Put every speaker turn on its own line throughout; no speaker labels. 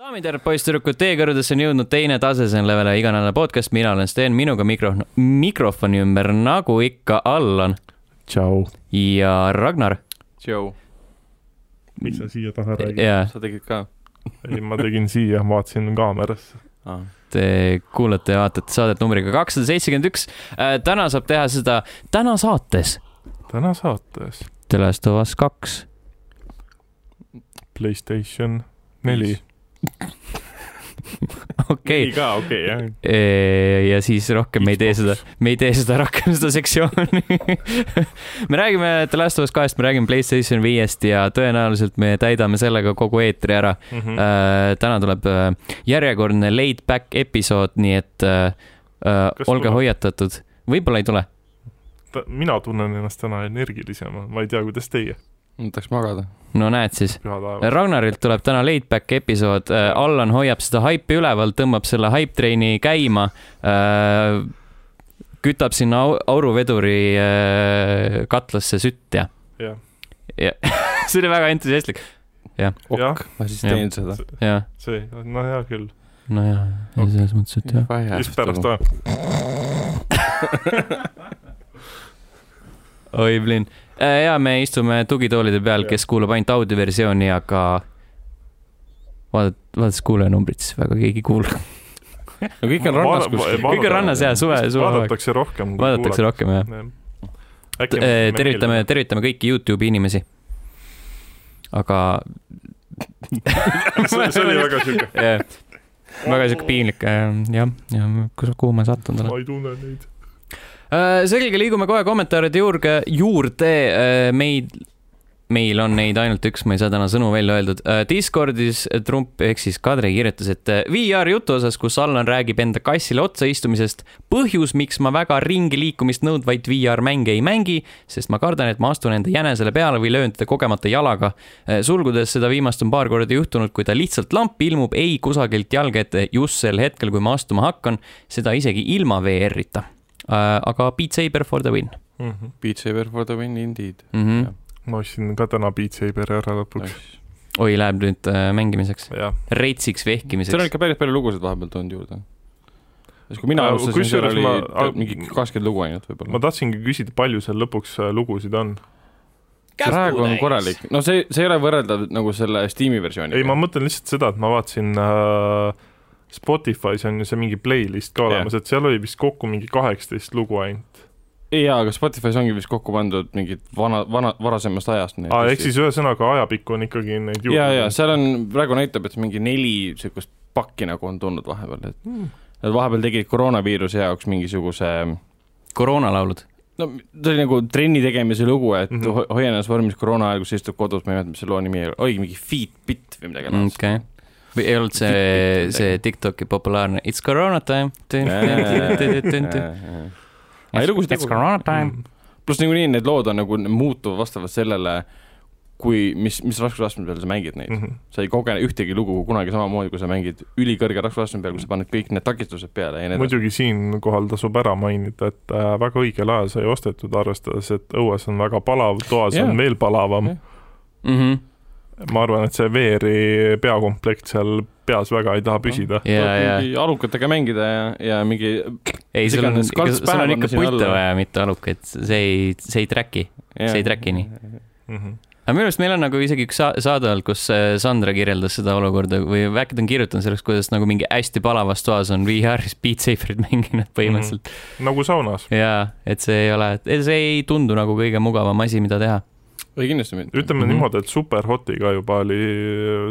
daamid ja härrad, poisssüdrukud , teie kõrvadesse on jõudnud teine tase , see on Levele iganädalane podcast , mina olen Sten , minuga mikro , mikrofoni ümber , nagu ikka , Allan
tšau .
ja Ragnar .
Joe ,
miks sa siia taha räägid ?
ja
sa tegid ka
ei , ma tegin siia , vaatasin kaamerasse .
ah. ?
te kuulate ja vaatate saadet numbriga kakssada seitsekümmend üks . täna saab teha seda täna saates .
täna saates
The Last of Us kaks .
Playstation neli .
okei ,
ka , okei , jah .
ja siis rohkem me ei tee seda , me ei tee seda rohkem , seda sektsiooni . me räägime The Last of Us kahest , me räägime Playstation viiest ja tõenäoliselt me täidame sellega kogu eetri ära .
Mm. Mhm.
Äh, täna tuleb äh, järjekordne laid back episood , nii et äh, äh,
Kas
olge
tuleb?
hoiatatud , võib-olla ei tule .
mina tunnen ennast täna energilisemana , ma ei tea , kuidas teie ,
ma tahaks magada .
no näed siis .
püha taevas .
Ragnarilt tuleb täna laid back episood , Allan hoiab seda haipi üleval , tõmbab selle hype treini käima äh, , kütab sinna au- auruveduri äh, katlasse sütt ja ,
jah ,
ja see oli väga entusiastlik ,
ok
Jah. ,
ma siis
Jah.
teen seda .
jah ,
see , no hea küll .
nojah , selles mõttes , et jah .
ja siis
nagu.
pärast . ta ,
oi , Blin . ja me istume tugitoolide peal ,
Jah.
kes kuulab ainult audioversiooni , aga vaadad , vaadates kuulajanumbrit , siis väga keegi ei kuula .
no kõik on rannas kuskil .
Kõik on rannas, jaa, suve- suve-
vaadatakse rohkem .
vaadatakse rohkem jah .
rohkem .
tervitame , tervitame kõiki Youtube'i inimesi . aga
see oli väga siuke ,
jah , väga siuke piinlik , jah , ja kus , kuhu ma sattunud olen
ma . ei tunne neid .
Äh, selge , liigume kohe kommentaaride juurde , juurde . meid , meil on neid ainult üks , ma ei saa täna sõnu välja öeldud . Discordis Trump ehk siis Kadri kirjutas , et äh, VR jutu osas , kus Allan räägib enda kassile otsa istumisest . põhjus , miks ma väga ringi liikumist nõudvaid VR mänge ei mängi , sest ma kardan , et ma astun enda jänesele peale või löön teda kogemata jalaga . sulgudes seda viimast on paar korda juhtunud , kui ta lihtsalt lampi ilmub , ei kusagilt jalge ette just sel hetkel , kui ma astuma hakkan , seda isegi ilma VR-ita äh, aga Beat Saber for the win
Beat Saber for the win indeed .
mm . -hmm.
Jah.
Mhm. ma ostsin ka täna Beat Saberi ära lõpuks ,
oi , läheb nüüd äh, mängimiseks ,
jah .
reitsiks vehkimiseks
seal on . ikka päris palju lugusid vahepeal tulnud juurde . siis kui mina
Aga
alustasin , seal
Äh, kusjuures
oli
ma-
tead, mingi kakskümmend lugu ainult
ma
võib-olla .
tahtsingi küsida , palju seal lõpuks äh, lugusid on ?
praegu on korralik , no see , see ei ole võrreldav nagu selle Steam'i versiooniga .
ei , ma mõtlen lihtsalt seda , et ma vaatasin äh, Spotify's on ju see mingi playlist ka
Jah.
olemas , et seal oli vist kokku mingi kaheksateist lugu ainult .
jaa , aga Spotify's ongi vist kokku pandud mingid vana , vana , varasemast ajast .
aa , ehk siis ühesõnaga ajapikku on ikkagi neid
ja , ja seal on , praegu näitab , et mingi neli siukest pakki nagu on tulnud vahepeal , et
Mm.
nad vahepeal tegid koroonaviiruse jaoks mingisuguse ,
koroonalaulud .
no see oli nagu trenni tegemise lugu , et mm
Mhm.
-hmm. hoia ennast vormis koroona ajal , kui sa istud kodus , ma ei mäleta , mis selle loo nimi oli , oligi mingi Feet Bit või midagi laadset.
okei . või ei olnud see , see Tiktoki populaarne It's koroona time .
Jaa, jaa. Aga ei, lugusid
It's
nagu-
koroona time .
pluss niikuinii need lood on nagu muutuvad vastavalt sellele , kui , mis , mis raskusastme peal sa mängid neid .
-hmm.
sa ei koge ühtegi lugu kunagi samamoodi , kui sa mängid ülikõrge raskusastme peal , kus sa paned kõik need takistused peale ja nii edasi .
muidugi siinkohal tasub ära mainida , et äh, väga õigel ajal sai ostetud , arvestades , et õues on väga palav , toas
Jaa.
on veel palavam
Jah. . Mhm.
Mhm.
ma arvan , et see VR-i peakomplekt seal peas väga ei taha püsida .
ja , ja
alukatega mängida ja , ja mingi
ei , sul on ,
iganes
sul
kalts päev
on
on
ikka
siin
puite
alla.
vaja , mitte alukaid , see ei , see ei track'i ,
ja.
see ei track'i nii .
Mm -hmm.
aga minu arust meil on nagu isegi üks sa- saade olnud , kus äh, Sandra kirjeldas seda olukorda või äkki ta on kirjutanud sellest , kuidas nagu mingi hästi palavas toas on VR-is Beat Saberit mänginud
Mhm.
põhimõtteliselt mm .
nagu saunas .
-hmm. jaa , et see ei ole , see ei tundu nagu kõige mugavam asi , mida teha .
ei kindlasti mitte .
ütleme mm
Mhm.
-hmm. niimoodi , et superhotiga juba oli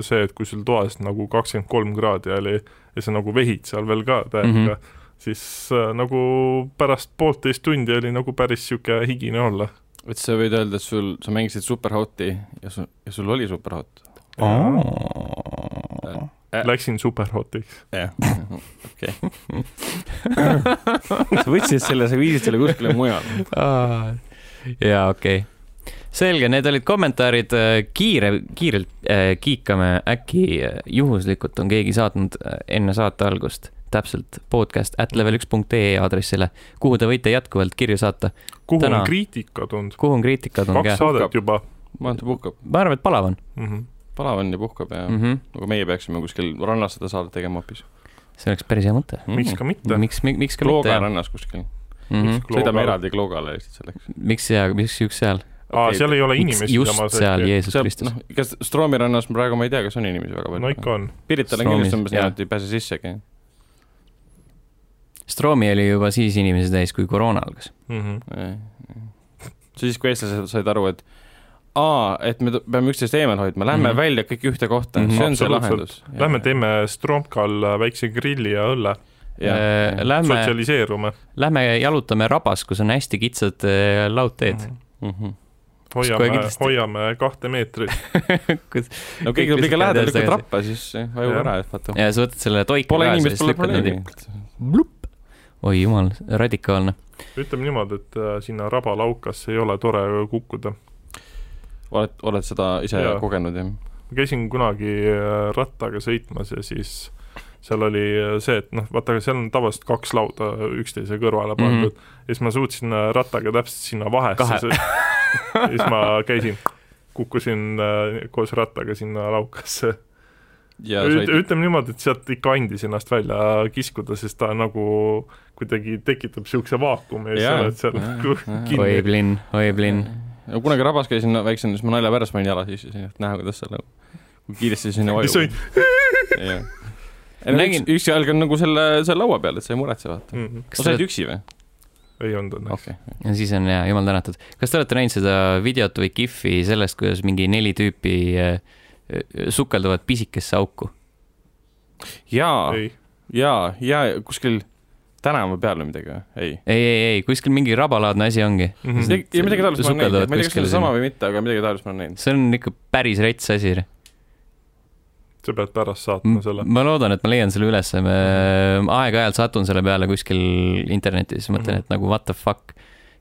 see , et kui sul toas nagu kakskümmend kolm kraadi oli ja sa nagu vehid seal veel ka täiega mm ,
Mhm.
-hmm. siis äh, nagu pärast poolteist tundi oli nagu päris sihuke higine olla .
et sa võid öelda , et sul , sa mängisid superhoti ja sul , ja sul oli superhot .
Läksin superhotiks .
jah . okei . sa võtsid selle , sa viisid selle kuskile mujale .
jaa , okei okay. . selge , need olid kommentaarid , kiire , kiirelt äh, kiikame , äkki äh, juhuslikult on keegi saatnud äh, enne saate algust täpselt podcast at level üks punkt ee aadressile , kuhu te võite jätkuvalt kirju saata .
kuhu Täna.
Täna.
on kriitika tulnud ?
kuhu on kriitikad , on
kaks
käes .
saadet juba
Mante puhkab .
ma arvan , et palav on .
mm . -hmm.
palav on ja puhkab ja mm.
-hmm.
nagu meie peaksime kuskil rannas seda saadet tegema hoopis .
see oleks päris hea mõte .
miks ka mitte .
miks , miks ka mitte
Klooga
jah.
rannas kuskil .
Mhm.
miks
sõidame
Kloogal?
eraldi Kloogale lihtsalt selleks .
miks ja , miks just seal ?
aa ,
Okei,
seal ei ole
miks
inimesi
just seal , Jeesus
seal ,
Kristus
noh ?, kas Stroomi rannas praegu ma ei tea , kas on inimesi väga palju
no . ikka on .
Pirital on kindlasti
Stroomis,
umbes
jah.
nii , et ei pääse sissegi .
Stroomi oli juba siis inimesi täis , kui koroona algas .
Mhm.
siis , kui eestlased said aru , et aa , et me t- peame üksteist eemal hoidma , lähme mm
Mhm.
-hmm. välja kõik ühte kohta mm ,
Mhm.
-hmm. see on see
Absoluutselt.
lahendus .
Lähme teeme Stromkal väikse grilli ja õlle ,
ja ,
Äh, Lähme ,
sotsialiseerume .
lähme jalutame rabas , kus on hästi kitsad äh,
Mhm.
laudteed .
Mhm.
kohe
hoiame ,
kindlasti-
hoiame kahte meetrit .
no kõik tuleb liiga lähedale , lükkad
Tagasi.
rappa , siis vajub
Jah.
ära , et vaata .
ja sa võtad selle toiki
Pole
kaasa ja
inimest ,
siis
pole
lükkad nad
probleemi
ja . oi jumal , radikaalne .
ütleme niimoodi , et äh, sinna rabalaukasse ei ole tore kukkuda .
oled , oled seda ise ja.
Jaa.
kogenud , jah ?
ma käisin kunagi äh, rattaga sõitmas ja siis seal oli see , et noh , vaata , seal on tavaliselt kaks lauda üksteise kõrvale pandud mm -hmm. ja siis ma suutsin äh, rattaga täpselt sinna
Mhm. Kahe.
vahesse . ja siis ma käisin , kukkusin äh, koos rattaga sinna laukasse .
ja
Üt,
said ,
ütleme niimoodi , et sealt ikka andis ennast välja kiskuda , sest ta nagu kuidagi tekitab niisuguse vaakumi ja siis
Jaa.
sa oled seal
Jaa.
nagu
Jaa.
oi
kinni .
plinn , oi plinn .
ja kunagi rabas käisin no, väiksena , siis ma nalja pärast panin jala sisse , et näha , kuidas seal nagu , kui kiiresti sinna
ja
vajub .
sõin-
Nägin-
nägin , üks jalg on nagu selle , selle laua peal , et sa ei muretse , vaata .
Mhm.
kas te
no sa
olete
olid , üksi või ?
ei olnud
Ah,
õnneks .
okei .
ja siis on jaa , jumal tänatud . kas te olete näinud seda videot või kihvi sellest , kuidas mingi neli tüüpi äh, äh, sukelduvad pisikesse auku ?
jaa ,
ei ,
jaa , jaa , kuskil tänava peal või midagi või ? ei .
ei , ei , ei , kuskil mingi rabalaadne asi ongi .
Mhm.
midagi , ei midagi taolist ma olen
Sukelduvad
näinud , ma ei tea , kas see
kuskile
on sama või mitte , aga midagi taolist ma olen näinud .
see on ikka päris rets asi .
sa pead pärast saatma selle .
ma loodan , et ma leian selle ülesse , aeg-ajalt satun selle peale kuskil internetis , mõtlen ,
Mhm.
et nagu what the fuck ,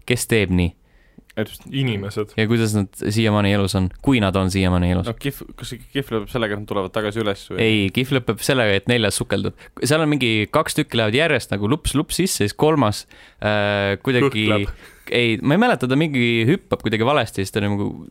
kes teeb nii
inimesed .
ja kuidas nad siiamaani elus on , kui nad on siiamaani elus
no . kihv , kas see kihv lõpeb sellega , et nad tulevad tagasi üles või ?
ei , kihv lõpeb sellega , et neljas sukeldub . seal on mingi kaks tükki lähevad järjest nagu lups-lups sisse , siis kolmas äh, kuidagi
Kõhkleb. ,
ei , ma ei mäleta , ta mingi hüppab kuidagi valesti , siis ta nagu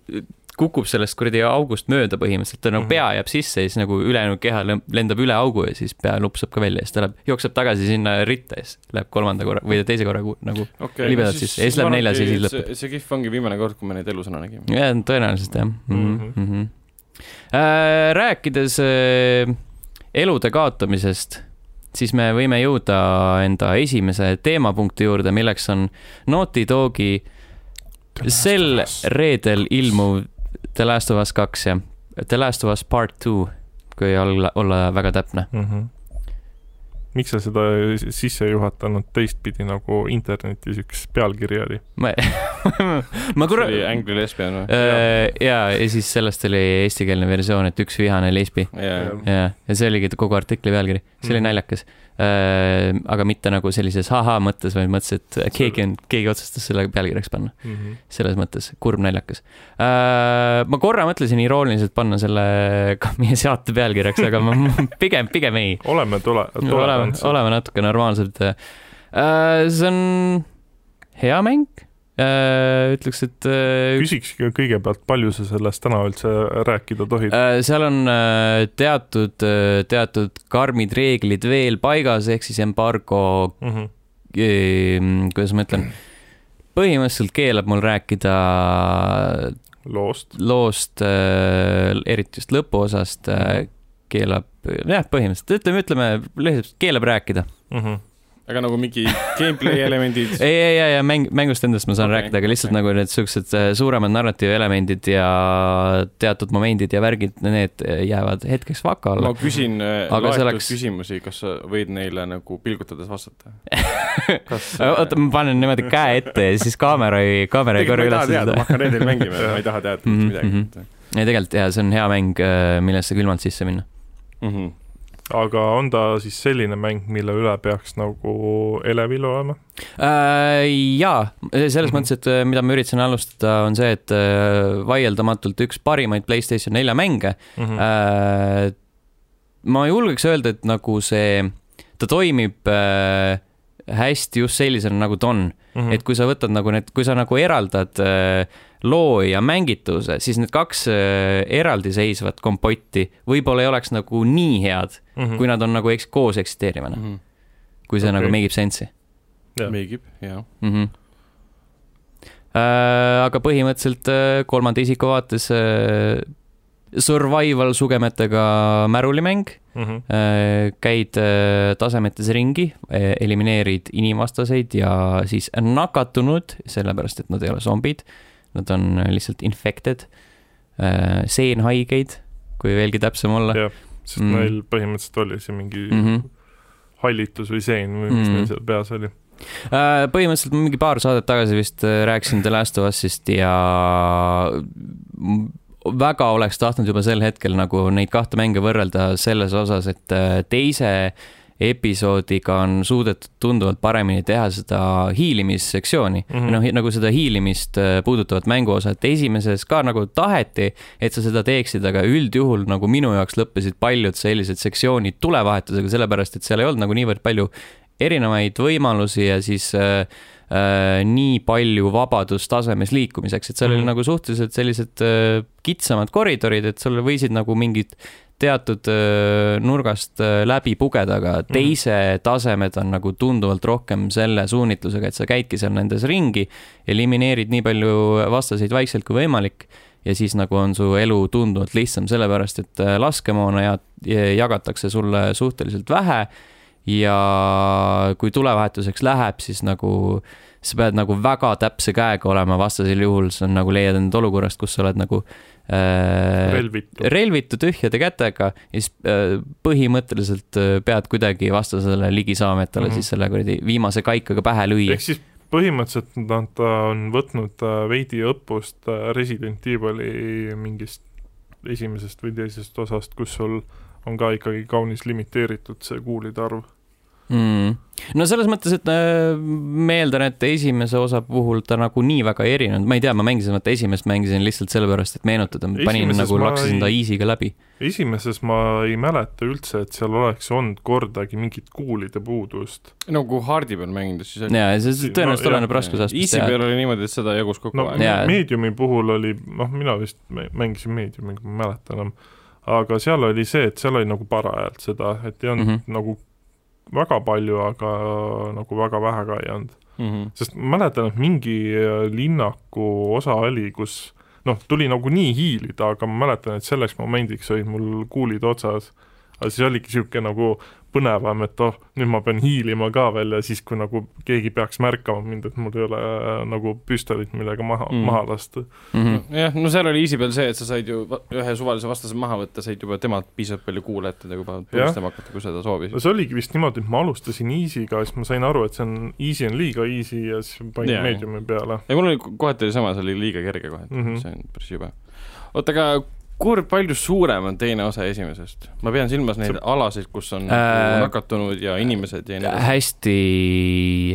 kukub sellest kuradi august mööda põhimõtteliselt , ta nagu
Mhm.
pea jääb sisse ja siis nagu ülejäänud keha lem- lendab üle augu ja siis pea lupsab ka välja ja siis ta läheb , jookseb tagasi sinna ritta ja siis läheb kolmanda korra või teise korra ku- nagu ,
okay,
libedalt sisse. Ja siis läheb neljas ja siis
lõpeb . see kihv ongi viimane kord , kui me neid elusõna nägime .
jah , tõenäoliselt jah mm .
Mhm.
-hmm. Mm -hmm. äh, rääkides äh, elude kaotamisest , siis me võime jõuda enda esimese teemapunkti juurde , milleks on Naughty Dogi sel reedel ilmuv The Last of Us kaks ja The Last of Us Part Two , kui olla , olla väga täpne .
mm . -hmm. miks sa seda sisse ei juhatanud teistpidi , nagu internetis üks pealkiri oli ?
ma , ma korra
oli Angry Lesbian või ?
äh, ja , ja siis sellest oli eestikeelne versioon , et üks vihane lesbi .
jaa ,
ja , ja see oligi kogu artikli pealkiri , see oli
Mhm.
naljakas . aga mitte nagu sellises ahaa mõttes , vaid mõttes , et keegi on , keegi otsustas selle pealkirjaks panna ,
mm . -hmm.
selles mõttes , kurb naljakas . ma korra mõtlesin irooniliselt panna selle ka meie saate pealkirjaks , aga ma pigem , pigem ei .
oleme tule ,
oleme ,
tolerantsed .
oleme natuke normaalsed . see on hea mäng , ütleks , et äh, üks
küsiks kõigepealt , palju sa sellest täna üldse rääkida tohid ?
Äh, seal on äh, teatud , teatud karmid reeglid veel paigas , ehk siis embargo ,
Mm -hmm.
kuidas ma ütlen , põhimõtteliselt keelab mul rääkida
loost
loost , eriti just lõpuosast , keelab , jah , põhimõtteliselt , ütleme , ütleme lihtsalt keelab rääkida .
mm . -hmm.
aga nagu mingi gameplay elemendid .
ei , ei , ei , ei , mäng , mängust endast ma saan
Okei,
okay, rääkida , aga lihtsalt
okei.
okay. nagu need siuksed äh, suuremad narratiivelemendid ja teatud momendid ja värgid , need jäävad hetkeks vaka alla
ma . küsin
Aga
aga
see
loetud
oleks-
oleks... küsimusi , kas sa võid neile nagu pilgutades vastata ? kas
oota , ma panen niimoodi käe ette ja siis kaamera ei , kaamera ei korra üles seda .
tegelikult ma ei taha teada , ma hakkan reedel mängima ja ma ei taha teada
Mhm,
mitte midagi .
ei , tegelikult jaa , see on hea mäng , millesse külmalt sisse minna .
Mhm.
aga on ta siis selline mäng , mille üle peaks nagu elevil olema ?
Äh, jaa , selles
Mhm.
mõttes , et äh, mida ma üritasin alustada , on see , et äh, vaieldamatult üks parimaid Playstation nelja mänge . Äh,
Mm
Mhm.
-hmm.
ma julgeks öelda , et nagu see , ta toimib äh, hästi just sellisena , nagu ta on .
Mhm.
et kui sa võtad nagu need , kui sa nagu eraldad äh, loo ja mängituse , siis need kaks äh, eraldiseisvat kompotti võib-olla ei oleks nagu nii head ,
Mhm.
kui nad on nagu eks- , koos
Hmm.
eksisteerivana ,
Mhm.
kui see okay. nagu
Okei.
make ib sense'i
Jah.
meigib , jah .
mm . -hmm. Äh, aga põhimõtteliselt äh, kolmanda isiku vaates äh, survival sugemetega märulimäng
Mhm.
Äh, käid äh, tasemetes ringi , elimineerid inimvastaseid ja siis nakatunud , sellepärast et nad ei ole zombid , nad on äh, lihtsalt infected , seenhaigeid , kui veelgi täpsem olla .
jah , sest
Mm.
neil põhimõtteliselt oli see mingi
Mm -hmm.
hallitus või sein või mis
Mhm.
neil seal peas oli .
Äh, põhimõtteliselt ma mingi paar saadet tagasi vist äh, rääkisin The Last of Usist ja m- väga oleks tahtnud juba sel hetkel nagu neid kahte mänge võrrelda selles osas , et äh, teise episoodiga on suudetud tunduvalt paremini teha seda hiilimissektsiooni mm
Mhm.
-hmm. , noh nagu seda hiilimist äh, puudutavat mänguosa , et esimeses ka nagu taheti , et sa seda teeksid , aga üldjuhul nagu minu jaoks lõppesid paljud sellised sektsioonid tulevahetusega , sellepärast et seal ei olnud nagu niivõrd palju erinevaid võimalusi ja siis äh, äh, nii palju vabadustasemes liikumiseks , et seal mm -hmm.
Mhm.
oli nagu suhteliselt sellised äh, kitsamad koridorid , et sul võisid nagu mingid teatud äh, nurgast äh, läbi pugeda , aga teise mm -hmm. tasemed on nagu tunduvalt rohkem selle suunitlusega , et sa käidki seal nendes ringi , elimineerid nii palju vastaseid vaikselt kui võimalik ja siis nagu on su elu tunduvalt lihtsam , sellepärast et äh, laskemoona ja, jagatakse sulle suhteliselt vähe ja kui tulevahetuseks läheb , siis nagu sa pead nagu väga täpse käega olema , vastasel juhul sa nagu leiad end olukorrast , kus sa oled nagu äh,
relvitud .
relvitu tühjade kätega ja siis äh, põhimõtteliselt äh, pead kuidagi vastasele ligi saama , et talle mm
Mhm.
-hmm. siis selle kuradi viimase kaikaga pähe lüüa
ehk . siis põhimõtteliselt nad ta on võtnud äh, veidi õppust äh, Resident Evil'i mingist esimesest või teisest osast , kus sul on ka ikkagi kaunis limiteeritud see kuulide arv .
mm. . no selles mõttes , et äh, ma eeldan , et esimese osa puhul ta nagu nii väga ei erinenud , ma ei tea , ma mängisin , vaata esimest mängisin lihtsalt sellepärast , et meenutada , panin
Esimeses
nagu
ma
laksasin
ei-
ta easy'ga läbi .
esimeses ma ei mäleta üldse , et seal oleks olnud kordagi mingit kuulide puudust .
no kui Hardi peal mängides , siis
ja see see
No,
tõenäoliselt
jah.
oleneb raskusastmest
Easy
ja
peal oli niimoodi , et seda jagus kogu
no
aeg .
Jaa.
Mediumi puhul oli , noh , mina vist mä- mängisin Mediumiga , ma ei mäleta enam , aga seal oli see , et seal oli nagu parajalt seda , et ei olnud mm
Mhm.
-hmm. nagu väga palju , aga nagu väga vähe ka ei olnud .
Mhm.
sest ma mäletan , et mingi äh, linnaku osa oli , kus noh , tuli nagunii hiilida , aga ma mäletan , et selleks momendiks olid mul kuulid otsas . aga siis oligi niisugune nagu põnevam , et oh , nüüd ma pean hiilima ka veel ja siis , kui nagu keegi peaks märkama mind , et mul ei ole äh, nagu püstolit , millega maha
Mm.
mm. , maha lasta .
mm . -hmm.
jah , no seal oli Easy peal see , et sa said ju va- ühe suvalise vastase maha võtta , said juba temalt piisavalt palju kuule , et teda juba tulistama hakata , kui seda soovisid
no . see oligi vist niimoodi , et ma alustasin easy'ga , siis ma sain aru , et see on , easy on liiga easy ja siis panin
Jaa.
yeah. medium'i peale .
ei , mul oli ko- kohati oli sama , see oli liiga kerge kohati mm ,
Mhm.
-hmm. see on päris jube . oota , aga kurb palju suurem on teine osa esimesest ? ma pean silmas neid see... alasid , kus on
Äh,
äh... nakatunud ja inimesed ja nii edasi .
hästi ,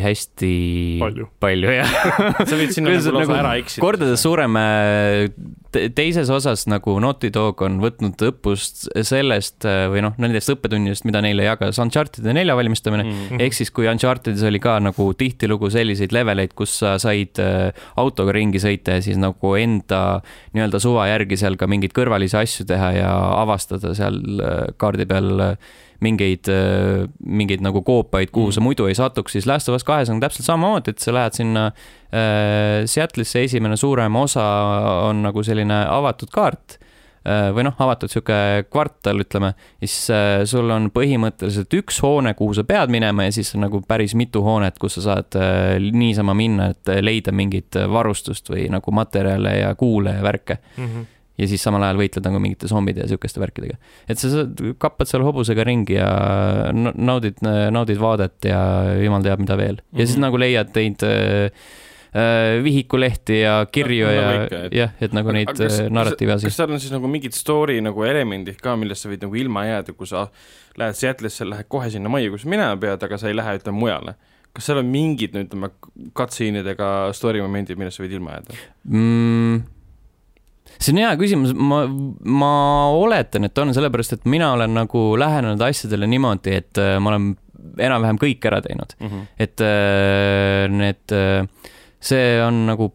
hästi
palju .
palju jah .
sa võid sinna
kuidas
nagu lausa
nagu
ära eksida .
kordades suurem äh, te- teises osas nagu Naughty Dog on võtnud õppust sellest äh, või noh , nendest õppetundidest , mida neile jagas Uncharted'i nelja valmistamine ,
mm. .
ehk siis , kui Unchartedis oli ka nagu tihtilugu selliseid leveleid , kus sa said äh, autoga ringi sõita ja siis nagu enda nii-öelda suva järgi seal ka mingeid kõrvalisi asju teha ja avastada seal äh, kaardi peal äh, mingeid , mingeid nagu koopaid , kuhu sa muidu ei satuks , siis Last of Us kahes on täpselt samamoodi , et sa lähed sinna äh, Seattle'isse , esimene suurem osa on nagu selline avatud kaart äh, või noh , avatud sihuke kvartal , ütleme , siis äh, sul on põhimõtteliselt üks hoone , kuhu sa pead minema ja siis on nagu päris mitu hoonet , kus sa saad äh, niisama minna , et äh, leida mingit äh, varustust või nagu materjale ja kuule ja värke .
mhm,
ja siis samal ajal võitled nagu mingite zombide ja sihukeste värkidega . et sa saad- kappad seal hobusega ringi ja äh, na- naudid , naudid vaadet ja jumal teab , mida veel . ja siis
Mhm.
nagu leiad neid äh, äh, vihikulehti ja kirju
No,
ja
nagu ikka, et- ,
jah , et nagu neid äh, narratiive ja
siis . kas
siis .
seal on siis nagu mingid story nagu elemendid ka , millest sa võid nagu ilma jääda , kui sa lähed Seattle'isse , lähed kohe sinna majja , kus sa minema pead , aga sa ei lähe , ütleme , mujale ? kas seal on mingid , no ütleme , cutscene'idega story momendid , millest sa võid ilma jääda ?
mm, ? see on hea küsimus , ma , ma oletan , et on , sellepärast et mina olen nagu lähenenud asjadele niimoodi , et äh, ma olen enam-vähem kõik ära teinud .
mm . -hmm.
et äh, need , see on nagu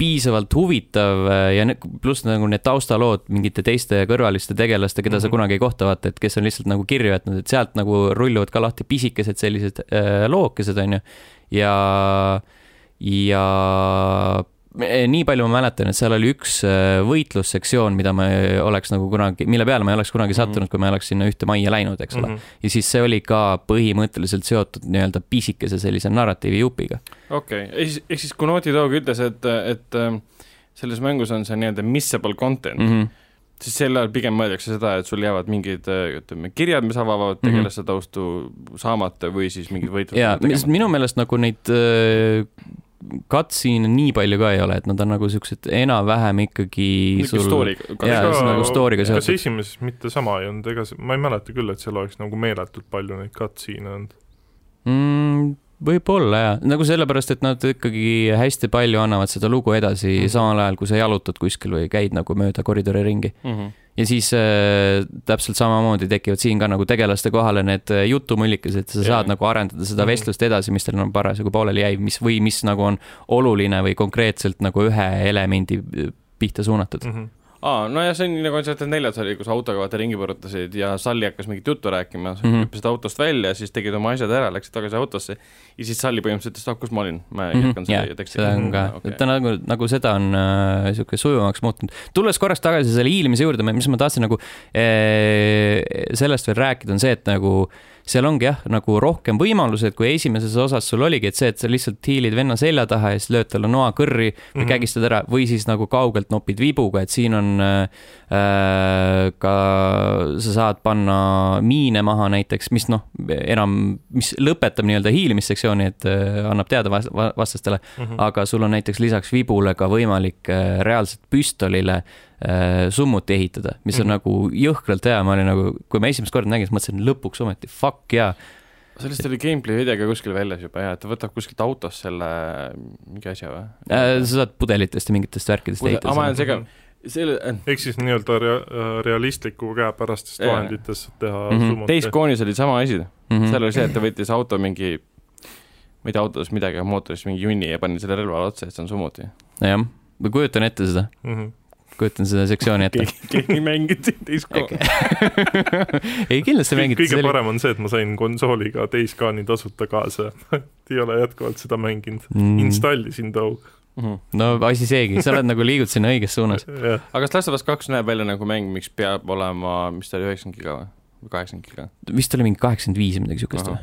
piisavalt huvitav äh, ja ne- pluss nagu need taustalood mingite teiste kõrvaliste tegelaste , keda mm -hmm. sa
Mhm.
kunagi ei kohta vaata , et kes on lihtsalt nagu kirju jätnud , et sealt nagu rulluvad ka lahti pisikesed sellised äh, lookesed , onju . ja , ja eh, nii palju ma mäletan , et seal oli üks äh, võitlussektsioon , mida ma ei oleks nagu kunagi , mille peale ma ei oleks kunagi
Mhm.
sattunud , kui ma ei oleks sinna ühte majja läinud , eks ole .
Mhm.
ja siis see oli ka põhimõtteliselt seotud nii-öelda pisikese sellise narratiivijupiga .
okei okay. , ehk siis , ehk siis kui Naughty Dog ütles , et , et ähm, selles mängus on see nii-öelda missable content mm ,
-hmm.
-hmm. siis sel ajal pigem mõeldakse seda , et sul jäävad mingid äh, ütleme , kirjad , mis avavad
Mhm.
tegelaste taustu saamata või siis mingid võitlused .
ja mis minu meelest nagu neid äh, cutscene'e nii palju ka ei ole , et nad on nagu siuksed enam-vähem ikkagi sul
story .
jaa,
Ega-
see on nagu story'ga
kas
seotud.
esimeses mitte sama ei olnud , ega see , ma ei mäleta küll , et seal oleks nagu meeletult palju neid cutscene'e olnud .
mm, . võib-olla jaa , nagu sellepärast , et nad ikkagi hästi palju annavad seda lugu edasi mm.
Mhm.
samal ajal , kui sa jalutad kuskil või käid nagu mööda koridori ringi .
Mhm.
ja siis äh, täpselt samamoodi tekivad siin ka nagu tegelaste kohale need äh, jutumõllikesed , sa
Jaa.
saad nagu arendada seda
Mhm.
vestlust edasi , mis teil on parasjagu pooleli jäi , mis või mis nagu on oluline või konkreetselt nagu ühe elemendi äh, pihta suunatud .
Mhm,
aa , nojah , see on nii nagu Uncharted neljas oli , kus autoga vaata ringi põrutasid ja Salli hakkas mingit juttu rääkima , sa
Mhm.
hüppasid autost välja , siis tegid oma asjad ära , läksid tagasi autosse ja siis Salli põhimõtteliselt ütles , et ah , kus ma olin , ma jätkan selle ja teksti .
Mhm.
Mhm,
seda on ka , et ta nagu , nagu seda on äh, sihuke sujuvamaks muutunud . tulles korraks tagasi selle hiilimise juurde , mis ma tahtsin nagu äh, sellest veel rääkida , on see , et nagu seal ongi jah , nagu rohkem võimalused , kui esimeses osas sul oligi , et see , et sa lihtsalt hiilid venna selja taha ja siis lööd talle noa kõrri või mm -hmm. kägistad ära või siis nagu kaugelt nopid vibuga , et siin on äh, äh, ka , sa saad panna miine maha näiteks , mis noh , enam , mis lõpetab nii-öelda hiilimissektsiooni , et äh, annab teada vas- va- vastastele ,
Mhm.
mhm.
aga sul on näiteks lisaks vibule ka võimalik äh, reaalselt püstolile äh, summuti ehitada , mis on
Mhm.
nagu jõhkralt hea , ma olin nagu , kui ma esimest korda nägin , siis mõtlesin lõpuks ometi fuck jaa yeah. .
sellest oli gameplay video ka kuskil väljas juba ja , et ta võtab kuskilt autost selle mingi asja või ?
Äh, sa saad pudelitest ja mingitest värkidest
Kuule, aga
ehitada .
ma olen segav , selle ,
ehk siis nii-öelda rea- , realistliku käepärastest
Jaa.
vahenditest saab teha
Mhm.
summuti.
teiskoonis oli sama asi , seal oli see , et ta võttis auto mingi ma ei tea , autos midagi , mootorist mingi junni ja pani selle relvale otsa ja siis on summuti .
jah , ma kujutan ette seda ,
Mhm.
kujutan seda sektsiooni ette .
keegi mängib teiskooni .
ei , kindlasti
Kõik-
mängiti
kõige
selle .
parem on see , et ma sain konsooliga teiskaani tasuta kaasa , et ei ole jätkuvalt seda mänginud . installisin too ,
no Mm. asi seegi , sa oled nagu liigud sinna õiges suunas .
jah ,
aga kas Last of Us kaks näeb välja nagu mäng , miks peab olema , mis ta oli , üheksakümmend giga või ? või kaheksakümmend giga ?
vist oli mingi kaheksakümmend viis või midagi siukest või ?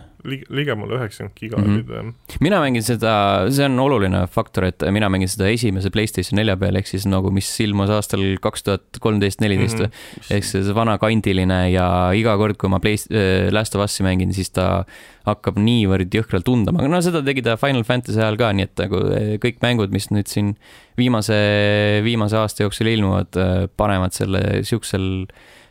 ligemale üheksakümmend giga
Mhm.
olid jah .
mina mängin seda , see on oluline faktor , et mina mängin seda esimese Playstation nelja peal , ehk siis nagu , mis ilmus aastal kaks tuhat kolmteist , neliteist või .
Mhm.
ehk siis see vana kandiline ja iga kord , kui ma Play- , Last of Us'i mängin , siis ta hakkab niivõrd jõhkralt tunduma , aga no seda tegi ta Final Fantasy ajal ka , nii et nagu eh, kõik mängud , mis nüüd siin viimase , viimase aasta jooksul ilmuvad , panevad selle siuksel ,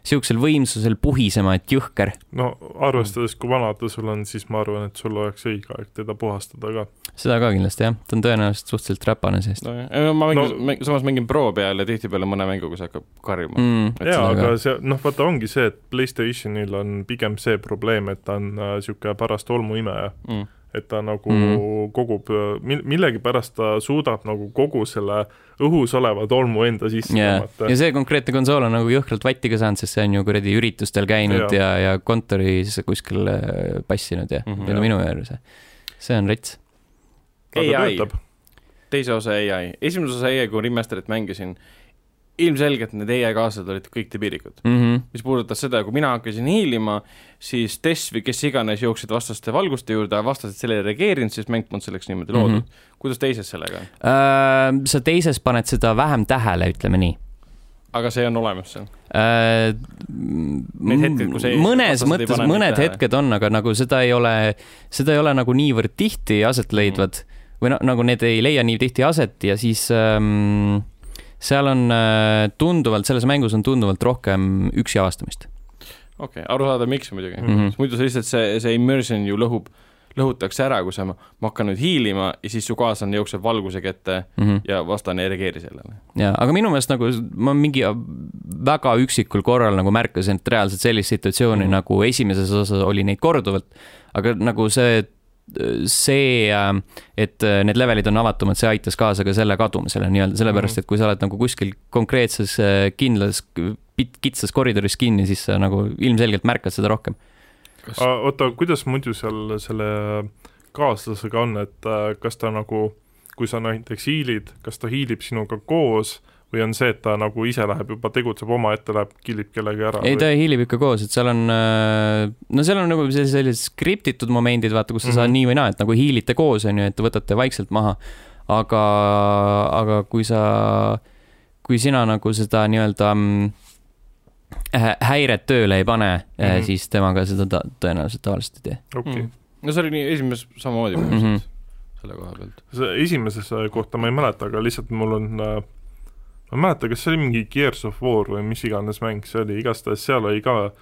siuksel võimsusel puhisema , et jõhker .
no arvestades , kui vana ta sul on , siis ma arvan , et sul oleks õige aeg teda puhastada ka .
seda ka kindlasti jah , ta on tõenäoliselt suhteliselt räpane seest .
nojah , ma mängin
No-
no. , samas mängin Pro peal ja tihtipeale mõne mänguga see hakkab karjuma mm. .
Mm,
Et
jaa ,
sellega-
aga see , noh , vaata ongi see , et Playstationil on pigem see probleem , et ta on äh, niisugune paras tolmuimeja ,
Mm.
et ta nagu
Mhm.
mm. kogub , mil- , millegipärast ta suudab nagu kogu selle õhus oleva tolmu enda sisse
yeah.
tõmmata
ja see konkreetne konsool on nagu jõhkralt vatti ka saanud , sest see on ju kuradi üritustel käinud ja, ja , ja kontoris kuskil äh, passinud ja mm ,
Mhm.
-hmm,
Jah.
minu juures . see on rets .
aga
ai.
töötab .
teise osa ai , esimese osa ai , kui Remasterit mängisin , ilmselgelt need ai kaaslased olid kõik debiilikud .
mm . -hmm.
mis puudutas seda , kui mina hakkasin hiilima , siis Tess või kes iganes jooksid vastaste valguste juurde , vastased sellele ei reageerinud , siis mäng polnud selleks niimoodi loodud mm . -hmm. kuidas teises sellega on ?
Äh, sa teises paned seda vähem tähele , ütleme nii .
aga see on olemas seal ?
Äh,
Neid hetki, kus ei-
mõnes
vastased ei
mõttes
pane neid
mõned
tähele.
hetked on , aga nagu seda ei ole , seda ei ole nagu niivõrd tihti
Mhm.
aset leidvad või no, nagu need ei leia nii tihti aset ja siis ähm, seal on äh, tunduvalt , selles mängus on tunduvalt rohkem üksi avastamist .
okei okay, , arusaadav , miks muidugi mm .
Mhm.
-hmm. muidu see lihtsalt see , see immersion ju lõhub , lõhutakse ära , kui sa , ma hakkan nüüd hiilima ja siis su kaaslane jookseb valguse kätte
mm . -hmm.
ja vastane ei reageeri sellele .
ja , aga minu meelest nagu s- ma mingi väga üksikul korral nagu märkasin , et reaalselt sellist situatsiooni
Mhm.
mm. nagu esimeses osas oli neid korduvalt , aga nagu see , see , et äh, need levelid on avatumad , see aitas kaasa ka selle kadumisele nii-öelda , sellepärast et kui sa oled nagu kuskil konkreetses äh, kindlas pit- kitsas koridoris kinni , siis sa nagu ilmselgelt märkad seda rohkem .
oota , kuidas muidu seal selle kaaslasega on , et äh, kas ta nagu , kui sa näiteks hiilid , kas ta hiilib sinuga koos või on see , et ta nagu ise läheb juba , tegutseb omaette , läheb , killib kellegi ära
ei ,
või
ta ? hiilib ikka koos , et seal on , no seal on nagu sel- sellised skriptitud momendid , vaata , kus sa mm -hmm.
Mhm.
saad nii või naa , et nagu hiilite koos , on ju , et võtate vaikselt maha . aga , aga kui sa , kui sina nagu seda nii-öelda mm, hä- häiret tööle ei pane mm ,
Mhm.
-hmm. siis temaga seda ta tõenäoliselt tavaliselt ei tee .
okei
Mm. , no see oli nii esimeses samamoodi
Mhm.
põhimõtteliselt selle koha pealt .
see esimeses äh, kohta ma ei mäleta , aga lihtsalt mul on äh, ma ei mäleta , kas see oli mingi Gears of War või mis iganes mäng see oli , igastahes seal oli ka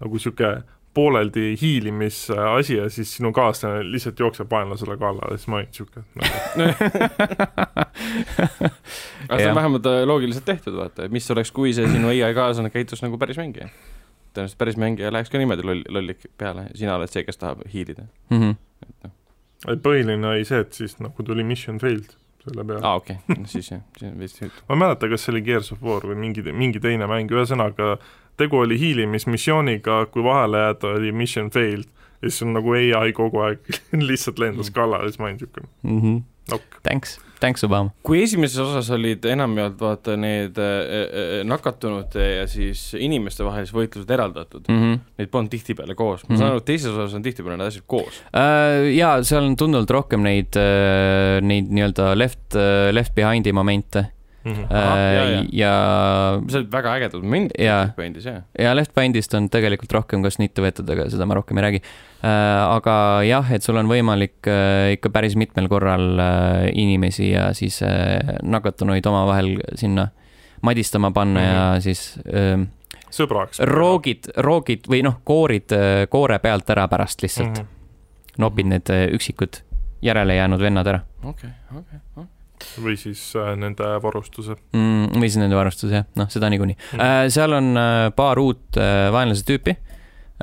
nagu niisugune pooleldi hiilimisasi ja siis sinu kaaslane lihtsalt jookseb vaenlasele kallale , siis ma olin niisugune , et nagu,
aga Noh. see
Jah.
on vähemalt äh, loogiliselt tehtud , vaata , et mis oleks , kui see sinu ai kaaslane käitus nagu päris mängija . tõenäoliselt päris mängija läheks ka niimoodi loll , lollik peale , sina oled see , kes tahab hiilida .
Mm -hmm.
ei, põhiline oli see , et siis nagu tuli mission failed selle peale .
aa , okei , siis jah , siis on vist nüüd .
ma ei mäleta , kas see oli Gears of War või mingi , mingi teine mäng , ühesõnaga tegu oli hiilimismissiooniga , kui vahele jääda , oli mission failed ja siis on nagu ai kogu aeg lihtsalt lendas kallale , siis ma olin niisugune
Mm -hmm.
nokk .
Thanks , thanks Obama .
kui esimeses osas olid enamjaolt vaata need äh, äh, nakatunute ja siis inimeste vahelised võitlused eraldatud ,
Mm -hmm.
neid polnud tihtipeale koos , ma
Mhm.
saan aru , et teises osas on tihtipeale need asjad koos .
Äh, jaa , seal on tunduvalt rohkem neid , neid nii-öelda left , left behind'i momente .
mhm,
Äh,
Ahah, jaa,
ja
jaa. ,
ja,
see oli väga ägedad momendid
Jaa.
Bandis , jah .
ja left band'ist on tegelikult rohkem kas nitte võetud , aga seda ma rohkem ei räägi . aga jah , et sul on võimalik äh, ikka päris mitmel korral äh, inimesi ja siis äh, nakatunuid omavahel sinna madistama panna mm
Mhm.
-hmm. ja siis ähm,
sõbraks .
roogid , roogid või noh , koorid äh, koore pealt ära pärast lihtsalt mm ,
-hmm.
Mhm.
-hmm. nopid need äh, üksikud järele jäänud vennad ära
okei , okei , okei .
või siis äh, nende varustuse .
mm, . või siis nende varustus jah , noh , seda niikuinii mm. . Äh, seal on äh, paar uut äh, vaenlase tüüpi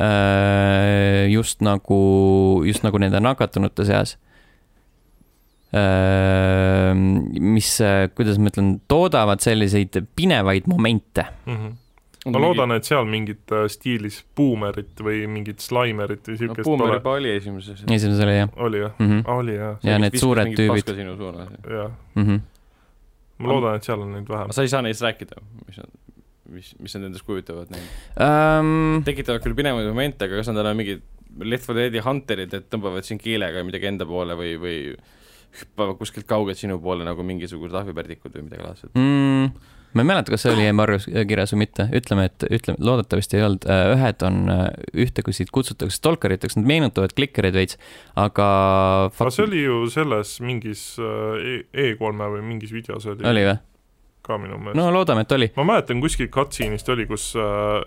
äh, . just nagu , just nagu nende nakatunute seas äh, . mis , kuidas ma ütlen , toodavad selliseid pinevaid momente .
Mhm. ma loodan , et seal mingit äh, stiilis buumerit või mingit slaimerit või
no
niisugust
Boomer
pole .
juba oli esimeses .
esimeses oli jah
oli jah ?
mm . -hmm.
oli jah ,
ja need suured tüübid.
sinu suunas .
jah .
Mm -hmm.
ma loodan , et seal on neid vähem
aga . sa ei saa neist rääkida , mis nad , mis , mis nad endast kujutavad neid .
Um,
tekitavad küll pinevaid momente , aga kas nad on mingid Left 4 Dead'i hunterid , et tõmbavad sind kiilega midagi enda poole või , või hüppavad kuskilt kaugelt sinu poole nagu mingisugused ahvipärdikud või midagi laadset .
mm, ma ei mäleta , kas see oli embargos kirjas või mitte , ütleme , et ütleme , loodetavasti ei olnud , ühed on äh, ühte , kui siit kutsutakse stalkeriteks , nad meenutavad klikkereid veits , aga
aga see oli ju selles mingis äh, E- E3-e või mingis videos oli,
oli või ?
ka minu meelest no. .
no loodame , et oli .
ma mäletan kuskil cutscene'ist oli , kus äh,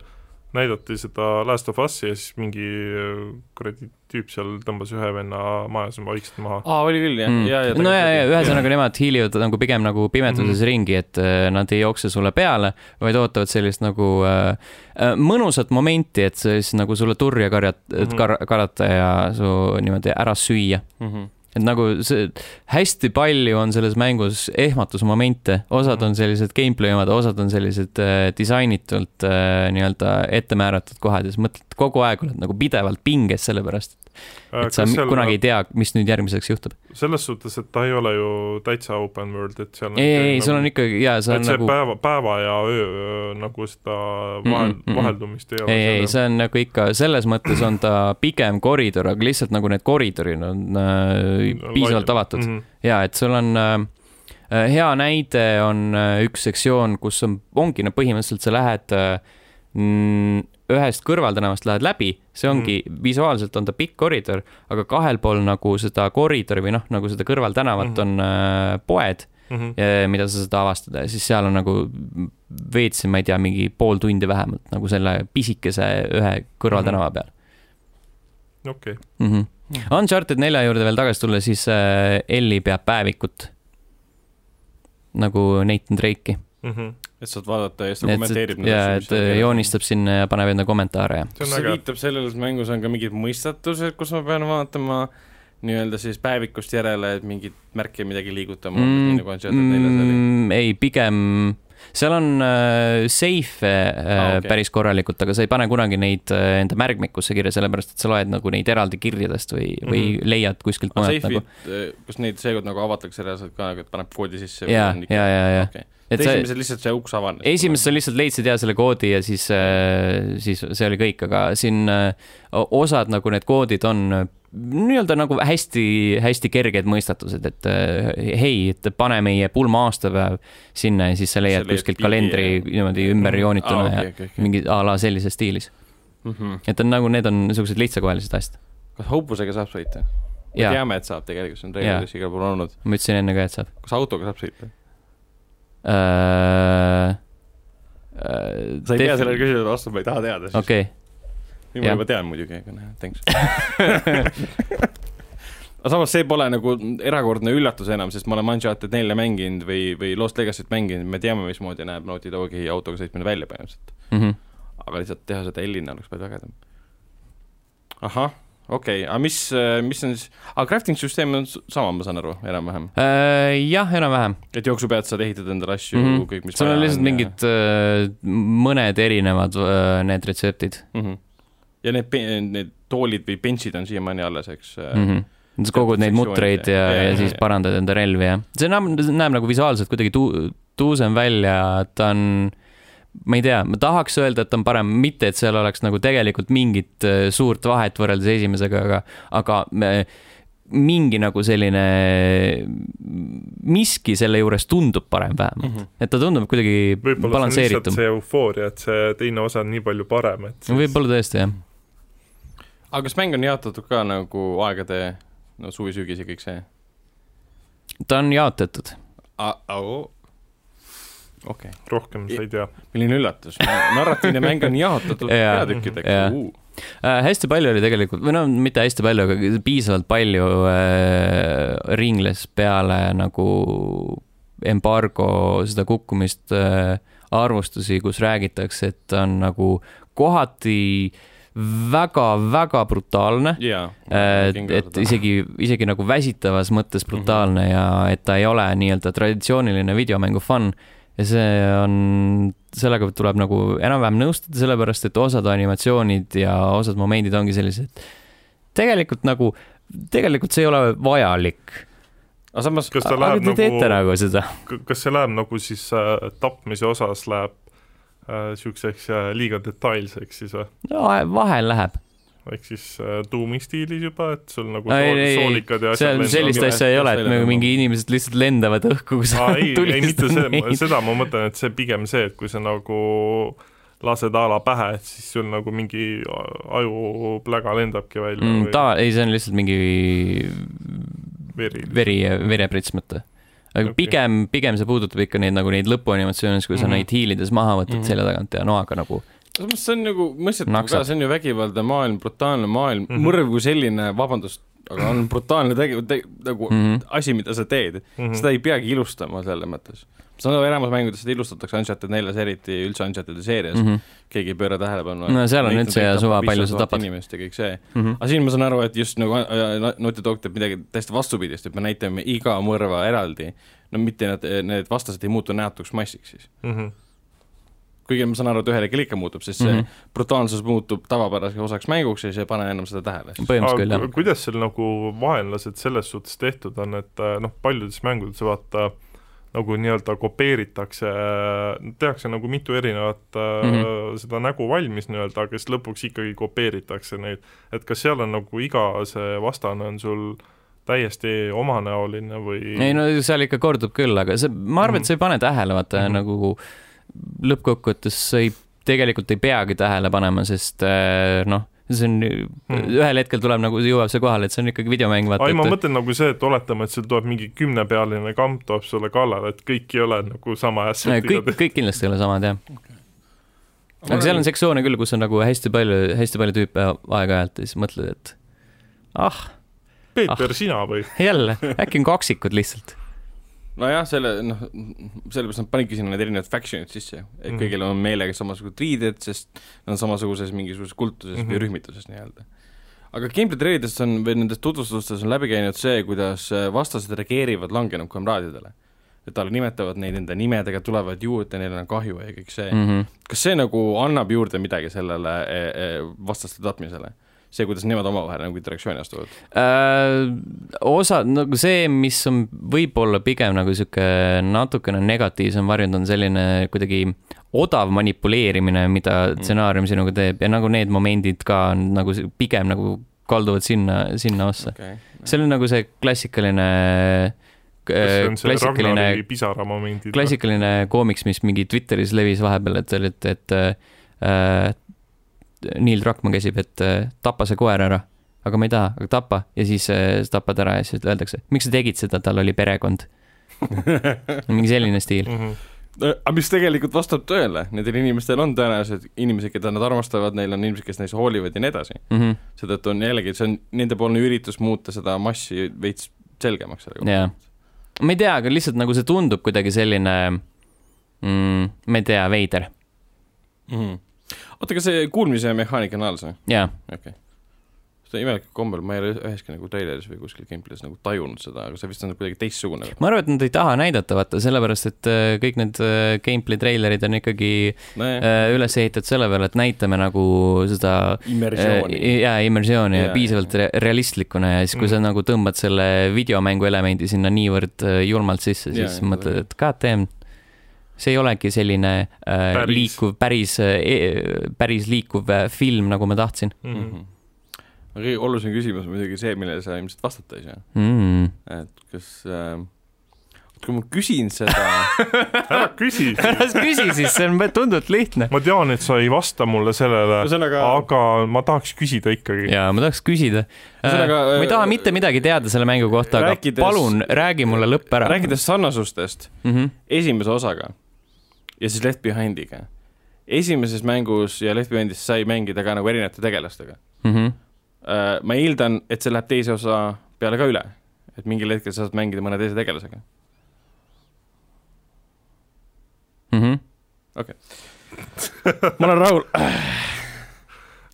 näidati seda Last of Us'i ja siis mingi äh, kuradi tüüp seal tõmbas ühe venna majas vaikselt maha .
aa , oli küll , jah
Mm.
mm. , ja , ja .
no ja , ja . ühesõnaga nemad hiilivad nagu pigem nagu pimeduses mm
Mhm.
-hmm. ringi , et äh, nad ei jookse sulle peale , vaid ootavad sellist nagu äh, äh, mõnusat momenti , et siis nagu sulle turja karjat- mm ,
Mhm.
-hmm. kar- , karata ja su niimoodi ära süüa .
Mhm.
et nagu see , hästi palju on selles mängus ehmatusmomente , osad on sellised gameplay omad , osad on sellised äh, disainitult äh, nii-öelda ette määratud kohad ja siis mõtled kogu aeg oled nagu pidevalt pinges sellepärast ,
Äh,
et sa mi- kunagi ei tea , mis nüüd järgmiseks juhtub .
selles suhtes , et ta ei ole ju täitsa open world , et seal
ei , ei , sul on ikkagi ja see
et
on
see
nagu ,
nagu... päeva , päeva ja öö öö, nagu seda vahel
Mm,
mm ,
mm,
-mm.
mm.
vaheldumist ei ole
ei , ei , see on nagu ikka selles mõttes on ta pigem koridor , aga lihtsalt nagu need koridorid on äh, piisavalt avatud .
mm . -hmm.
ja et sul on äh, äh, hea näide on äh, üks sektsioon , kus on , ongi no põhimõtteliselt sa lähed äh, mm, ühest kõrvaltänavast lähed läbi , see ongi mm. , visuaalselt on ta pikk koridor , aga kahel pool nagu seda koridori või noh , nagu seda kõrvaltänavat
Mhm.
mm. on äh, poed ,
Mm -hmm.
mida sa saad avastada ja siis seal on nagu veetsin , ma ei tea , mingi pool tundi
Mhm.
vähemalt nagu selle pisikese ühe kõrvaltänava peal
okei okay. ,
mm . -hmm. Uncharted nelja juurde veel tagasi tulla , siis äh, Ellie peab päevikut . nagu Nathan Drake'i .
mhm.
et saad vaadata ja siis ta kommenteerib
ja , et äh, joonistab sinna ja paneb enda kommentaare ja .
see
kas
on
see
äge .
viitab sellele , et mängus on ka mingid mõistatused , kus ma pean vaatama nii-öelda siis päevikust järele , et mingit märke midagi liigutama mm, , nii nagu Uncharted neljas oli ?
mm, ei , pigem seal on äh, seife äh, ah,
Aa,
okay.
okei.
päris korralikult , aga sa ei pane kunagi neid äh, enda märkmikusse kirja , sellepärast et sa loed nagu neid eraldi kirjadest või mm , -hmm. või leiad kuskilt
aga
mujalt
Mhm. Ah, seifid
nagu .,
kas neid seekord nagu avatakse reaalselt ka , et paneb koodi sisse ?
ja , ja , ja , ja .
okay. .
et
et
sa ,
esimesel lihtsalt see uks avanes .
esimest sa lihtsalt leidsid ja selle koodi ja siis , siis see oli kõik , aga siin äh, osad nagu need koodid on äh, nii-öelda nagu hästi-hästi kerged mõistatused , et äh, hei , et pane meie pulma aastapäev sinna ja siis sa leiad
Sa leiad
kuskilt
pildi
kalendri
ja-
niimoodi
Mhm.
ümber
Ah,
joonituna ja mingi a la sellises stiilis . et on nagu , need on niisugused lihtsakoelised asjad .
Mhm. kas hobusega saab sõita ? me
jaa ,
teame , et saab tegelikult , see on reeglites igal pool olnud .
ma ütlesin enne ka , et saab
kas autoga saab sõita ?
äh, .
sa ei pea sellele . küsimusele vastama , ei taha teada siis .
okei ,
nii ma
jah.
juba tean muidugi , aga noh , thanks . aga samas see pole nagu erakordne üllatus enam , sest me oleme Uncharted nelja mänginud või , või Lost Legacy't mänginud , me teame , mismoodi näeb Naughty Dogi autoga sõitmine välja põhimõtteliselt .
Mhm.
aga lihtsalt teha seda L-ina oleks palju ägedam . ahah , okei okay. , aga mis , mis on siis , aga crafting süsteem on s- sama , ma saan aru , enam-vähem ,
Äh, jah , enam-vähem
et jooksu pealt saad ehitada endale asju mm ,
Mhm.
-hmm. kõik , mis
sul on lihtsalt mingid äh, mõned erinevad äh, need retseptid
mm . -hmm. ja need , need toolid või bench'id on siiamaani alles , eks mm .
mm . -hmm. sa kogud neid
sektsioonid
mutreid ja,
ja-
ja,
ja-
ja siis
ja-
parandad enda relvi ja see näeb , näeb nagu visuaalselt kuidagi tu- , tuusem välja , ta on , ma ei tea , ma tahaks öelda , et ta on parem , mitte et seal oleks nagu tegelikult mingit äh, suurt vahet võrreldes esimesega , aga , aga me, mingi nagu selline , miski selle juures tundub parem vähemalt
Mhm.
mm , -hmm. et ta tundub kuidagi
võib-olla see on lihtsalt
balansseeritum . Mm.
see eufooria , et see teine osa on nii palju parem , et
võib-olla tõesti jah
aga kas mäng on jaotatud ka nagu aegade , no suvi , sügis ja kõik see ?
ta on jaotatud .
okei okay. ,
rohkem sa ei tea .
milline üllatus , narratiivne mäng on jaotatud
Jaa, jaa.
peatükkideks .
Äh, hästi palju oli tegelikult , või no mitte hästi palju , aga piisavalt palju äh, ringles peale nagu embargo seda kukkumist äh, arvustusi , kus räägitakse , et ta on nagu kohati väga-väga brutaalne .
jaa .
Äh, et , et isegi , isegi nagu väsitavas
Mhm.
mõttes brutaalne ja et ta ei ole nii-öelda traditsiooniline videomängu fun . ja see on , sellega tuleb nagu enam-vähem nõustuda , sellepärast et osad animatsioonid ja osad momendid ongi sellised , tegelikult nagu , tegelikult see ei ole vajalik .
aga samas ,
kas ta
aga te
läheb
nagu... teete
nagu ,
nagu seda .
kas see läheb nagu siis äh, tapmise osas läheb äh, siukseks äh, liiga detailseks siis või ?
no vahel läheb ,
ehk siis äh, tuumi stiilis juba , et sul nagu
Ei,
sool,
ei, ei.
soolikad ja
seal sellist
lendavad.
asja ei ole , et
Lendavad.
nagu mingi inimesed lihtsalt lendavad õhku , kui sa
Aa, ei , ei mitte
tulistad
see ,
neid .
seda ma mõtlen , et see pigem see , et kui sa nagu lased a la pähe , et siis sul nagu mingi ajupläga lendabki välja
Mm,
või
ta , ei , see on lihtsalt mingi
veri .
veri , vereprits mõte . aga okay.
Okei.
pigem , pigem see puudutab ikka neid nagu neid lõpuanimatsioone , kui sa mm -hmm.
Mhm.
neid hiilides maha võtad mm
Mhm.
-hmm. selja tagant ja noaga nagu
samas see on nagu mõistetav
Naksab.
ka , see on ju vägivaldne maailm , brutaalne maailm mm ,
Mhm.
-hmm. mõrv kui selline , vabandust , aga on brutaalne tegu- te, , nagu mm
Mhm.
-hmm. asi , mida sa teed .
Mhm,
seda ei peagi ilustama selles mõttes . saan aru , enamus mängudes seda ilustatakse Uncharted neljas , eriti üldse Uncharted seerias mm ,
mm . -hmm.
-hmm. keegi ei pööra tähelepanu .
No seal on üldse suva, palju sa tapad.
inimest ja kõik see .
Mm -hmm.
aga siin ma saan aru , et just nagu äh, äh, Naughty Dog teeb midagi täiesti vastupidist , et me näitame iga mõrva eraldi . no mitte nad , need vastased ei muutu näotuks massiks siis .
mhm.
kuigi ma saan aru , et ühel hetkel ikka muutub , sest see mm
Mhm.
-hmm. brutaalsus muutub tavapäraseks osaks mänguks ja siis ei pane enam seda tähele .
põhimõtteliselt küll jah
aga . kuidas seal nagu vaenlased selles suhtes tehtud on , et äh, noh , paljudes mängudes vaata nagu nii-öelda kopeeritakse , tehakse nagu mitu erinevat mm -hmm.
Mhm.
seda nägu valmis nii-öelda , aga siis lõpuks ikkagi kopeeritakse neid . et kas seal on nagu iga see vastane on sul täiesti omanäoline või
ei no seal ikka kordub küll , aga see , ma arvan , et sa ei pane tähele , vaata mm
Mhm.
-hmm. nagu lõppkokkuvõttes sa ei , tegelikult ei peagi tähele panema , sest äh, noh , see on mm. , ühel hetkel tuleb nagu , jõuab see kohale , et see on ikkagi videomäng , vaata .
ei , ma mõtlen nagu see , et oletame , et sul tuleb mingi kümnepealine kamp tuleb sulle kallale , et kõik ei ole nagu sama asja .
kõik , kõik kindlasti ei ole samad jah . aga seal on sektsioone küll , kus on nagu hästi palju , hästi palju tüüpe aeg-ajalt ja siis mõtled , et ah ,
Peeter ah. , sina või ?
jälle , äkki on kaksikud lihtsalt .
nojah , selle , noh , sellepärast nad panidki sinna need erinevad faction'id sisse , et
Mhm.
mm. kõigil on meelega samasugused riided , sest nad on samasuguses mingisuguses kultuses
Mhm.
mm -hmm. või rühmituses nii-öelda . aga gameplay treidest on või nendest tutvustustes on läbi käinud see , kuidas äh, vastased reageerivad langenud kamraadidele . et tal nimetavad neid enda nimedega , tulevad juurde , neil on kahju ja kõik
Mhm.
see mm. .
Mhm.
Äh,
kas see nagu annab juurde midagi sellele eh, eh, vastaste tapmisele ? see , kuidas nemad omavahel nagu interaktsiooni astuvad ?
Äh, osa , nagu see , mis on võib-olla pigem nagu sihuke natukene negatiivsem varjund , on selline kuidagi odav manipuleerimine , mida
Mhm.
stsenaarium sinuga teeb ja nagu need momendid ka on nagu si- pigem nagu kalduvad sinna , sinna ossa .
Okay.
see on nagu see klassikaline ,
kas see on see
Äh, klassikaline
Ragnari pisara momendid ?
klassikaline koomiks , mis mingi Twitteris levis vahepeal , et oli , et , et äh, Neil Druckmann käsib , et äh, tapa see koer ära . aga ma ei taha , aga tapa ja siis äh, sa tapad ära ja siis öeldakse , miks sa tegid seda , tal oli perekond . mingi selline stiil .
mm . -hmm.
Äh, aga mis tegelikult vastab tõele , nendel inimestel on tõenäoliselt inimesi , keda nad armastavad , neil on inimesed , kes neist hoolivad ja nii edasi .
Mhm.
seetõttu on jällegi , see on nendepoolne üritus muuta seda massi veits selgemaks selle kohta .
jaa . ma ei tea , aga lihtsalt nagu see tundub kuidagi selline mm, , ma ei tea , veider ,
Mhm. oota , aga see kuulmise mehaanika on alles või ?
jaa .
okei okay. . seda imelikul kombel ma ei ole üheski nagu treileris või kuskil gameplay's nagu tajunud seda , aga see vist on kuidagi teistsugune .
ma arvan , et nad ei taha näidata , vaata , sellepärast et äh, kõik need äh, gameplay treilerid on ikkagi
nojah ,
äh, üles ehitatud selle peale , et näitame nagu seda
immersiooni .
jaa , immersiooni ja,
Jaa,
piisavalt re realistlikuna ja siis , kui sa nagu tõmbad selle videomängu elemendi sinna niivõrd äh, julmalt sisse ,
Jaa,
siis
jaa,
mõtled , et goddamn , see ei olegi selline äh,
Päris.
päris. liikuv , päris äh, , päris liikuv äh, film , nagu ma tahtsin
Mm
Mhm.
-hmm.
aga kõige olulisem küsimus on muidugi see , millele sa ilmselt vastata ei saa ,
mm. .
et kas äh, , kui ma küsin seda
ära küsi ,
ära sa küsi siis , see on tunduvalt lihtne .
ma tean , et sa ei vasta mulle sellele ,
ühesõnaga ,
aga ma tahaks küsida ikkagi .
jaa , ma tahaks küsida äh, .
Ühesõnaga,
ma
äh,
ei taha mitte midagi teada selle mängu kohta , aga
rääkides-
palun räägi mulle lõpp ära .
rääkides sarnasustest
mm . -hmm.
esimese osaga ja siis Left Behindiga . esimeses mängus ja Left Behindis sai mängida ka nagu erinevate tegelastega .
Mm -hmm.
ma eeldan , et see läheb teise osa peale ka üle , et mingil hetkel sa saad mängida mõne teise tegelasega .
Mm -hmm.
ma olen rahul .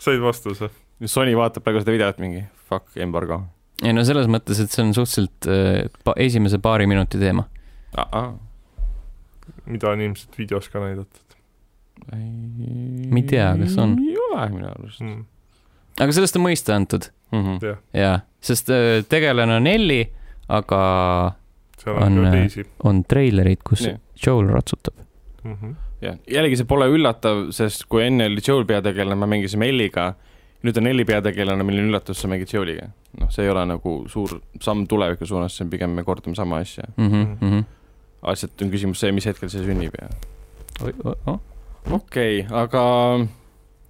said vastuse ?
Sony vaatab praegu seda videot mingi fuck embargo .
ei no selles mõttes , et see on suhteliselt äh, pa- esimese paari minuti teema .
mida on ilmselt videos ka näidatud
Ma
ma
ei tea, kas on.
ei ole minu arust
mm. .
aga sellest on mõista antud
mm . -hmm.
jaa , sest äh, tegelane on Elli , aga
seal on,
On,
on ka
äh,
teisi
on treilerid , kus
Nii.
Joel ratsutab .
mm . -hmm.
jah , jällegi see pole üllatav , sest kui enne oli Joel peategelane , me mängisime Elliga , nüüd on Elli peategelane , milline üllatus , sa mängid Joeliga . noh , see ei ole nagu suur samm tuleviku suunas , see on pigem me kordame sama asja .
Mhm,
asjad on küsimus see , mis hetkel see sünnib ja
oh.
okei okay, , aga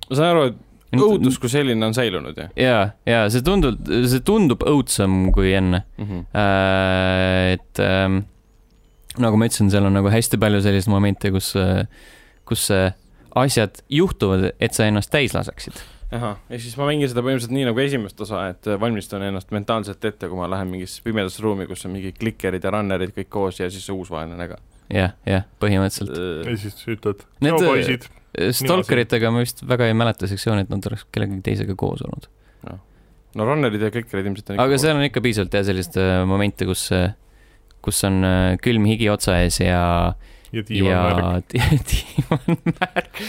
ma saan aru , et õudus kui selline on säilunud jah
jaa , jaa , see tundub , see tundub õudsem kui enne
mm ? -hmm.
äh, . et ähm, nagu ma ütlesin , seal on nagu hästi palju selliseid momente , kus äh, , kus äh, asjad juhtuvad , et sa ennast täis laseksid .
ahah , ehk siis ma mängin seda põhimõtteliselt nii nagu esimest osa , et valmistan ennast mentaalselt ette , kui ma lähen mingisse pimedasse ruumi , kus on mingi klikkerid ja runnerid kõik koos ja siis see uus vaenlane ka . Äh,
jah , jah , põhimõtteliselt .
ja siis ütled ,
Need-
no poisid ,
Äh, Stalkeritega ma vist väga ei mäleta sektsiooni , et nad oleks kellegagi teisega koos olnud .
no runnerid ja klikkerid ilmselt on
aga seal on ikka piisavalt jah , sellist äh, momente , kus , kus on äh, külm higi otsa ees ja ,
ja tiivad
ja
värk .
diivanmärk .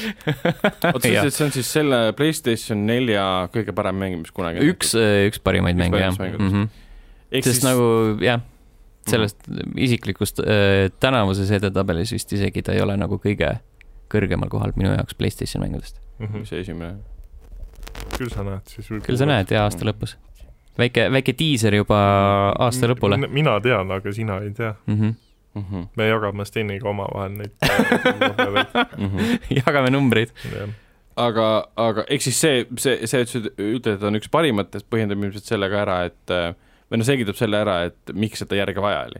oota , sa ütlesid , see on siis selle Playstation nelja kõige parem mäng , mis kunagi
üks , üks parimaid
Üks
mänge jah
parimaid mängudest.
mm . -hmm.
ehk
sest
siis Mhm. nagu
nagu jah , sellest isiklikust äh, tänavuses edetabelis vist isegi ta ei ole nagu kõige kõrgemal kohal minu jaoks Playstationi mängudest .
Mhm.
mis see esimene ,
küll sa näed siis .
küll sa näed ja aasta lõpus . väike , väike diiser juba aasta lõpule .
mina tean , aga sina ei tea .
Mm -hmm.
Mhm,
me jagame Steniga omavahel neid .
jagame numbreid .
mhm. aga , aga ehk siis see , see , see , et sa ütled , et on üks parimatest , põhjendab ilmselt selle ka ära , et äh, või noh , selgitab selle ära , et miks seda järge vaja oli .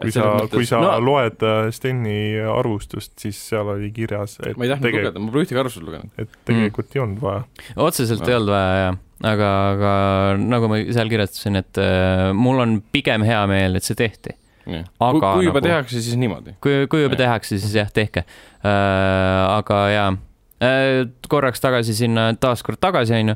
kui sa , kui sa no. loed äh, Steni arvustust , siis seal oli kirjas , et
ma ei tahtnud
tege-
lugeda , ma pole ühtegi arvustust lugenud .
et tegelikult mm. ei olnud vaja .
otseselt
Jah.
ei olnud vaja , jah . aga , aga nagu ma seal kirjutasin , et äh, mul on pigem hea meel , et see tehti .
kui,
Aga
kui
nagu-
juba nagu... tehakse , siis niimoodi .
kui , kui juba
Jah.
tehakse , siis jah , tehke . aga jaa , korraks tagasi sinna , taaskord tagasi , on ju ,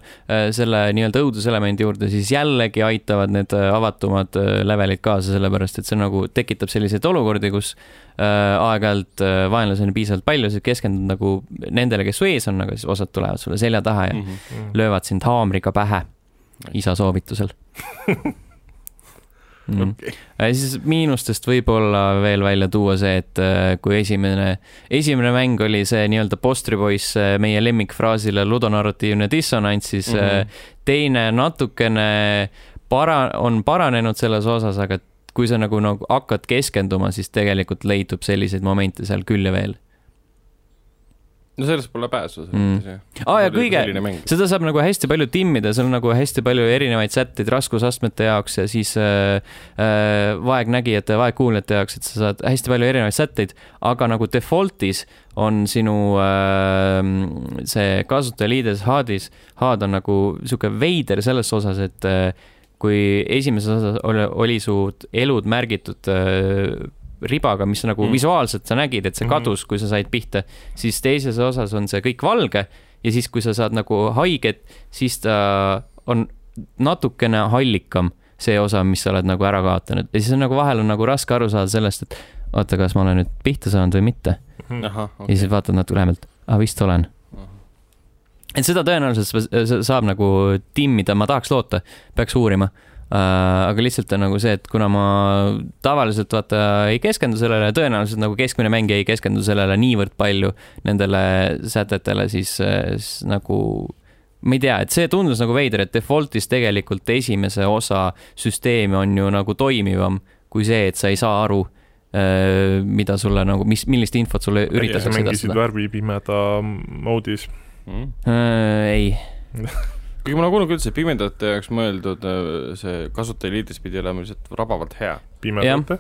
selle nii-öelda õuduselemendi juurde , siis jällegi aitavad need äh, avatumad äh, levelid kaasa , sellepärast et see nagu tekitab selliseid olukordi , kus äh, aeg-ajalt äh, vaenlasi on piisavalt palju , sa keskendud nagu nendele , kes su ees on , aga siis osad tulevad sulle selja taha ja
-hmm.
löövad sind haamriga pähe isa soovitusel mm. . Ja siis miinustest võib-olla veel välja tuua see , et äh, kui esimene , esimene mäng oli see nii-öelda Postri poiss äh, meie lemmikfraasile ludonarratiivne dissonants , siis mm -hmm.
Mhm.
teine natukene para- , on paranenud selles osas , aga kui sa nagu , nagu hakkad keskenduma , siis tegelikult leidub selliseid momente seal küll ja veel .
no sellest pole pääsu .
Mm. aa , ja kõige , seda saab nagu hästi palju timmida , seal on nagu hästi palju erinevaid sätteid raskusastmete jaoks ja siis äh, äh, vaegnägijate , vaegkuuljate jaoks , et sa saad hästi palju erinevaid sätteid , aga nagu default'is on sinu äh, see kasutajaliides HUD-is , HUD on nagu sihuke veider selles osas , et äh, kui esimeses osas oli, oli su elud märgitud äh, ribaga , mis nagu
Mm.
mm. visuaalselt sa nägid , et see
Mhm.
kadus , kui sa said pihta , siis teises osas on see kõik valge ja siis , kui sa saad nagu haiget , siis ta on natukene hallikam , see osa , mis sa oled nagu ära kaotanud ja siis on nagu vahel on nagu raske aru saada sellest , et oota , kas ma olen nüüd pihta saanud või mitte okay.
Mhm.
ahah ,
ja siis
okei .
vaatad natuke lähemalt , aa vist olen . et seda tõenäoliselt sa- sa- saab nagu timmida , ma tahaks loota , peaks uurima . aga lihtsalt on nagu see , et kuna ma tavaliselt vaata ei keskendu sellele , tõenäoliselt nagu keskmine mängija ei keskendu sellele niivõrd palju nendele sätetele , siis äh, s- nagu ma ei tea , et see tundus nagu veider , et default'is tegelikult esimese osa süsteemi on ju nagu toimivam kui see , et sa ei saa aru , mida sulle nagu , mis , millist infot sulle
sa
üritatakse
mängisid
edastada .
värvipimeda moodis .
Mhm.
Äh, ei ,
kuigi ma olen kuulnud küll , see pimedate jaoks mõeldud äh, see kasutajaliidis pidi olema lihtsalt rabavalt hea .
pimedate ,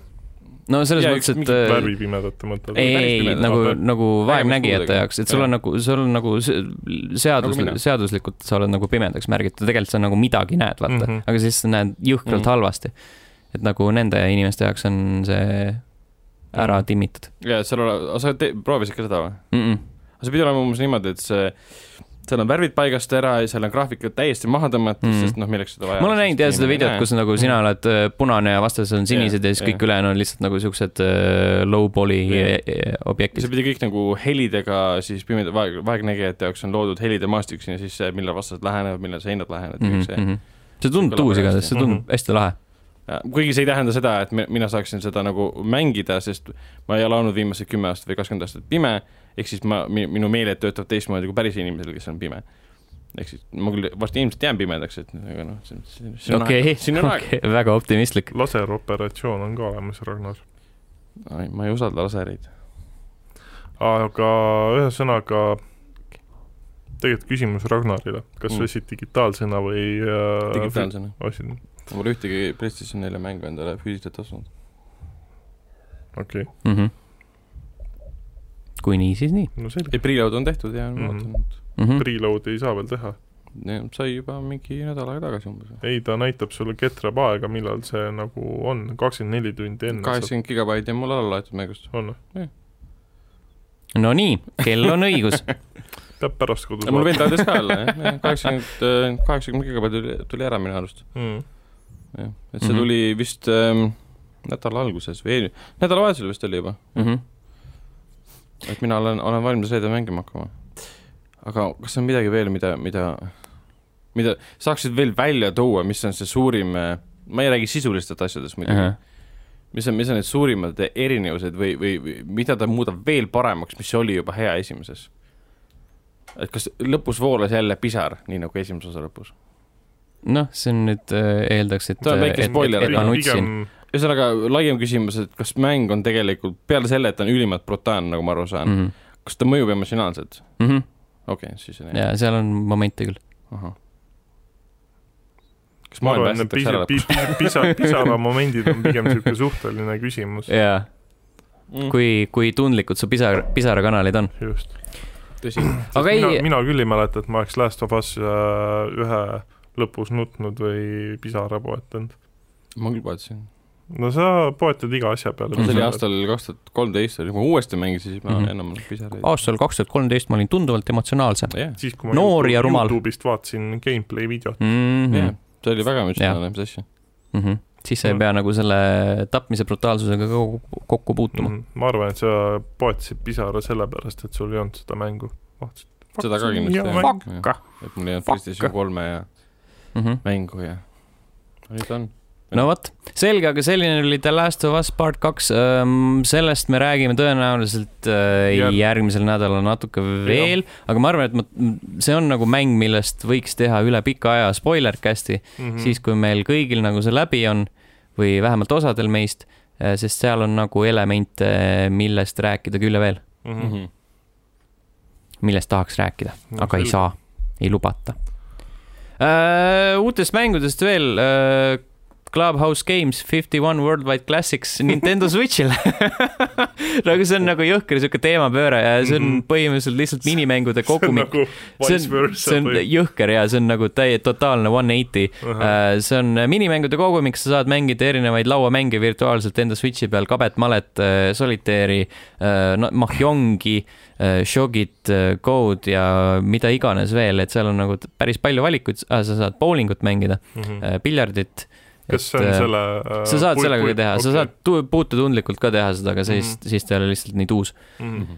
no selles
Jaa,
mõttes ,
üks
et
mingi
äh,
värvipimedate mõtted .
ei ,
päris
ei ,
pimedad,
nagu
vaata. ,
nagu vaegnägijate
Nägemispuudega.
jaoks , et sul on
Jah.
nagu , sul on nagu se- seadus
Nagu mina.
nagu , seaduslikult sa oled nagu pimedaks märgitud , tegelikult sa nagu midagi näed , vaata mm ,
Mhm.
-hmm. aga siis sa näed jõhkralt mm
Mhm.
-hmm. halvasti . et nagu nende inimeste jaoks on see ära
Mhm.
timmitud
ja seal ole- , aga sa te- proovisid ka seda või ?
mm . -mm.
aga see pidi olema umbes niimoodi , et see , seal on värvid paigast ära ja seal on graafikud täiesti maha tõmmatud
Mm.
mm. , sest noh , milleks seda vaja .
ma olen näinud jah seda videot , kus nagu sina oled äh, punane ja vastasel on sinised ja siis
Mhm. jah.
kõik ülejäänud on lihtsalt nagu siuksed äh, low poly äh,
Jah. see
objektid .
pidi kõik nagu helidega siis pimeda , vaeg , vaegnägijate jaoks on loodud helide maastik sinna sisse , mille vastased lähenevad , millele seinad lähenevad mm , -hmm. kõik see .
Mhm, see tundub
kõlab
tuus
väga
igatahes ,
hästi.
see tundub
Mhm.
hästi lahe .
Äh, kuigi see ei tähenda seda , et mi- mina saaksin seda nagu mängida , sest ma ei ole olnud viimased kümme aastat või kakskümmend aastat pime , ehk siis ma , minu meeled töötavad teistmoodi kui päris inimesel , kes on pime . ehk siis ma küll varsti ilmselt jään pimedaks , et aga noh , see , see , see on
okei ,
aeg , siin on aeg .
väga optimistlik .
laseroperatsioon on ka olemas , Ragnar .
ma ei usalda lasereid .
aga ühesõnaga , tegelikult küsimus Ragnarile , kas
Mm.
sa ostsid digitaalsena või äh,
digitaalsena .
fü- ostsid ,
ma pole ühtegi PlayStation 4 mängu endale füüsiliselt ostnud .
okei ,
mm .
Mhm.
-hmm. kui nii , siis nii
no selge .
ei , preload on tehtud ja ma
Mhm.
vaatan , et
mm . -hmm.
Preload'i ei saa veel teha .
Ne- sai juba mingi nädal aega tagasi umbes .
ei , ta näitab sulle ketrab aega , millal see nagu on , kakskümmend neli tundi enne .
kaheksakümmend gigabaiti on mul alla laetud mängust .
on ,
no nii , kell on õigus .
peab pärast kodus
mul vend andis ka alla , jah , kaheksakümmend , kaheksakümmend gigabaiti tuli , tuli ära minu arust .
mm. .
jah , et see
Mhm.
tuli vist ähm, nädala alguses või eelmine , nädalavahetusel vist oli juba , et mina olen , olen valmis reedel mängima hakkama . aga kas on midagi veel , mida , mida , mida saaksid veel välja tuua , mis on see suurim , ma ei räägi sisulistest asjadest muidugi uh , -huh. mis on , mis on need suurimad erinevused või , või , või mida ta muudab veel paremaks , mis oli juba hea esimeses ? et kas lõpus voolas jälle pisar , nii nagu esimese osa lõpus ?
noh , see on nüüd äh, eeldaks , et .
See on väike spoiler,
et ma
aga
nutsin . Mhm.
ühesõnaga , laiem küsimus , et kas mäng on tegelikult , peale selle , et ta on ülimalt brutaalne , nagu ma aru saan mm , -hmm. kas ta mõjub emotsionaalselt ?
Mhm.
okei okay, , siis on hea .
ja seal on momente küll .
ahah . kas
ma
maailma
arvan , et
päästetakse
pisa
ära ?
pisa , pisa , pisaramomendid on pigem niisugune suhteline küsimus .
jaa ,
Mm,
kui , kui tundlikud su pisar , pisarakanalid on .
just .
tõsi ,
aga
mina ,
ei ,
mina küll ei mäleta , et ma oleks Last of Us äh, ühe lõpus nutnud või pisara poetanud .
ma küll poetasin .
no sa poetad iga asja peale .
see oli . aastal kaks tuhat kolmteist oli , kui ma uuesti mängisin , siis ma
Mhm.
enam pisaraid .
aastal kaks tuhat kolmteist ma olin tunduvalt emotsionaalsem
jah ,
siis , kui ma
Noor ja
Youtube-
rumal.
Youtube'ist vaatasin gameplay videot .
mm .
jah
-hmm. ,
see oli väga emotsionaalne , mis asja .
Mm -hmm. siis sa ei
Mhm.
No.
pea nagu selle tapmise brutaalsusega kogu- kokku puutuma mm .
ma arvan , et sa poetasid pisara sellepärast , et sul ei olnud seda mängu . vaatasid .
seda ka kindlasti
jah .
jah. jah . et mul ei olnud PlayStation kolme ja Mhm.
-hmm.
mängu ja . nüüd on .
no vot , selge , aga selline oli The Last of Us part kaks . sellest me räägime tõenäoliselt äh,
Jär-
järgmisel nädalal natuke veel , aga ma arvan , et ma , see on nagu mäng , millest võiks teha üle pika aja spoiler cast'i
Mhm.
mm. , siis kui meil kõigil nagu see läbi on või vähemalt osadel meist , sest seal on nagu elemente , millest rääkida küll ja veel ,
Mhm.
Mhm.
millest tahaks rääkida . aga ei . saa , ei lubata . uutest mängudest veel . Clubhouse Games Fifty One Worldwide Classics Nintendo Switch'il . nagu see on nagu jõhker sihuke teemapööre ja see on
Mhm.
põhimõtteliselt lihtsalt minimängude kogumik .
nagu
see
vice
on , see
versa
on
või ?
jõhker ja see on nagu täie , totaalne one eighty . Äh, see on minimängude kogumik , sa saad mängida erinevaid lauamänge virtuaalselt enda Switchi peal , kabet , malet , äh, solitaari , mahjongi , shogit , code ja mida iganes veel , et seal on nagu t- päris palju valikuid , sa saad bowlingut mängida ,
Mhm.
äh, piljardit .
kas see on selle
äh,
äh,
sa saad sellega ka teha , sa saad tu- puututundlikult ka teha seda , aga
Mhm.
siis , siis ta ei ole lihtsalt nii tuus .
Mhm.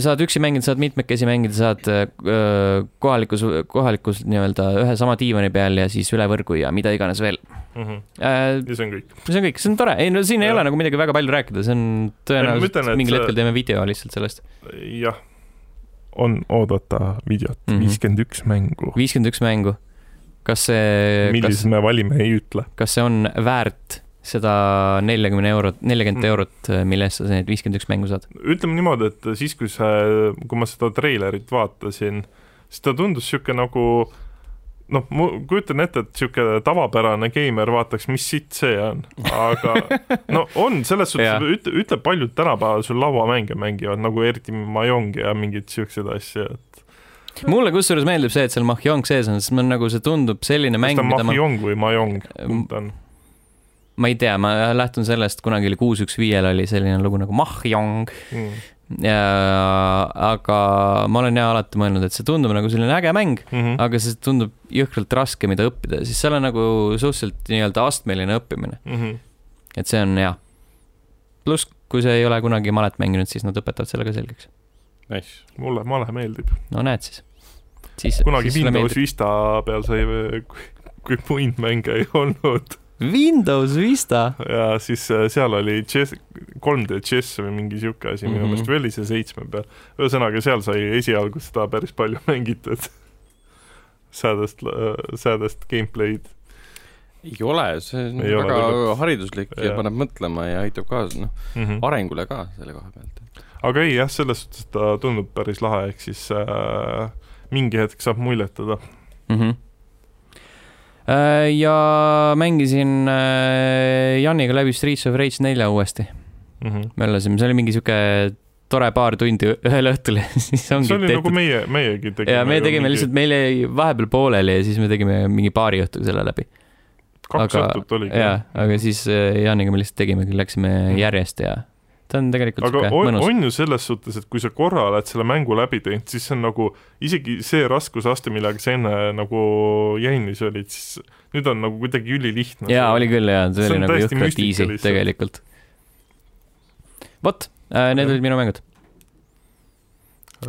saad üksi mängida , saad mitmekesi mängida , saad öö, kohalikus , kohalikus nii-öelda ühe sama diivani peal ja siis üle võrgu ja mida iganes veel .
ja
see
see mhm. on kõik .
on kõik , Äh, see on tore , ei no siin ei
Jah.
ole nagu midagi väga palju rääkida , see on
Ei, ma ütlen,
tõenäoliselt
et
mingil
see-
hetkel teeme video lihtsalt sellest .
jah , on oodata videot ,
Mhm.
viiskümmend üks mängu ,
viiskümmend üks mängu . kas see , kas
millise , me valime , ei ütle .
kas see on väärt seda neljakümne eurot , neljakümmet
Mm.
eurot , mille eest sa need viiskümmend üks mängu saad ?
ütleme niimoodi , et siis , kui see , kui ma seda treilerit vaatasin , siis ta tundus niisugune nagu noh , ma kujutan ette , et niisugune tavapärane geimer vaataks , mis sitt see on , aga no on , selles
Jaa.
suhtes , ütle , ütle , paljud tänapäeval sul lauamänge mängivad nagu eriti Mahjongi ja mingeid niisuguseid asju , et
mulle kusjuures meeldib see , et seal mahjong sees on , sest ma nagu see tundub selline
kas
mäng ,
ta on
mida ma
Mahjong või Mahjong , kumb
M-
ta on ?
ma ei tea , ma lähtun sellest , kunagi oli kuus , üks , viiel oli selline lugu nagu Mahjong .
Mm.
aga ma olen jah alati mõelnud , et see tundub nagu selline äge mäng ,
Mhm.
aga see tundub jõhkralt raske , mida õppida , siis seal on nagu suhteliselt nii-öelda astmeline õppimine ,
Mhm.
et see on hea . pluss , kui sa ei ole kunagi malet mänginud , siis nad õpetavad selle ka selgeks .
Nice .
mulle male meeldib .
no näed siis . siis ,
kunagi
siis sulle
Windows
meeldib .
Vista peal sai , kui, kui muid mänge ei olnud
Windows Vista
ja siis äh, seal oli chess , 3D chess või mingi sihuke asi minu
Mhm.
meelest , või oli see seitsme peal . ühesõnaga , seal sai esialgu seda päris palju mängitud . säädest , säädest gameplay'd .
ei ole , see on
Ei ole
väga
tegelikult.
hariduslik ja
Jah.
paneb mõtlema ja aitab kaasa , noh , arengule ka selle koha pealt .
Mhm. aga ei jah , selles suhtes ta tundub päris lahe , ehk siis äh, mingi hetk saab muljetada .
mm . -hmm. Äh, ja mängisin äh, Janiga läbi Streets of Rage nelja uuesti ,
Mhm.
möllasime , see oli mingi sihuke tore paar tundi ü- ühel õhtul ja siis ongi
see oli
tehtud
nagu . meie , meiegi tegime .
ja me tegime mingi... lihtsalt , meil jäi vahepeal pooleli ja siis me tegime mingi paari õhtuga selle läbi .
kaks
aga-
õhtut oligi .
ja , aga siis äh, Janiga me lihtsalt tegimegi , läksime järjest ja ta on tegelikult
aga
sihuke
on,
mõnus .
on ju selles suhtes , et kui sa korra oled selle mängu läbi teinud , siis see on nagu isegi see raskusaste , millega sa enne nagu jännis olid , siis nüüd on nagu kuidagi ülilihtne .
jaa , oli küll jaa , see
see
oli
on
nagu
täiesti
jõhkralt
müstika
easy
lihtsalt.
tegelikult . vot , need
Jah.
olid minu mängud .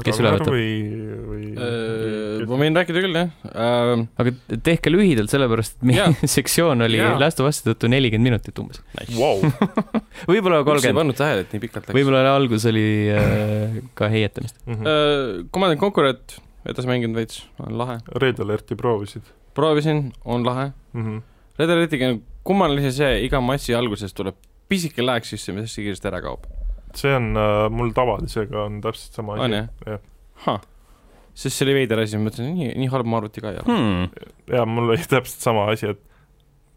kes üle võtab?
nagu või , või
Äh, ma võin rääkida küll , jah . Ähm,
aga tehke lühidalt , sellepärast et meie
Jaa.
sektsioon oli
Jaa.
Last of Us'i tõttu nelikümmend minutit umbes .
Vau ,
Äh.
võib-olla
üldse ei
kolmkümmend ,
pannud tähele , et nii pikalt läks .
võib-olla algus oli äh, ka heietamist .
Mhm.
Command and Conquerit edasi mänginud veits , on lahe .
Red Alerti proovisid
proovisin , on lahe .
mm ? -hmm.
Red Aleriga on kummaline see , iga massi alguses tuleb pisike lääk sisse , mis hästi kiiresti ära kaob .
see on äh, mul tavalisega on täpselt sama
on
asi .
jah
jah. ?
sest see oli veider asi , ma mõtlesin , nii , nii halb ma arvuti ka ei ole .
Hmm.
ja mul oli täpselt sama asi , et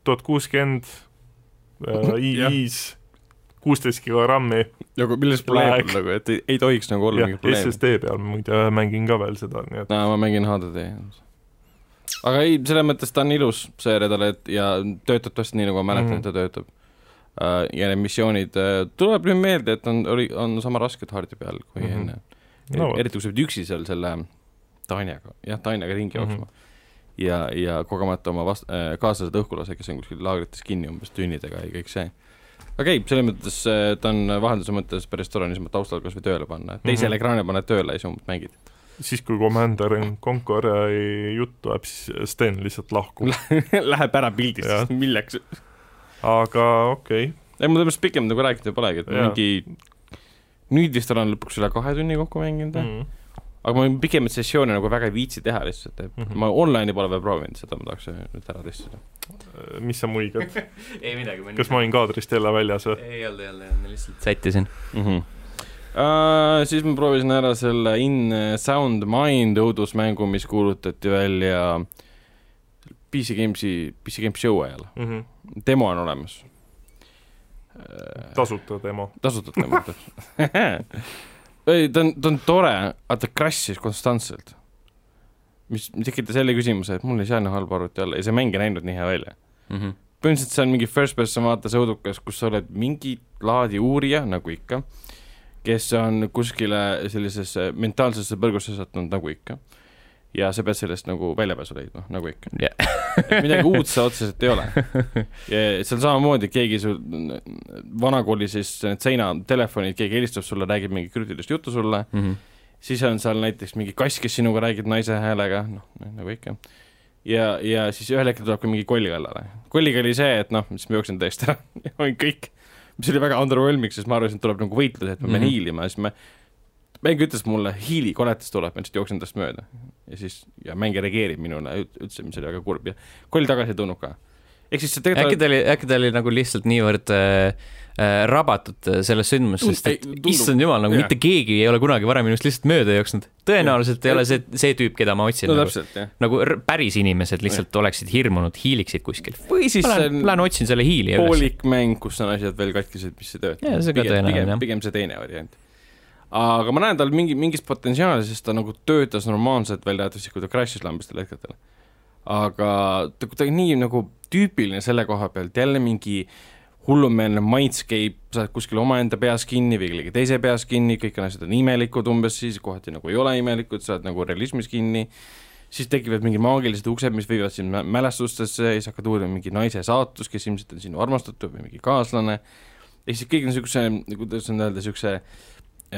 tuhat kuuskümmend äh,
Jah.
i-i-s , kuusteist gigagrammi
nagu milles
Lag.
probleem on nagu , et ei, ei tohiks nagu olla
ja
mingit probleemi .
SSD peal muide mängin ka veel seda , nii et
no ma mängin HDD . aga ei , selles mõttes ta on ilus , see Red Alert ja töötab täpselt nii , nagu ma
Mhm.
mäletan mm , -hmm. et ta töötab . ja need missioonid , tuleb nüüd meelde , et on , oli , on sama rasked hardi peal kui mm
Mhm.
-hmm. enne
no
no, .
vot ,
eriti kui sa pead üksi seal selle Tanjaga , jah , Tanjaga
Mhm.
ringi jooksma mm . -hmm. ja , ja kogemata oma vast- , kaaslased õhkulase , kes on kuskil laagrites kinni umbes tünnidega ja kõik see . aga ei , selles mõttes äh, ta on vahenduse mõttes päris tore niisama taustal kas või tööle panna , teisele mm
Mhm.
-hmm. ekraanile paned tööle ja siis umbes mängid .
siis kui Commander and Conquer'i jutt tuleb , siis Sten lihtsalt lahkub ,
Läheb ära pildist
Jah. ,
milleks ?
aga okei okay. ,
ei , ma tõepoolest pikemalt nagu rääkida polegi , et
Jaa.
mingi nüüd vist olen lõpuks üle kahe tunni kokku mänginud mm. ,
mm.
aga ma pikemaid sessioone nagu väga ei viitsi teha lihtsalt , et mm
Mhm.
-hmm. ma online'i pole veel proovinud , seda ma tahaks nüüd ära testida .
mis sa muigad ,
ei midagi , ma
kas ma olin kaadrist jälle väljas või ?
ei olnud , ei olnud , ei olnud , ma lihtsalt sättisin .
Mm
Mhm.
-hmm. uh, siis ma proovisin ära selle In Sound Mind õudusmängu , mis kuulutati välja PC Games'i , PC Games show ajal ,
Mm -hmm.
demo on olemas . Äh,
tasuta demo ,
tasutud tõmmata . ei , ta on , ta on tore , aga ta crash'is konstantselt . mis tekitas jälle küsimuse , et mul ei saa nii halba arvuti olla ja see mäng ei näinud nii hea välja .
Mhm.
põhimõtteliselt see on mingi first person vaates õudukas , kus sa oled mingi laadi uurija , nagu ikka , kes on kuskile sellisesse mentaalsesse põrgusse sattunud , nagu ikka . ja sa pead sellest nagu väljapääsu leidma , nagu ikka .
jah ,
Et midagi uut seal otseselt ei ole . seal samamoodi keegi sul , vanakooli siis need seinatelefonid , keegi helistab sulle , räägib mingit krüptilist juttu sulle ,
Mhm.
siis on seal näiteks mingi kass , kes sinuga räägib naise häälega , noh , nagu ikka . ja , ja siis ühel hetkel tuleb ka mingi koll kallale . kolliga oli see , et noh , siis ma jooksin täiesti ära , olin kõik . mis oli väga underwhelming , sest ma arvasin , et tuleb nagu võitlus , et ma pean
Mhm.
hiilima ja siis ma , mäng ütles mulle , hiili koletis tuleb , ma lihtsalt jooksin tast mööda . ja siis , ja mäng ei reageerinud minule üt- üldse , mis oli väga kurb ja koll tagasi ei tulnud ka . ehk siis see
äkki
tegelikult
ta oli , äkki ta oli nagu lihtsalt niivõrd äh, äh, rabatud äh, sellest sündmusest , sest
Tund-
et
ei, tundub-
issand jumal , nagu
jah.
mitte keegi ei ole kunagi varem minust lihtsalt mööda jooksnud . tõenäoliselt ei ole see , see tüüp , keda ma otsin
no
nagu ,
täpselt jah .
nagu r- päris inimesed lihtsalt oleksid hirmunud , hiiliksid kuskil .
või siis
ma
see
lähen ,
on
lähen otsin selle hiili üles .
poolik mäng , kus on asjad veel katkised , mis ei tööta .
Jaa, see ka
pigem ,
tõenäoline,
pigem
jah. ,
pigem see teine variant . aga ma näen tal mingi , mingist potentsiaali , sest ta nagu töötas normaalselt välja arvatud siis , kui ta crash'is lambistel hetkedel . aga ta kuidagi nii nagu tüüpiline selle koha pealt , jälle mingi hullumeelne mindscape , sa oled kuskil omaenda peas kinni või kellegi teise peas kinni , kõik on asjad on imelikud umbes siis , kohati nagu ei ole imelikud , sa oled nagu realismis kinni , siis tekivad mingid maagilised uksed , mis viivad sind mä- mälestustesse ja siis hakkad uurima mingi naise saatus , kes ilmselt on sinu armastatud või mingi kaaslane , ja siis kõik on niisuguse , kuidas nüüd öelda , niisuguse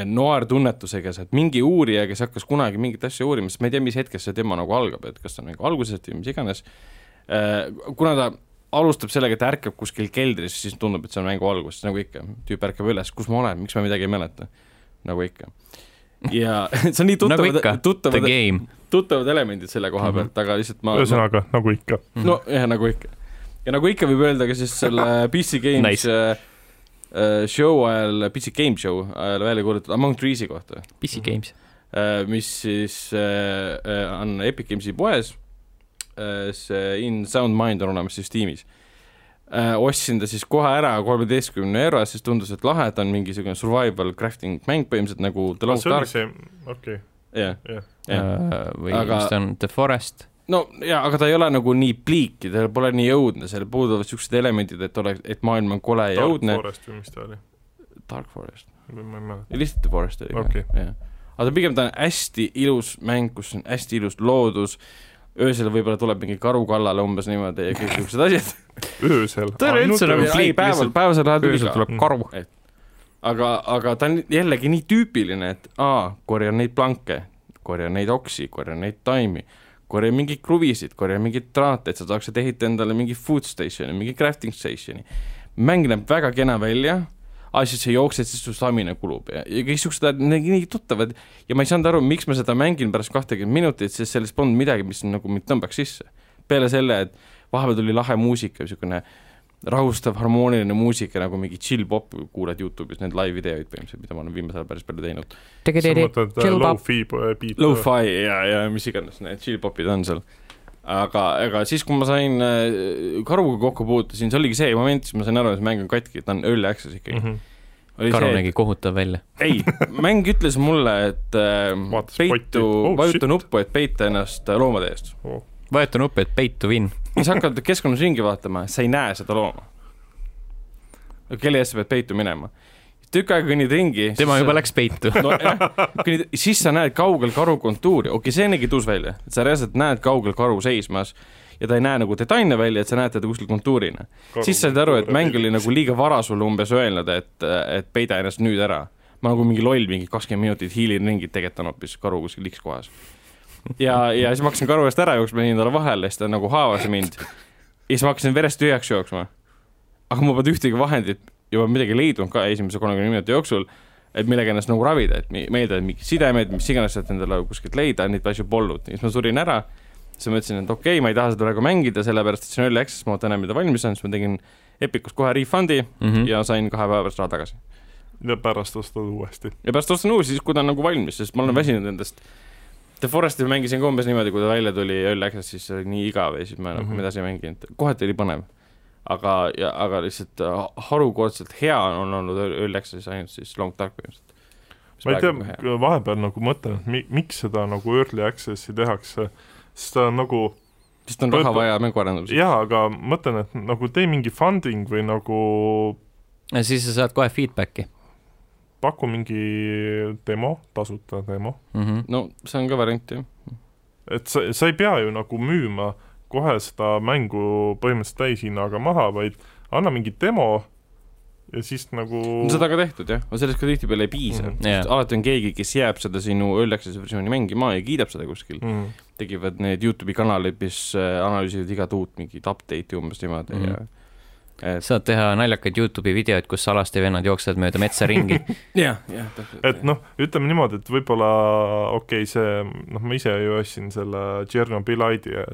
noaartunnetusega , sa oled mingi uurija , kes hakkas kunagi mingit asja uurima , sest ma ei tea , mis hetkest see tema nagu algab , et kas ta on nagu algusest või mis iganes , kuna ta alustab sellega , et ärkab kuskil keldris , siis tundub , et see on mängu algus , nagu ikka , tüüp ärkab üles , kus ma olen , miks ma midagi ei mäleta , nagu ikka . ja see on nii
nagu
tuttavad
ikka , the
tuttavad
game .
tuttavad elemendid selle koha pealt , aga lihtsalt ma ,
ühesõnaga nagu ikka .
no jah , nagu ikka . ja nagu ikka võib öelda ka siis selle PC Games
Nice.
nice. show ajal , PC Game Show ajal välja kuulutatud Among Trees'i kohta ,
PC games .
mis siis äh, äh, on Epic Games'i poes , see In Sound Mind on olemas siis tiimis . ostsin ta siis kohe ära kolmeteistkümne euro eest , siis tundus , et lahe , et on mingisugune survival crafting mäng põhimõtteliselt nagu The Lost
Oh, see oli
Ark ,
see , okei ,
jah .
jah .
Äh, või
Aga-
mis ta on , The Forest .
no jaa , aga ta ei ole nagu nii pliik ja ta pole nii õudne , seal puuduvad niisugused elemendid , et oleks , et maailm on kole ja
Dark
õudne .
Forest või mis ta oli ,
Dark Forest ,
ma ei mäleta .
lihtsalt The Forest oli
Okei.
ka , jah . aga ta pigem , ta on hästi ilus mäng , kus on hästi ilus loodus , öösel võib-olla tuleb mingi karu kallale umbes niimoodi ja kõik niisugused asjad .
öösel .
Ta oli üldse nagu
ei ,
pliik
päeval ,
lihtsalt.
päevasel ajal
öösel tuleb karu .
aga , aga ta on jällegi nii tüüpiline , et aa , korja neid planke , korja neid oksi , korja neid taimi , korja mingeid kruvisid , korja mingeid traate , et sa saaksid ehitada endale mingi food station'i , mingi crafting station'i . mäng näeb väga kena välja , aa siis sa jooksed , siis su stamina kulub ja , ja kõik siuksed nii nii tuttavad ja ma ei saanud aru , miks ma seda mängin pärast kahtekümmet minutit , sest selles polnud midagi , mis nagu mind tõmbaks sisse . peale selle , et vahepeal tuli lahe muusika , niisugune rahustav harmooniline muusika nagu mingi chill pop , kuulad Youtube'is neid live videoid põhimõtteliselt , mida ma olen viimasel ajal päris palju teinud .
sa mõtled äh, low-fi beat ?
Lo-fi ja , ja mis iganes need chill popid on seal . aga , aga siis , kui ma sain äh, karuga kokku puutusin , see oligi see moment , siis ma sain aru , et mäng on katki , et ta on early access ikkagi mm .
-hmm.
-hmm.
Mhm. karu nägi kohutav välja .
ei , mäng ütles mulle , et äh,
Vaatas potti.
peitu
Oh,
oh, , vajuta
shit.
nuppu , et peita ennast äh, loomade eest .
Oh.
vajuta nuppu , et peitu vinn .
kui sa hakkad keskkonnas ringi vaatama , sa ei näe seda looma . kelle eest sa pead peitu minema ? tükk aega kõnnid ringi .
tema juba . läks peitu .
nojah , kõnnid , siis sa näed kaugel karu kontuuri , okei okay, , see nägi tuus välja , et sa reaalselt näed kaugel karu seismas ja ta ei näe nagu detailne välja , et sa näed teda kuskil kontuurina . siis said aru , et mäng oli nagu liiga vara sulle umbes öelnud , et , et peida ennast nüüd ära . ma nagu mingi loll , mingi kakskümmend minutit hiilin ringi , tegelikult on hoopis karu kuskil X kohas . ja , ja siis ma hakkasin karu eest ära jooksma , jäin talle vahele , siis ta nagu haavas mind . ja siis ma hakkasin verest tühjaks jooksma . aga ma polnud ühtegi vahendit ja ma midagi ei leidnud ka esimese kolmekümne minuti jooksul , et millega ennast nagu ravida , et mi- meelde , et mingid sidemed , mis iganes sealt endale kuskilt leida , neid asju polnud , siis ma surin ära siis ma ütlesin , et okei okay, , ma ei taha seda praegu mängida , sellepärast et see on early access , ma ootan enam , mida valmis on , siis ma tegin Epicust kohe refund'i
Mhm.
mm
Mhm.
-hmm. ja sain kahe päeva pärast raha tagasi . nagu-
ja pärast ostad uuesti .
ja pärast ostan uusi , siis kui ta on nagu valmis , sest ma olen
Mhm.
väsinud endast . The Foresti ma mängisin ka umbes niimoodi , kui ta välja tuli early access , siis see oli nii igav ja siis ma enam mm
Mhm.
-hmm. edasi ei mänginud , kohati oli põnev . aga , aga lihtsalt äh, harukordselt hea on olnud early access ainult siis Long Dark põhimõtteliselt .
ma ei tea , vahepeal nagu mõtlen , et mi- , miks seda nagu early access'i tehakse , sest ta on nagu
sest on raha
Võib-
vaja mängu arendamiseks .
jaa , aga mõtlen , et nagu tee mingi funding või nagu
siis sa saad kohe feedback'i
paku mingi demo , tasuta demo ,
mm . -hmm.
no see on ka variant jah .
et sa , sa ei pea ju nagu müüma kohe seda mängu põhimõtteliselt täishinnaga maha , vaid anna mingi demo ja siis nagu
no seda ka tehtud jah , sellest ka tihtipeale ei piisa mm ,
Mhm.
-hmm.
Jaa.
sest alati on keegi , kes jääb seda sinu üllaksese versiooni mängima ja kiidab seda kuskil .
mm.
tegivad need Youtube'i kanalid , mis äh, analüüsivad igat uut mingit update'i umbes niimoodi mm
Mhm.
-hmm. ja et
saad teha naljakaid Youtube'i videoid , kus alasti vennad jooksevad mööda metsa ringi .
jah , jah , täpselt .
et noh , ütleme niimoodi , et võib-olla okei okay, , see , noh , ma ise ju ostsin selle Tšernobõlaidi ja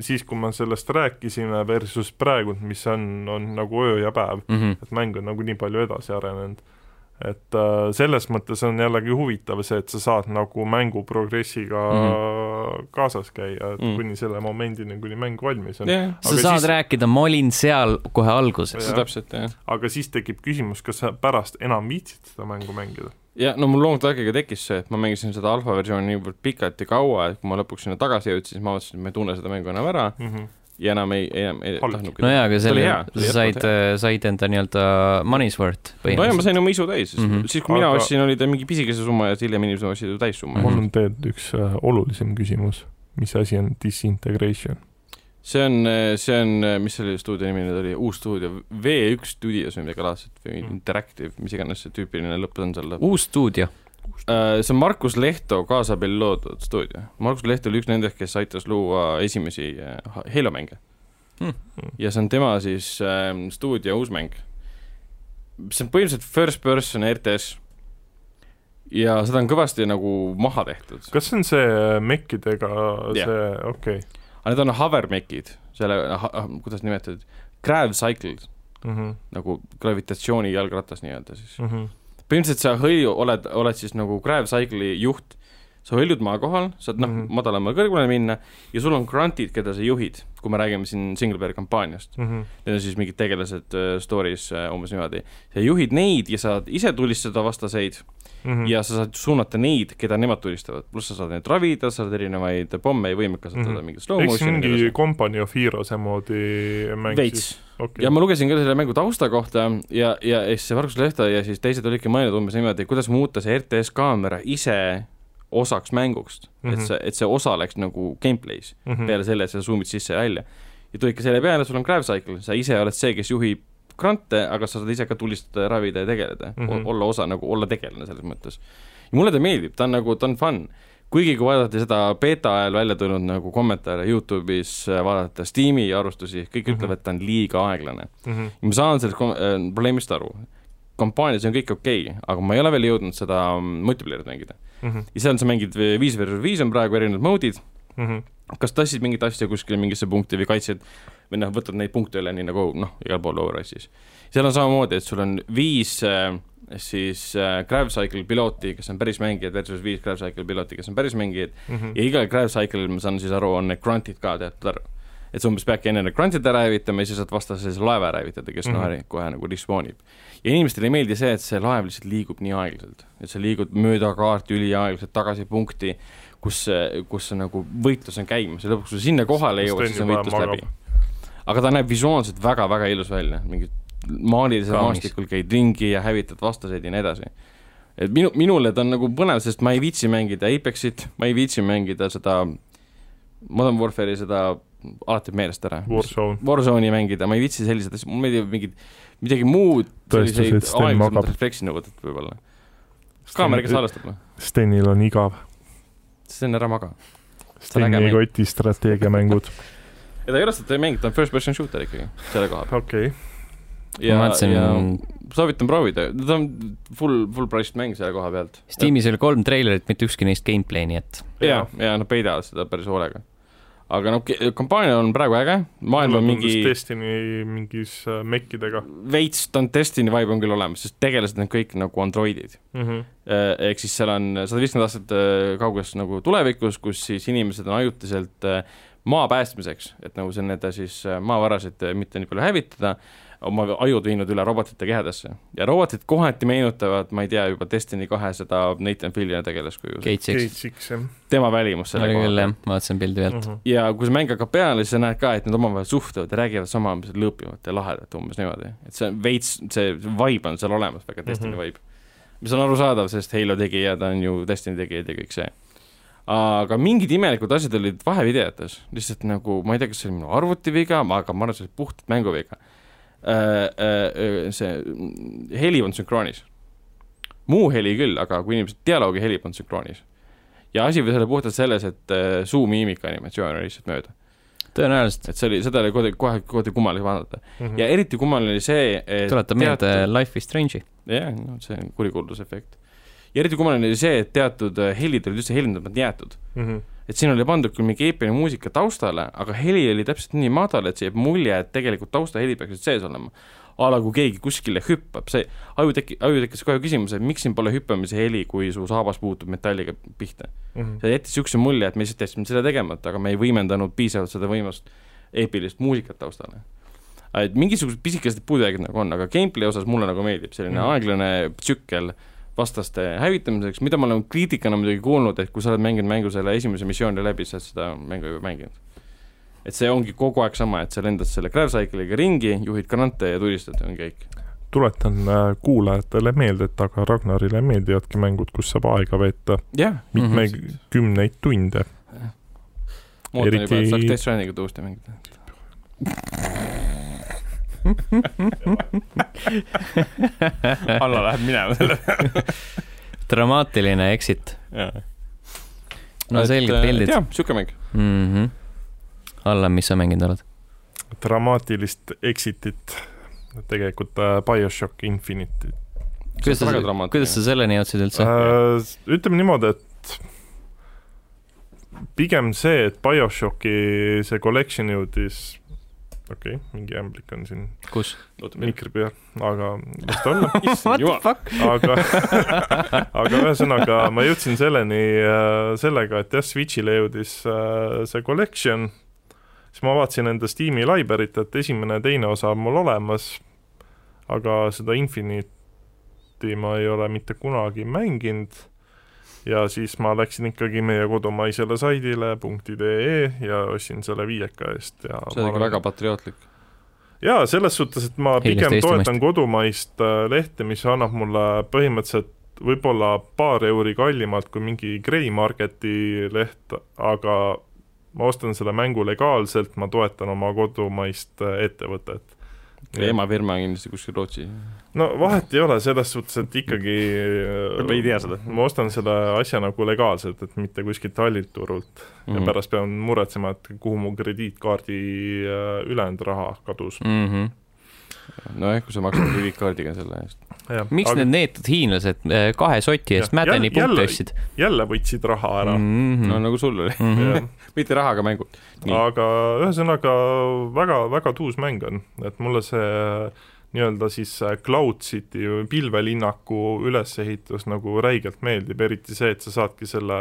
siis , kui me sellest rääkisime versus praegu , mis on , on nagu öö ja päev ,
mm . -hmm.
et mäng on nagu nii palju edasi arenenud . et äh, selles mõttes on jällegi huvitav see , et sa saad nagu mängu progressiga mm. kaasas käia , et
Mhm.
mm. kuni selle momendini , kuni mäng valmis on .
jah ,
sa
Aga
saad
siis-
siis... rääkida , ma olin seal kohe alguses .
Jah.
see täpselt jah .
aga siis tekib küsimus , kas sa pärast enam viitsid seda mängu mängida
ja no mul loomulikult aegagi tekkis see , et ma mängisin seda alfa versiooni niivõrd pikalt ja kaua , et kui ma lõpuks sinna tagasi jõudsin , siis ma mõtlesin , et ma ei tunne seda mängu enam ära
mm ? -hmm.
ja enam ei , enam ei
Halb.
tahtnudki .
no jaa , aga
See oli
selle
hea, , see oli
sa said äh,
jätkuvalt ,
said enda nii-öelda money's worth
nojah , ma
põhimõtteliselt .
sain oma isu täis ,
Mhm.
siis kui mina
Aga-
ostsin , oli ta mingi pisikese summa ja siis hiljem inimesed ostsid ju täissumma .
Mhm.
mul on tegelikult üks äh, olulisem küsimus , mis asi on disintegration ?
see on , see on , mis selle stuudio nimi nüüd oli , uus stuudio , V1 Studios või midagi laadset või
Mm.
Interactive , mis iganes see tüüpiline lõpp on seal .
uus stuudio ,
see on Markus Lehto kaasabil loodud stuudio . Markus Lehto oli üks nendest , kes aitas luua esimesi äh, Ha- Halo mänge
Mm.
ja see on tema siis äh, stuudio uus mäng . see on põhimõtteliselt first person RTS ja seda on kõvasti nagu maha tehtud .
kas see on see mekkidega
Jah.
yeah. see , okei okay.
aga need on hovermech'id , selle ha , kuidas nimetada , grav cycle
mm . -hmm.
nagu gravitatsiooni jalgratas nii-öelda siis .
Mm -hmm.
põhimõtteliselt sa hõlju oled , oled siis nagu Grav Cycle'i juht , sa hõljud maa kohal , saad noh mm
Mhm.
-hmm. madalamale kõrgule minna ja sul on grantid , keda sa juhid , kui me räägime siin single player kampaaniast .
Mm -hmm.
Need on siis mingid tegelased äh, story's äh, umbes niimoodi . sa juhid neid ja saad ise tulistada vastaseid
Mm -hmm.
ja sa saad suunata neid , keda nemad tulistavad . pluss sa saad neid ravida , saad erinevaid pomme ja võime kasutada mm
Mhm.
-hmm. mingit slow
eks see
motion'i .
mingi Company of Heroes'e moodi mäng siis ?
veits
okei
ja ma lugesin ka selle mängu tausta kohta ja , ja siis see Margus Lehto ja siis teised olidki mõelnud umbes niimoodi , kuidas muuta see RTS kaamera ise osaks mängust mm ,
Mhm.
-hmm. et see , et see osa oleks nagu gameplay's mm
Mhm.
-hmm. peale selle , et sa zoom'id sisse ja välja . ja tulidki selle peale , sul on grav cycle , sa ise oled see , kes juhib grante , aga sa saad ise ka tulistada ja ravida ja tegeleda mm ,
Mhm.
-hmm. olla osa nagu , olla tegelane selles mõttes . ja mulle ta meeldib , ta on nagu , ta on fun kuigi kui vaadata seda beeta ajal välja tulnud nagu kommentaare Youtube'is , vaadata Steam'i arvustusi , kõik
Mhm.
ütlevad , et ta on liiga aeglane .
mm -hmm.
ma saan sellest kom- äh, probleemist aru . kampaanias on kõik okei okay, , aga ma ei ole veel jõudnud seda mm, multiplayer'it mängida .
mm -hmm.
ja seal sa mängid vi- viis versus viis on praegu erinevad mode'id ,
mm -hmm.
kas tassid mingit asja kuskile mingisse punkti või kaitsed või noh , võtad neid punkte üle , nii nagu noh , igal pool Overwatchis . seal on samamoodi , et sul on viis äh, siis äh, GravCycle piloti , kes on päris mängijad , versus viis GravCycle piloti , kes on päris mängijad
mhm.
ja igal GravCycle'il , ma saan siis aru , on need grunt'id ka teatud arv . et sa umbes peadki enne need grunt'id ära hävitama ja siis saad vastase siis laeva ära hävitada , kes mm
Mhm.
-hmm. noh , kohe nagu respawn ib . ja inimestele ei meeldi see , et see laev lihtsalt liigub nii aeglaselt , et sa liigud mööda kaarti üliaeglaselt tagasi punkti , kus , kus see nagu võitlus on käimas ja lõpuks , kui sa sinna kohale jõuad ,
Sten
siis on
juba
võitlus
magab.
läbi . aga ta näeb visuaalselt väga-väga ilus välja , mingid maalilised
Kaunis.
maastikul käid ringi ja hävitad vastaseid ja nii edasi . et minu , minule ta on nagu põnev , sest ma ei viitsi mängida Apexit , ma ei viitsi mängida seda Modern Warfare'i seda , alati jääb meelest ära .
Warzone .
Warzone'i mängida , ma ei viitsi selliseid asju , mulle meeldib mingid , midagi muud .
Tõestused, Sten magab.
refleksinõudet võib-olla . kaamera , kes noh. salvestab või ?
Stenil on igav .
Sten , ära maga . on äge
Steni
mäng.
koti strateegiamängud .
ja ta ei ole seda mänginud , ta on first person shooter ikkagi , selle koha peal .
okei ,
ma vaatasin
ja soovitan proovida , ta on full , full priced mäng selle koha pealt .
Steamis oli kolm treilerit , mitte ükski neist gameplay , nii et
ja , ja nad peidavad seda päris hoolega . aga noh , kampaania on praegu äge , maailm on mingi
Destiny mingis äh, mekkidega
veits , ta on Destiny vibe on küll olemas , sest tegelased on kõik nagu androidid .
mm . -hmm.
ehk siis seal on sada viiskümmend aastat eh, kauges nagu tulevikus , kus siis inimesed on ajutiselt eh, maa päästmiseks , et nagu see nende siis eh, maavarasid eh, mitte nii palju hävitada , oma ajud viinud üle robotite kehadesse ja robotid kohati meenutavad , ma ei tea , juba Destiny kahe seda Nathan Fillioni tegelaskuju ,
Gate Six
Gates , jah . Mhm,
tema välimus selle
oli
koha Mm.
küll
peal
jah , vaatasin pildi pealt .
ja kui see mäng hakkab peale , siis sa näed ka , et nad omavahel suhtlevad ja räägivad sama , mis lõõpivad ja lahedalt umbes niimoodi , et see on veits , see vibe on seal olemas , väga Destiny mm
Mhm.
-hmm. vibe . mis on arusaadav , sest Halo tegijad on ju Destiny tegijad ja kõik see . aga mingid imelikud asjad olid vahevideotes , lihtsalt nagu ma ei tea , kas see oli minu arvuti viga , aga ma arvan , see oli puhtalt mängu viga . see mm, heli on sünkroonis , muu heli küll , aga kui inimesed dialoogi heli on sünkroonis ja asi võis olla puhtalt selles , et äh, suu miimika animatsioon oli lihtsalt mööda ,
tõenäoliselt
et see oli , seda oli kuidagi kohe , kuidagi kummaline vaadata
mhm,
ja eriti kummaline oli see , et
Mhm. tuletab meelde Life is Strange'i .
jah , no see on kurikuuldusefekt . ja eriti kummaline oli see , et teatud äh, helid olid üldse helindamata jäetud ,
mhm.
et siin oli pandud küll mingi eepiline muusika taustale , aga heli oli täpselt nii madal , et see jääb mulje , et tegelikult taustaheli peaksid sees olema . a la kui keegi kuskile hüppab , see aju teki- , aju tekkis kohe küsimus , et miks siin pole hüppamise heli , kui su saabas puutub metalliga pihta . see jättis niisuguse mulje , et me lihtsalt jätsime selle tegemata , aga me ei võimendanud piisavalt seda võimast eepilist muusikat taustale . et mingisugused pisikesed puudujäägid nagu on , aga gameplay osas mulle nagu meeldib selline
Mhm.
mm. aeglane tsükkel vastaste hävitamiseks , mida ma olen kriitikana muidugi kuulnud , et kui sa oled mänginud mängu selle esimese missiooni läbi , sa oled seda mängu juba mänginud . et see ongi kogu aeg sama , et sa lendad selle gravcycle'iga ringi , juhid grante ja tulistad , on kõik .
tuletan äh, kuulajatele meelde , et aga Ragnarile meeldivadki mängud , kus saab aega veeta
jah ,
mitmekümneid tunde .
ma ootan
Eriti-
juba , et saaks Death Strandingut uuesti mängida . Alla läheb minema selle
dramaatiline exit . no selged pildid .
äh, jah , siuke mäng .
mhmh . Allan , mis sa mänginud oled ?
dramaatilist exit'it , tegelikult äh, BioShock Infinite'i
kuidas sa
väga , dramaatiline.
kuidas sa selleni jõudsid üldse ?
äh, . ütleme niimoodi , et pigem see , et BioShocki see collection jõudis , okei okay, , mingi ämblik on siin
kus ?
mikri peal , aga las ta olla .
What the fuck ?
aga , aga ühesõnaga ma jõudsin selleni äh, sellega , et jah , Switch'ile jõudis äh, see collection , siis ma vaatasin enda Steam'i library't , et esimene ja teine osa on mul olemas , aga seda Infinite'i ma ei ole mitte kunagi mänginud ja siis ma läksin ikkagi meie kodumaisele saidile .ee E, ja ostsin selle viieka eest ja
see on ikka väga patriootlik .
jaa , selles suhtes , et ma
Hiljast
pigem
Eestimaist.
toetan kodumaist äh, lehte , mis annab mulle põhimõtteliselt võib-olla paar euri kallimalt kui mingi Grey Marketi leht , aga ma ostan selle mängu legaalselt , ma toetan oma kodumaist äh, ettevõtet .
emafirma on kindlasti kuskil Rootsis .
no vahet ei ole , selles suhtes , et ikkagi äh,
Võib-olla ei tea seda.
ma ostan selle asja nagu legaalselt , et mitte kuskilt hallilt turult mm.
Mhm.
Mhm.
ja pärast pean muretsema , et kuhu mu krediitkaardi äh, ülejäänud raha kadus .
mhmh .
nojah , kui sa maksad krediitkaardiga selle eest .
miks need neetud hiinlased äh, kahe soti eest
Jah,
Mädeni
jälle-
punkte
jälle-
ostsid ? Mhm.
jälle võtsid raha ära mm. .
no
mhmh .
nagu sul oli ,
-hmm.
mitte rahaga mängu . Nii.
aga ühesõnaga väga-väga tuus mäng on , et mulle see nii-öelda siis äh, Cloud City või pilvelinnaku ülesehitus nagu räigelt meeldib , eriti see , et sa saadki selle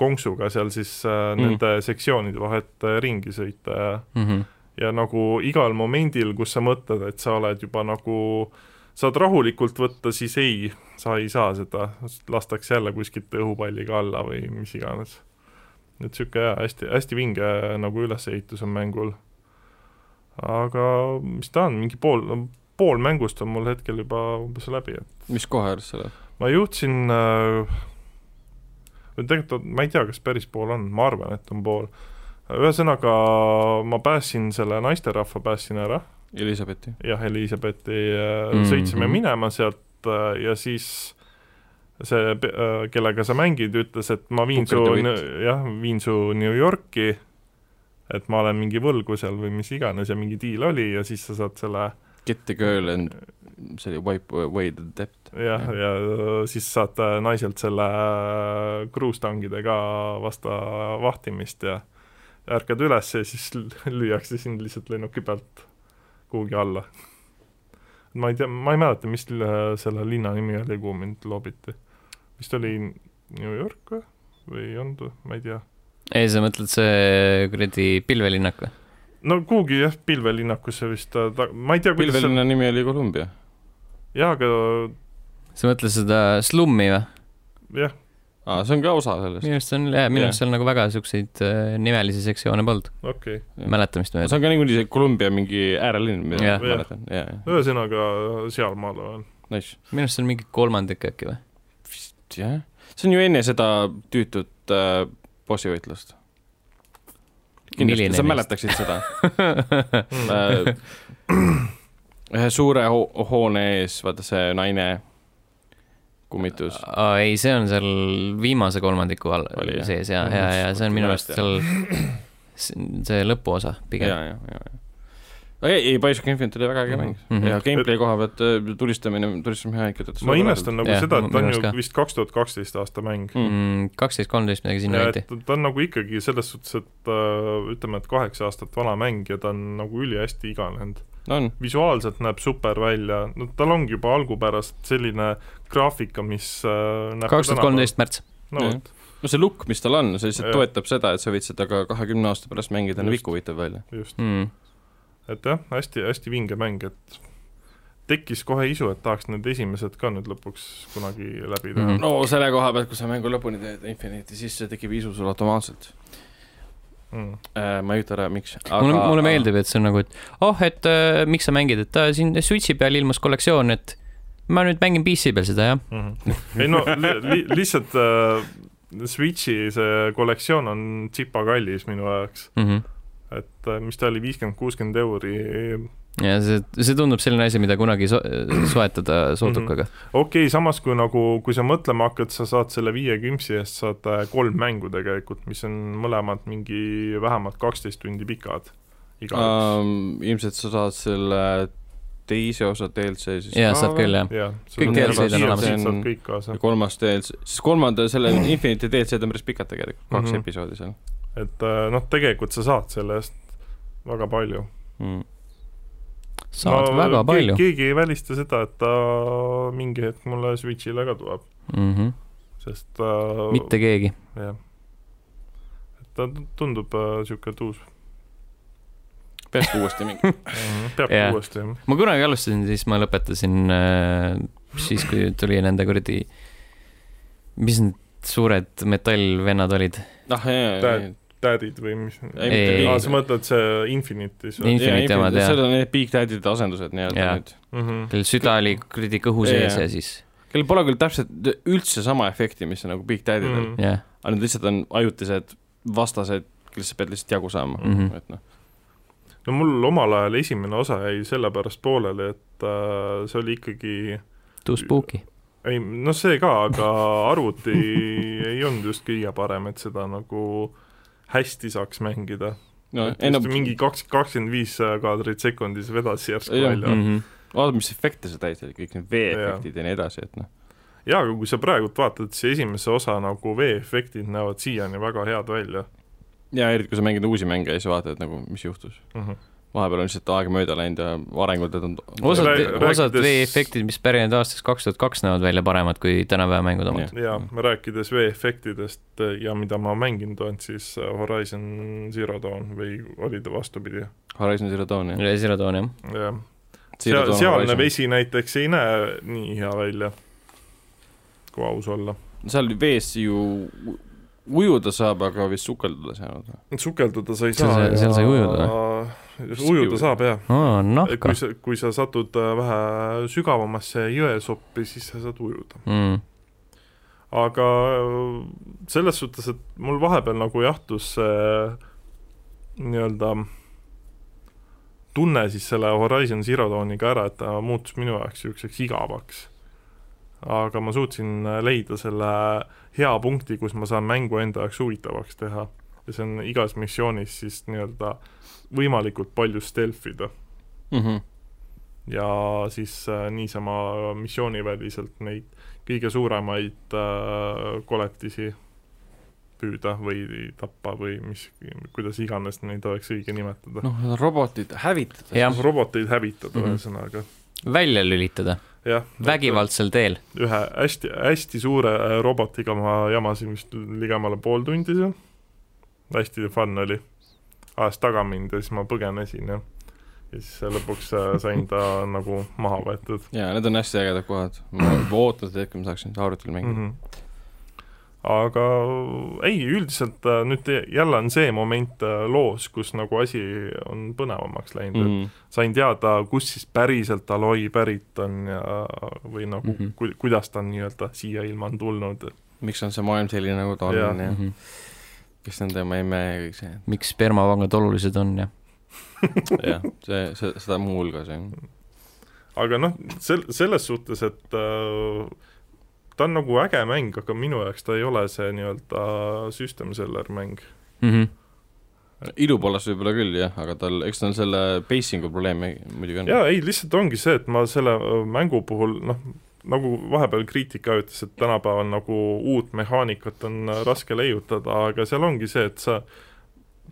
konksuga seal siis äh,
Mm.
nende sektsioonide vahet äh, ringi sõita ja
mm . -hmm.
ja nagu igal momendil , kus sa mõtled , et sa oled juba nagu , saad rahulikult võtta , siis ei , sa ei saa seda , lastakse jälle kuskilt õhupalliga alla või mis iganes . et niisugune jaa, hästi , hästi vinge nagu ülesehitus on mängul . aga mis ta on , mingi pool , pool mängust on mul hetkel juba umbes läbi , et
mis koha ääres seal on ?
ma jõudsin äh, või tegelikult on- ma ei tea , kas päris pool on , ma arvan , et on pool . ühesõnaga ma päästsin selle naisterahva , päästsin ära ,
Elizabethi .
jah , Elizabethi
Mhm.
mm -hmm. sõitsime minema sealt äh, ja siis see , kellega sa mängid , ütles , et ma viin
Booker
su
DeWitt. ,
jah , viin su New Yorki , et ma olen mingi võlgu seal või mis iganes ja mingi diil oli ja siis sa saad selle
Get the girl and see oli Wipe away the debt .
jah , ja siis saad äh, naiselt selle äh, kruustangidega vasta vahtimist ja ärkad üles ja siis l- lüüakse sind lihtsalt lennuki pealt kuhugi alla . ma ei tea , ma ei mäleta , mis l- selle linna nimi oli , kuhu mind loobiti . vist oli New York või , või ei olnud , ma ei tea .
ei , sa mõtled see kuradi pilvelinnak või ?
no kuhugi jah , pilvelinnakusse vist ta, , ta , ma ei tea , kuidas see ,
pilvelinna nimi oli Columbia .
jaa , aga
sa mõtled seda slummi või ?
jah ,
aa , Ah, see on ka osa sellest .
minu arust see on , jah , minu
Jah.
arust seal nagu väga siukseid äh, nimelisi sektsioone polnud ,
okei okay. .
mäletamist mööda .
see on ka niikuinii see Columbia mingi äärelinn , mida
Jah.
ma mäletan , jaa , jaa ,
ühesõnaga sealmaal olen .
nice .
minu arust see on mingi kolmandik äkki või ?
vist jah , see on ju enne seda tüütut äh, bossivõitlust . kindlasti
Milline
sa
neist?
mäletaksid seda äh, . ühe suure ho hoone ees , vaata see naine kummitus .
aa , ei , see on seal viimase kolmandiku all
Oli, jah?
sees ja , ja , ja see on minu arust
Mäletan.
seal see lõpuosa
ja ,
pigem .
ja , ja , ja . ei , ei , Bioshock Infinite oli väga äge mäng mm
Mhm.
-hmm. ja gameplay koha pealt äh, tulistamine , tulistamine hea ikka töötas .
ma imestan nagu
Jah,
yeah, seda ,
ma-
et ta
minu
on
arust
ju
ka.
vist kaks tuhat kaksteist aasta mäng .
Hmm.
mm. .
kaksteist , kolmteist midagi sinna
ja
anti
et . ta on nagu ikkagi selles suhtes , et äh, ütleme , et kaheksa aastat vana mäng ja ta on nagu ülihästi iganenud .
on ,
visuaalselt näeb super välja , no tal ongi juba algupärast selline graafika , mis äh,
kaks tuhat . kolmteist märts .
no
Jah.
vot ,
no see look , mis tal on , see lihtsalt
Jah.
toetab seda , et sa võid seda ka kahekümne aasta pärast mängida , on
Just.
viku huvitav välja .
just ,
mm. .
et jah , hästi , hästi vinge mäng , et tekkis kohe isu , et tahaks need esimesed ka nüüd lõpuks kunagi läbi teha
Mhm.
mm .
no selle koha pealt , kui sa mängu lõpuni teed Infinity , siis see tekib isu sul automaatselt
-hmm.
äh, . ma ei ütle ära , miks .
mulle , mulle meeldib , et see on nagu , et oh , et äh, miks sa mängid , et äh, siin Switchi peal ilmus kollektsioon , et ma nüüd mängin PC peal seda , jah .
Mhm. ei no li li lihtsalt äh, Switchi see kollektsioon on tsipa kallis minu jaoks ,
Mm -hmm.
et äh, mis ta oli , viiskümmend , kuuskümmend euri ,
ja see , see tundub selline asi , mida kunagi so soetada soodukaga mm .
okei okay, , samas kui nagu , kui sa mõtlema hakkad , sa saad selle viie kümpsi eest saad äh, kolm mängu tegelikult , mis on mõlemad mingi vähemalt kaksteist tundi pikad . igaüks
um, . ilmselt sa saad selle teise osa DLC siis
ja
Aa,
saad küll , jah .
jah .
Kõik DLC-d on olemas.
saad kõik kaasa
ja , kolmas DLC , sest kolmanda , selle Infinity DLC-d on päris pikad tegelikult , kaks mm
Mhm.
-hmm. episoodi seal
et äh, noh , tegelikult sa saad selle eest väga palju .
Mhm.
mm. .
saad no, väga palju .
keegi ei välista seda , et ta mingi hetk mulle Switchile ka tuleb ,
Mm -hmm.
sest äh,
mitte keegi .
jah . et ta tundub niisugune äh, tuus
peaks ka uuesti mingi .
mm . -hmm. peab
Jah.
yeah. uuesti jah .
ma kunagi alustasin , siis ma lõpetasin äh, siis , kui tuli nende kuradi , mis need suured metallvennad olid ?
ah , jaa , jaa , jaa
Tä- Dadid või mis ?
Ei,
mitte Ei.
aa , sa mõtled see Infinity see
Infinity omad, jah.
Need on need Big Daddy'de asendused nii-öelda
Jaa.
nüüd .
mm ? -hmm.
kellel süda oli kuradi kõhu
Jaa.
sees ja siis ,
kellel pole küll täpselt üldse sama efekti , mis on nagu Big Daddy'del mm. ,
Mm.
jah .
aga nad lihtsalt on ajutised vastased , kellest sa pead lihtsalt jagu saama mm ,
Mhm.
-hmm. et noh .
no mul omal ajal esimene osa jäi sellepärast pooleli , et äh, see oli ikkagi ,
Too spooky .
ei noh , see ka , aga arvuti ei olnud just kõige parem , et seda nagu hästi saaks mängida .
no
enne
enne
mingi kaks , kakskümmend viis äh, kaadrit sekundis vedas järsku
Jah.
välja .
Mm -hmm.
vaata , mis efekte sa täitsid , kõik need veeefektid ja nii edasi , et noh .
jaa , aga kui sa praegult vaatad , siis esimese osa nagu veeefektid näevad siiani väga head välja
ja eriti , kui sa mängid uusi mänge ja siis vaatad nagu , mis juhtus .
mm . -hmm.
vahepeal on lihtsalt aeg mööda läinud ja arengud on .
osad
Rää- ,
osad
rääkides-
veeefektid , mis pärinevad aastast kaks tuhat kaks , näevad välja paremad kui tänapäeva mängud omad .
ja rääkides veeefektidest ja mida ma mänginud olen , siis äh, Horizon Zero Dawn või oli ta vastupidi ,
Horizon Zero Dawn jah .
üle Zero Dawn jah .
jah . seal , sealne . vesi näiteks ei näe nii hea välja , kui aus olla .
seal vees ju u- ujuda saab , aga vist sukelduda ei saanud .
sukelduda sa ei
Seal
saa .
sai- seal sai ujuda
Vist
ujuda
kiuju.
saab jah .
aa , nahka
kui . sa , kui sa satud äh, vähe sügavamasse jõesoppi , siis sa saad ujuda .
Mm.
aga äh, selles suhtes , et mul vahepeal nagu jahtus see äh, nii-öelda tunne siis selle Horizon Zero Dawniga ära , et ta muutus minu jaoks niisuguseks igavaks . aga ma suutsin äh, leida selle hea punkti , kus ma saan mängu enda jaoks huvitavaks teha ja see on igas missioonis siis nii-öelda võimalikult palju stelfida
Mhm.
ja siis äh, niisama missiooniväliselt neid kõige suuremaid äh, koletisi püüda või tappa või mis , kuidas iganes neid oleks õige nimetada no. .
noh , robotid hävitada .
Jah.
roboteid hävitada
Mhm.
ühesõnaga mm
välja lülitada ,
-hmm. , jah .
vägivaldsel teel .
ühe hästi , hästi suure äh, robotiga ma jamasin vist ligemale pool tundi seal . hästi fun oli . ajas taga mind ja siis ma põgenesin ja , ja siis äh, lõpuks äh, sain ta nagu maha võetud .
jaa , need on hästi ägedad kohad . ma juba ootan seda hetke , ma saaksin seda arvutil mängida .
mm . -hmm. aga ei , üldiselt äh, nüüd jälle on see moment äh, loos , kus nagu asi on põnevamaks läinud
Mhm.
mm , -hmm. et sain teada , kus siis päriselt Aloi pärit on ja või nagu mm
Mhm.
-hmm. ku, kuidas ta nii-öelda siia ilma on tulnud .
miks on see maailm selline , nagu ta on
Jah.
ja kes on tema emme ja kõik see .
Mhm. miks spermapangad olulised on ja
jah , see, see , seda muuhulgas jah .
aga noh , sel- , selles suhtes , et äh, ta on nagu äge mäng , aga minu jaoks ta ei ole see nii-öelda äh, system seller mäng .
mm . -hmm.
ilu poolest võib-olla küll jah , aga tal , eks tal selle pacing'u probleeme muidugi on .
jaa , ei lihtsalt ongi see , et ma selle öö, mängu puhul noh , nagu vahepeal kriitika ütles , et tänapäeval nagu uut mehaanikat on äh, raske leiutada , aga seal ongi see , et sa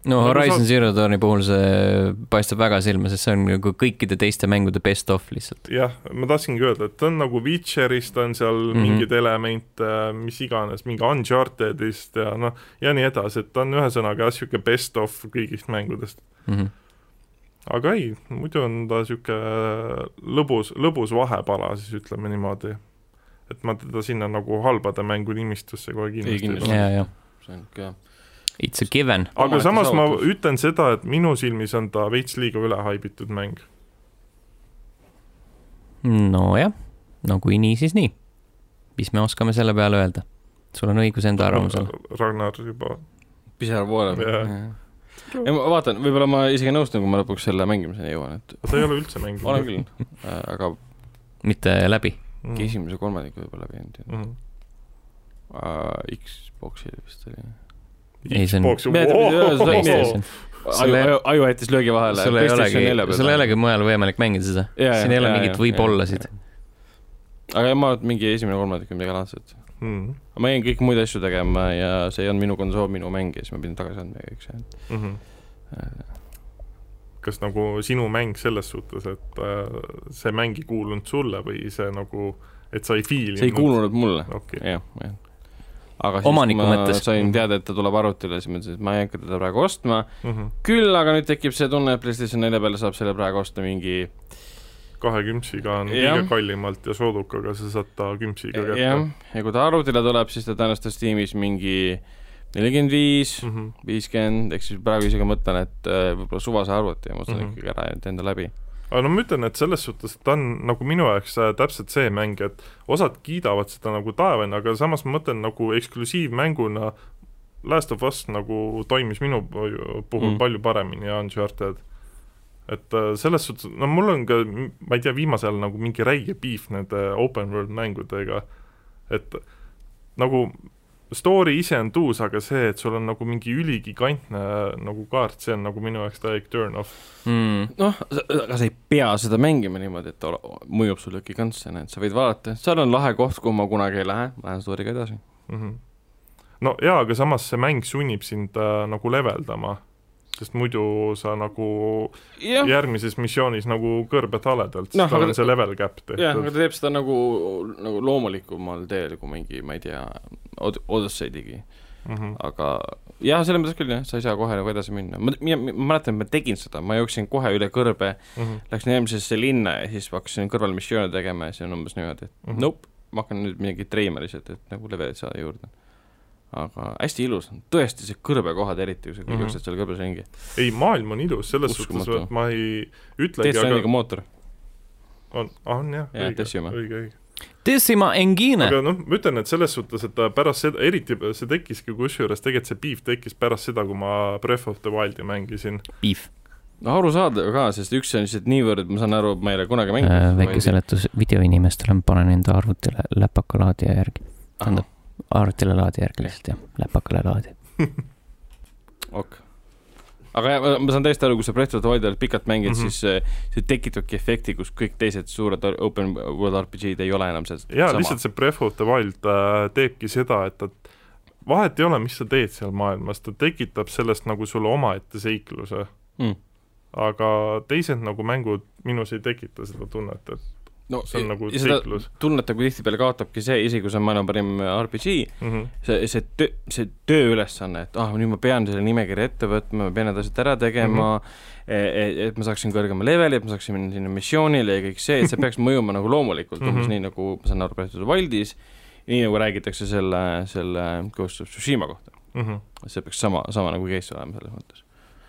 no
Nagu
Horizon
sa-
Zero Dawni puhul see paistab väga silma , sest see on nagu kõikide teiste mängude best of lihtsalt .
jah , ma tahtsingi öelda , et ta on nagu Witcherist on seal mm
Mhm.
-hmm. mingeid elemente , mis iganes , mingi Unchartedist ja noh , ja nii edasi , et ta on ühesõnaga jah , niisugune best of kõigist mängudest .
Mm -hmm.
aga ei , muidu on ta niisugune lõbus , lõbus vahepala siis ütleme niimoodi . et ma teda sinna nagu halbade mängu nimistusse kohe kindlasti
kindlasti.
pane.
ja , ja
see on ikka
it's a given .
aga
Omaette
samas ma
saavutus.
ütlen seda , et minu silmis on ta veits liiga ülehaibitud mäng .
nojah , no kui nii , siis nii . mis me oskame selle peale öelda ? sul on õigus enda arvamusele .
Ragnar juba ,
pisar voolab
Jah. .
ei ma vaatan , võib-olla ma isegi nõustun , kui ma lõpuks selle mängimiseni jõuan , et
ta ei ole üldse mänginud .
olen küll , aga
mitte läbi .
küll
mingi . esimese kolmandiku võib-olla läbi ainult .
Mhm.
Xboxil vist oli .
Ei, see on- Sul
aju ,
ei-
aju , aju jättis löögi vahele .
sul ei olegi , sul ei olegi mujal võimalik mängida seda .
Jaa,
siin ei ole
jaa,
mingit
jaa,
võib-ollasid .
aga ma arvan , et mingi esimene kolmandik või midagi laadset .
Mhm.
ma jäin kõik muid asju tegema ja see ei olnud minu konsool , minu mäng ja siis ma pidin tagasi andma ja kõik see .
Mhm. kas nagu sinu mäng selles suhtes , et äh, see mäng ei kuulunud sulle või see nagu , et sa ei fiilinud ?
see ei kuulunud mulle ,
okei ,
jah , jah . aga
Omaniku
siis ma
mõttes.
sain teada , et ta tuleb arvutile , siis ma ütlesin , et ma ei hakka teda praegu ostma ,
Mhm.
küll aga nüüd tekib see tunne , et PlayStation 4 peale saab selle praegu osta mingi
kahe küpsiga on
Jah.
liiga kallimalt ja soodukaga sa saad ta küpsiga
jah
kätte .,
ja kui ta arvutile tuleb , siis ta tõenäoliselt Steamis mingi nelikümmend viis ,
Mhm.
viiskümmend , ehk siis praegu isegi mõtlen , et äh, võib-olla suvase arvuti ja ma ostan mm
Mhm.
-hmm. ikkagi ära ja teen ta läbi .
aga no ma ütlen , et selles suhtes , et ta on nagu minu jaoks äh, täpselt see mäng , et osad kiidavad seda nagu taevani , aga samas ma mõtlen nagu eksklusiivmänguna Last of Us nagu toimis minu pu- puhul
Mm.
mm. palju paremini ja Uncharted . et äh, selles suhtes , no mul on ka , ma ei tea , viimasel ajal nagu mingi räige piif nende open world mängudega , et nagu story ise on tuus , aga see , et sul on nagu mingi üligigantne nagu kaart , see on nagu minu jaoks täielik turn-off .
noh , aga sa ei pea seda mängima niimoodi , et ta ole- mõjub sulle gigantse , näed , sa võid vaadata , seal on lahe koht , kuhu ma kunagi ei lähe , lähen story'ga edasi .
Mhm. mm . -hmm. no jaa , aga samas see mäng sunnib sind äh, nagu leveldama sest muidu sa nagu
jah ,
järgmises missioonis nagu kõrbed haledalt , sest
Noh,
tal
aga-
on see level cap
jah , aga
tehtud .
ta teeb seda nagu , nagu loomulikumal teel kui mingi , ma ei tea , Od- , Odyssey tegi ,
Mhm,
aga jah , selles mõttes küll jah , sa ei saa kohe nagu edasi minna , ma , ma ma mäletan , ma tegin seda , ma jooksin kohe üle kõrbe ,
mhm.
läksin eelmisesse linna ja siis hakkasin kõrval missioone tegema ja siis on umbes niimoodi , et
Mhm.
nope , ma hakkan nüüd midagi treima lihtsalt , et nagu levelit saada juurde . aga hästi ilus on , tõesti see kõrbekohad eriti , kui sa
Mhm.
jooksed seal kõrbes ringi ,
ei , maailm on ilus selles suhtes ,
Uskumatu.
et ma ei ütlegi ,
Death
aga
nagu mootor ,
on , on jah ,
Jah,
õige ,
Decima.
õige , õige .
Decima Engine .
aga noh , ma ütlen , et selles suhtes , et ta pärast seda , eriti see tekkiski kusjuures , tegelikult see beef tekkis pärast seda , kui ma Breath of the Wildi mängisin .
Beef .
no arusaadav ka , sest üks on lihtsalt niivõrd , ma saan aru , ma ei ole kunagi mänginud .
väike seletus Äh, videoinimestele , ma panen enda arvutile läpaka laadija järgi , tähendab arvutile laadija järgi lihtsalt jah , läpakale laadija .
ok . aga jah, ma- ma saan täiesti aru , kui sa Breath of the Wild'i pikalt mängid mm ,
Mhm.
-hmm. siis äh, see tekitabki efekti , kus kõik teised suured ar- open world RPG-d ei ole enam seal
jaa , lihtsalt see Breath of the Wild äh, teebki seda , et ta vahet ei ole , mis sa teed seal maailmas , ta tekitab sellest nagu sulle omaette seikluse .
mm. .
aga teised nagu mängud minus ei tekita seda tunnet , et
no
see on nagu
ja seda
seiklus
tunnet nagu tihtipeale kaotabki see , isegi kui see on maailma parim RPG ,
mm . -hmm.
see , see töö , see tööülesanne , et ah , nüüd ma pean selle nimekirja ette võtma , ma pean need asjad ära tegema mm ,
Mhm.
-hmm. et ma saaksin kõrgema leveli , et ma saaksin minna sinna missioonile ja kõik see , et see peaks mõjuma nagu loomulikult mm ,
Mhm.
-hmm. umbes nii nagu ma saan aru , Breath of the Wildis , nii nagu räägitakse selle , selle Ghost of Tsushima kohta .
Mm -hmm.
see peaks sama , sama nagu case olema selles mõttes .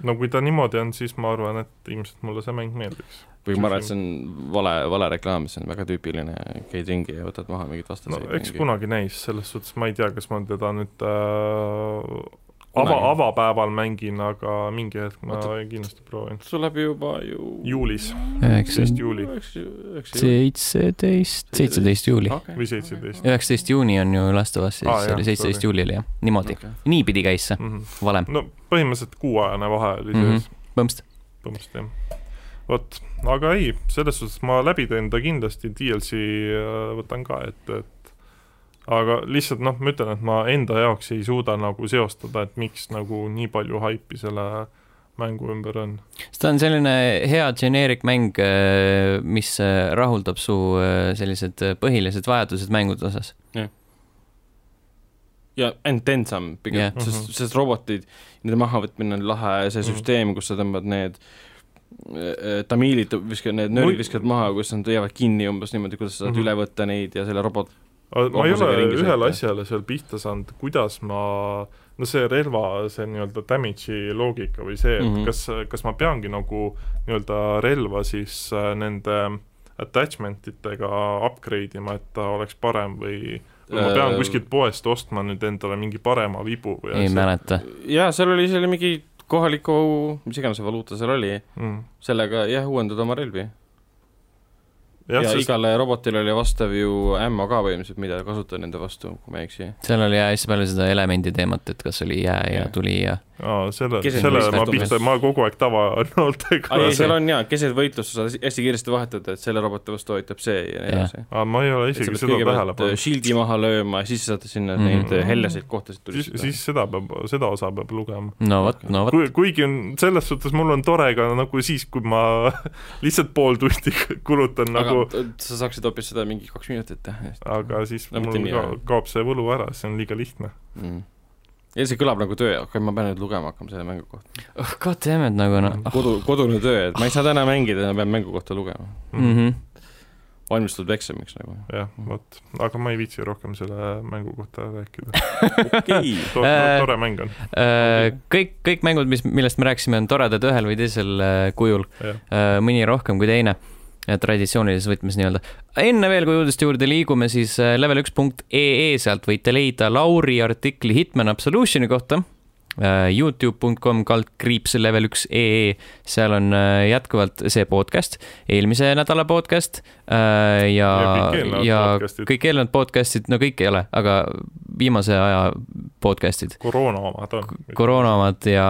no kui ta niimoodi on , siis ma arvan , et ilmselt mulle see mäng meeldiks .
kuigi ma arvan , et see on vale , vale reklaam , see on väga tüüpiline , käid ringi ja võtad maha mingeid
no
vastaseid .
eks kunagi näis , selles suhtes ma ei tea , kas ma teda nüüd äh, ava , avapäeval mängin , aga mingi hetk ma
Oota.
kindlasti proovin .
tuleb juba ju
juulis ,
üheksateist
Üheksateist juuli
seitseteist , seitseteist juuli .
või seitseteist .
üheksateist juuni on ju Last of Us ,
Aa,
siis
jah,
oli seitseteist
sorry.
juulil jah , niimoodi .
okay. .
niipidi käis see ,
Mhm.
valem ,
no põhimõtteliselt kuuajane vahe oli
Mhm.
sees ,
põhimõtteliselt .
põhimõtteliselt jah . vot , aga ei , selles suhtes ma läbi teen ta kindlasti , DLC äh, võtan ka ette , et aga lihtsalt noh , ma ütlen , et ma enda jaoks ei suuda nagu seostada , et miks nagu nii palju haipi selle mängu ümber on .
ta on selline hea generic mäng , mis äh, rahuldab su äh, sellised äh, põhilised vajadused mängude osas .
ja and then some pigem
Jah.
yeah. , sest
Mhm. ,
sest robotid , nende mahavõtmine on lahe ja see
Mhm.
süsteem , kus sa tõmbad need äh, tamiilid , viskad need nöörid
Mul-
viskad maha , kus nad jäävad kinni umbes niimoodi , kuidas sa saad
Mhm.
mm -hmm. üle võtta neid ja selle robot ,
ma ei
Vabusega
ole
ringi
ühele
sõita.
asjale seal pihta saanud , kuidas ma , no see relva , see nii-öelda damage'i loogika või see , et mm
Mhm.
-hmm. kas , kas ma peangi nagu nii-öelda relva siis äh, nende attachment itega upgrade ima , et ta oleks parem või või ma pean
Äh,
kuskilt poest ostma nüüd endale mingi parema vibu või
ei mäleta .
jaa , seal oli , seal oli mingi kohaliku , mis iganes see valuuta seal oli ,
Mm.
sellega jah , uuendad oma relvi .
jah
ja
ja, , sest iga...
igale robotile oli vastav ju ämma ka põhimõtteliselt , mida kasutada nende vastu , kui ma ei eksi .
seal oli jah , hästi palju seda elemendi teemat , et kas oli jää ja
Jah.
tuli ja
aa, selle ,
Keset
sellele ma
võistlust
pihta ,
umbes.
ma kogu aeg
aa ei , seal
tavanõudega
on jaa , keset võitlust sa saad hästi kiiresti vahetada , et selle roboti vastu aitab see ja nii
Jah.
edasi .
aa , ma ei ole
et sa
isegi
pead
seda tähele
kõigepealt äh,
pannud .
shield'i maha lööma ja siis sa saad sinna
Mhm.
mm. neid äh, heljaseid
siis ,
kohtasid tulistada .
siis seda peab , seda osa peab lugema .
no vot , no vot ,
kui , kuigi on selles suhtes mul on tore ka nagu siis , kui ma lihtsalt pool tundi kulutan
aga
nagu ,
t- sa saaksid hoopis seda mingi kaks minutit teha hästi
aga siis
No
no,
mitte
mul
nii,
ka,
jah.
kaob see võlu ära , see on liiga lihtne .
mm. . ja see kõlab nagu töö , okei , ma pean nüüd lugema hakkama selle mängu kohta .
oh, god damn it nagu
Ah.
noh oh. .
kodu , kodune töö , et ma ei saa täna mängida , ma pean mängu kohta lugema .
Mm -hmm.
valmistud eksamiks nagu .
jah , vot , aga ma ei viitsi rohkem selle mängu kohta rääkida .
okei .
tore
Äh, ,
tore mäng on ,
Äh, kõik , kõik mängud , mis , millest me rääkisime , on toredad ühel või teisel äh, kujul .
jah .
Äh, mõni rohkem kui teine , traditsioonilises võtmes nii-öelda . enne veel , kui uudiste juurde liigume , siis äh, level1.ee , sealt võite leida Lauri artikli Hitman Absolutioni kohta . äh, Youtube.com kaldkriips level1.ee , seal on äh, jätkuvalt see podcast , eelmise nädala podcast äh, ja
Ja kõik , eelnevad
ja
podcastid.
kõik eelnevad podcast'id , no kõik ei ole , aga viimase aja podcast'id .
koroona omad on .
koroona omad ja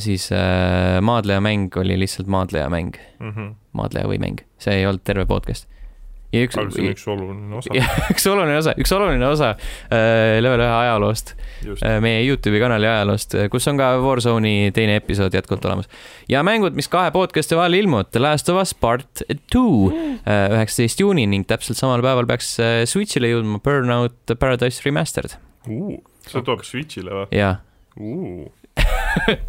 siis äh, maadlejamäng oli lihtsalt maadlejamäng
mm . -hmm.
maadleja või mäng , see ei olnud terve podcast . ja üks
aga , see on üks oluline osa
Jah. üks oluline osa , üks oluline osa äh, level ühe ajaloost ,
just .
meie Youtube'i kanali ajaloost , kus on ka Warzone'i teine episood jätkuvalt olemas . ja mängud , mis kahe podcast'i vahel ilmuvad , The Last of Us Part Two , üheksateist juuni ning täpselt samal päeval peaks äh, Switch'ile jõudma Burnout Paradise Remastered
see tuleb Switch'ile või ?
ja uh, .
see on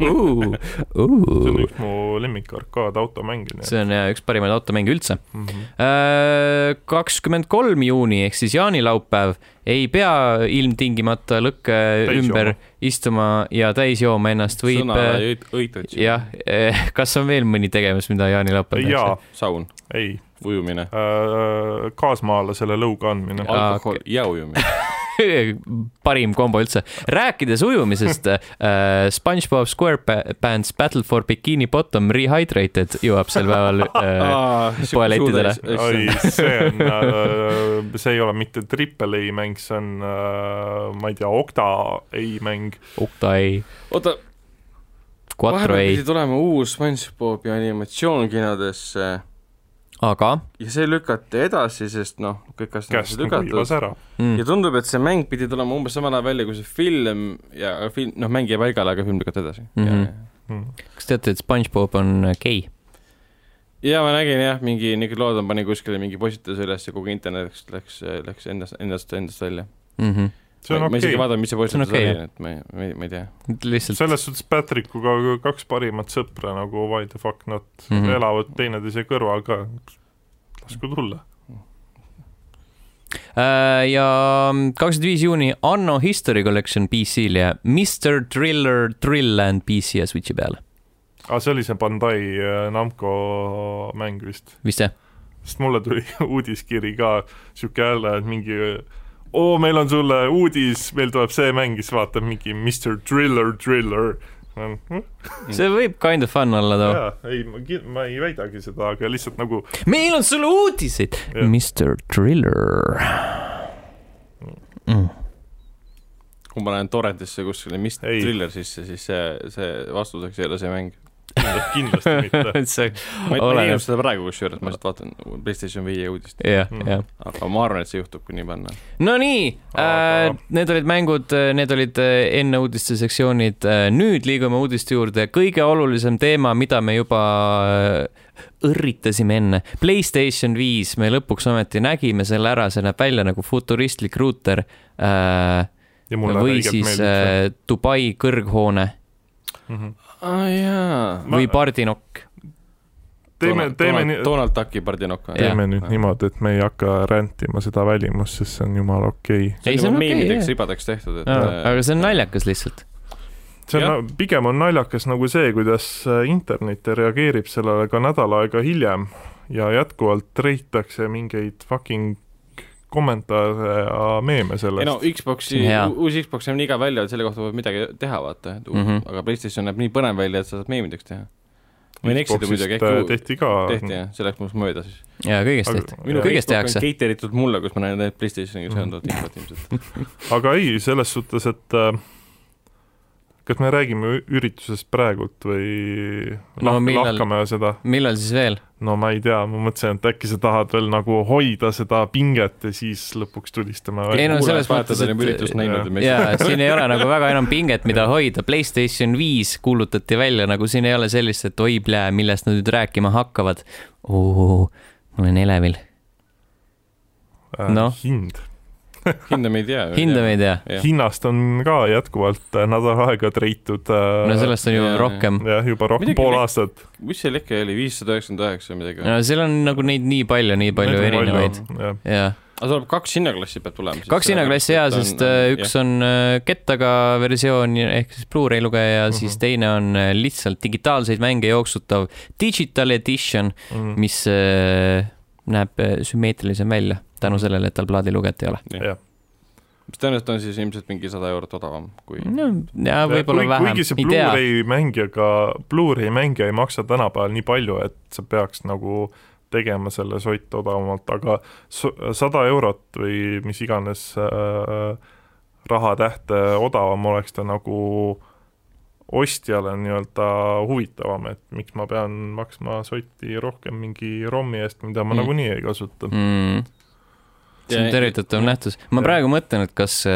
Uh.
üks mu lemmik arkaadautomänge , nii
see on jaa, üks parimaid automänge üldse .
et mhm.
Äh, kakskümmend kolm juuni ehk siis jaanilaupäev ei pea ilmtingimata lõkke
Täis
ümber istuma ja täis jooma ennast , võib äh,
sõna
äh,
ei õitud .
jah , kas on veel mõni tegevus , mida jaanilaupäeval
jaa ,
saun ,
ei ,
ujumine ,
kaasmaalasele lõuga andmine .
alkohol ja ujumine .
parim kombo üldse . rääkides ujumisest äh, , SpongeBob SquarePants Battle for Bikini Bottom Rehydrated jõuab sel päeval äh, poelettidele.
ei , see on äh, , see ei ole mitte Triple A mäng , see on äh, , ma ei tea , Okta A mäng .
Octai ,
oota ,
Quattro
vahepeal
ei
pidi , tulema uus SpongeBobi animatsioon kinodesse
aga
ja see lükati edasi , sest noh , kõik asjad on
käest
edasi
nagu
lükatud
viibas ära .
mm.
ja . tundub , et see mäng pidi tulema umbes samal ajal välja kui see film ja aga film , noh , mäng jäi paigale , aga film lükati edasi mm .
Mhm.
-hmm.
kas teate , et SpongeBob on äh, gei ?
Ja, ja ma nägin jah , mingi Nickelodeon pani kuskile mingi postituse üles ja kogu internet läks , läks , läks endast , endast , endast välja .
mm . -hmm.
see on
ma
okei
isegi ei
okay. ,
vaadanud , mis see
See on
postitus
okei,
okay,
jah.
oli , et ma ei , ma ei , ma ei tea .
lihtsalt
selles suhtes Patrickuga kaks parimat sõpra nagu why the fuck not mm ,
Mhm.
-hmm. elavad teineteise kõrval ka . lasku tulla .
Äh, ja kakskümmend viis juuni Anno History Collection PC-l ja Mr Driller Drillland PC ja Switchi peal ,
aa , Ah, see oli see Bandai äh, Namco mäng vist .
vist jah ?
sest mulle tuli uudiskiri ka sihuke jälle , et mingi oo , meil on sulle uudis , meil tuleb see mäng , siis vaatab mingi Mr Driller Driller .
see võib kind of fun olla too .
jaa , ei , ma ki- , ma ei väidagi seda , aga lihtsalt nagu
meil on sulle uudiseid ,
Jah.
Mr Driller mm. .
kui ma lähen torrentisse kuskile , mis
Ei.
triller sisse , siis see , see vastuseks ei ole see mäng .
kindlasti mitte .
see ,
ma ei- ma ei
Oleneb.
teinud seda praegu kusjuures , ma lihtsalt vaatan PlayStation viie uudist ,
jah ,
Mm.
jah .
aga ma arvan , et see juhtub , kui nii panna .
Nonii
Aga-
äh, , need olid mängud , need olid äh, enne uudiste sektsioonid , nüüd liigume uudiste juurde , kõige olulisem teema , mida me juba äh, õrritasime enne . Playstation viis , me lõpuks ometi nägime selle ära , see näeb välja nagu futuristlik ruuter äh,
ja mulle
või
õigelt
siis
meeldib see .
äh, Dubai kõrghoone
Mhm.
aa jaa .
Ma-
või pardinokk .
teeme , teeme nii ,
Donald Ducki pardinokk .
teeme nüüd niimoodi , et me ei hakka rändima seda välimust , sest see on jumala okei okay. .
see
Ei,
on
see on
juba
okei,
meemideks
jah.
okay, , ribadeks tehtud , et
Äh,
äh,
aga see on naljakas lihtsalt .
see
Jah.
on , pigem on naljakas nagu see , kuidas internet reageerib sellele ka nädal aega hiljem ja jätkuvalt treitakse mingeid fucking kommentaare ja meeme
ei
sellest
no . Xbox'i
Jaa. ,
uus Xbox näeb nii iga välja , et selle kohta võib midagi teha , vaata mm .
Mhm.
-hmm. aga PlayStation näeb nii põnev välja , et sa saad meemideks teha . ma võin eksida
Xboxist,
muidugi ,
äh,
äkki
tehti ka .
tehti jah , see läks must mööda siis .
ja kõigest
Aga-
tehti .
Minu
kõigest
Facebook
tehakse
on . cater itud mulle , kus ma näen neid PlayStationiga
Mhm.
seonduvat infot ilmselt .
aga ei , selles suhtes , et äh, kas me räägime ü- üritusest praegult või
No
lahk-
millal-
lahkame seda ?
millal siis veel ?
no ma ei tea , ma mõtlesin , et äkki sa tahad veel nagu hoida seda pinget ja siis lõpuks tulistame
Ei,
välja .
no selles mõttes, et-
et . üritust
jah.
näinud .
jaa , siin ei ole nagu väga enam pinget , mida hoida , Playstation viis kuulutati välja , nagu siin ei ole sellist , et oi plää , millest nad nüüd rääkima hakkavad . ma olen elevil , noh.
Äh, hind ,
hinda me ei tea .
hinda me ei tea .
Jah.
hinnast on ka jätkuvalt äh, nädal aega treitud äh,
no sellest on ju
Jaa,
rohkem .
jah , juba rohkem
Midagi
pool
me-
aastat .
mis seal ikka oli , viissada üheksakümmend üheksa või midagi või ?
no seal on nagu neid nii palju , nii palju erinevaid .. jah ,
aga tuleb kaks hinnaklassi peab tulema .
kaks hinnaklassi hea , sest äh, üks on äh, kettaga versioon ehk siis Blu-ray lugeja , siis teine on äh, lihtsalt digitaalseid mänge jooksutav digital edition ,
Mm.
mis äh, näeb äh, sümmeetrilisem välja
Mhm.
tänu sellele , et tal plaadiluget ei ole .
mis tõenäoliselt on siis ilmselt mingi sada eurot odavam kui
no jaa , võib-olla vähem
kuigi , see
ei tea .
Blu-ray mängijaga , Blu-ray mängija ei maksa tänapäeval nii palju , et sa peaks nagu tegema selle sott odavamalt , aga so- sada eurot või mis iganes äh, rahatähte odavam oleks ta nagu ostjale nii-öelda huvitavam , et miks ma pean maksma sotti rohkem mingi ROM-i eest , mida ma
Mm.
mm. nagunii ei kasuta .
mm. . see on
Ja-
tervitatav nähtus . ma
Jah.
praegu mõtlen , et kas ,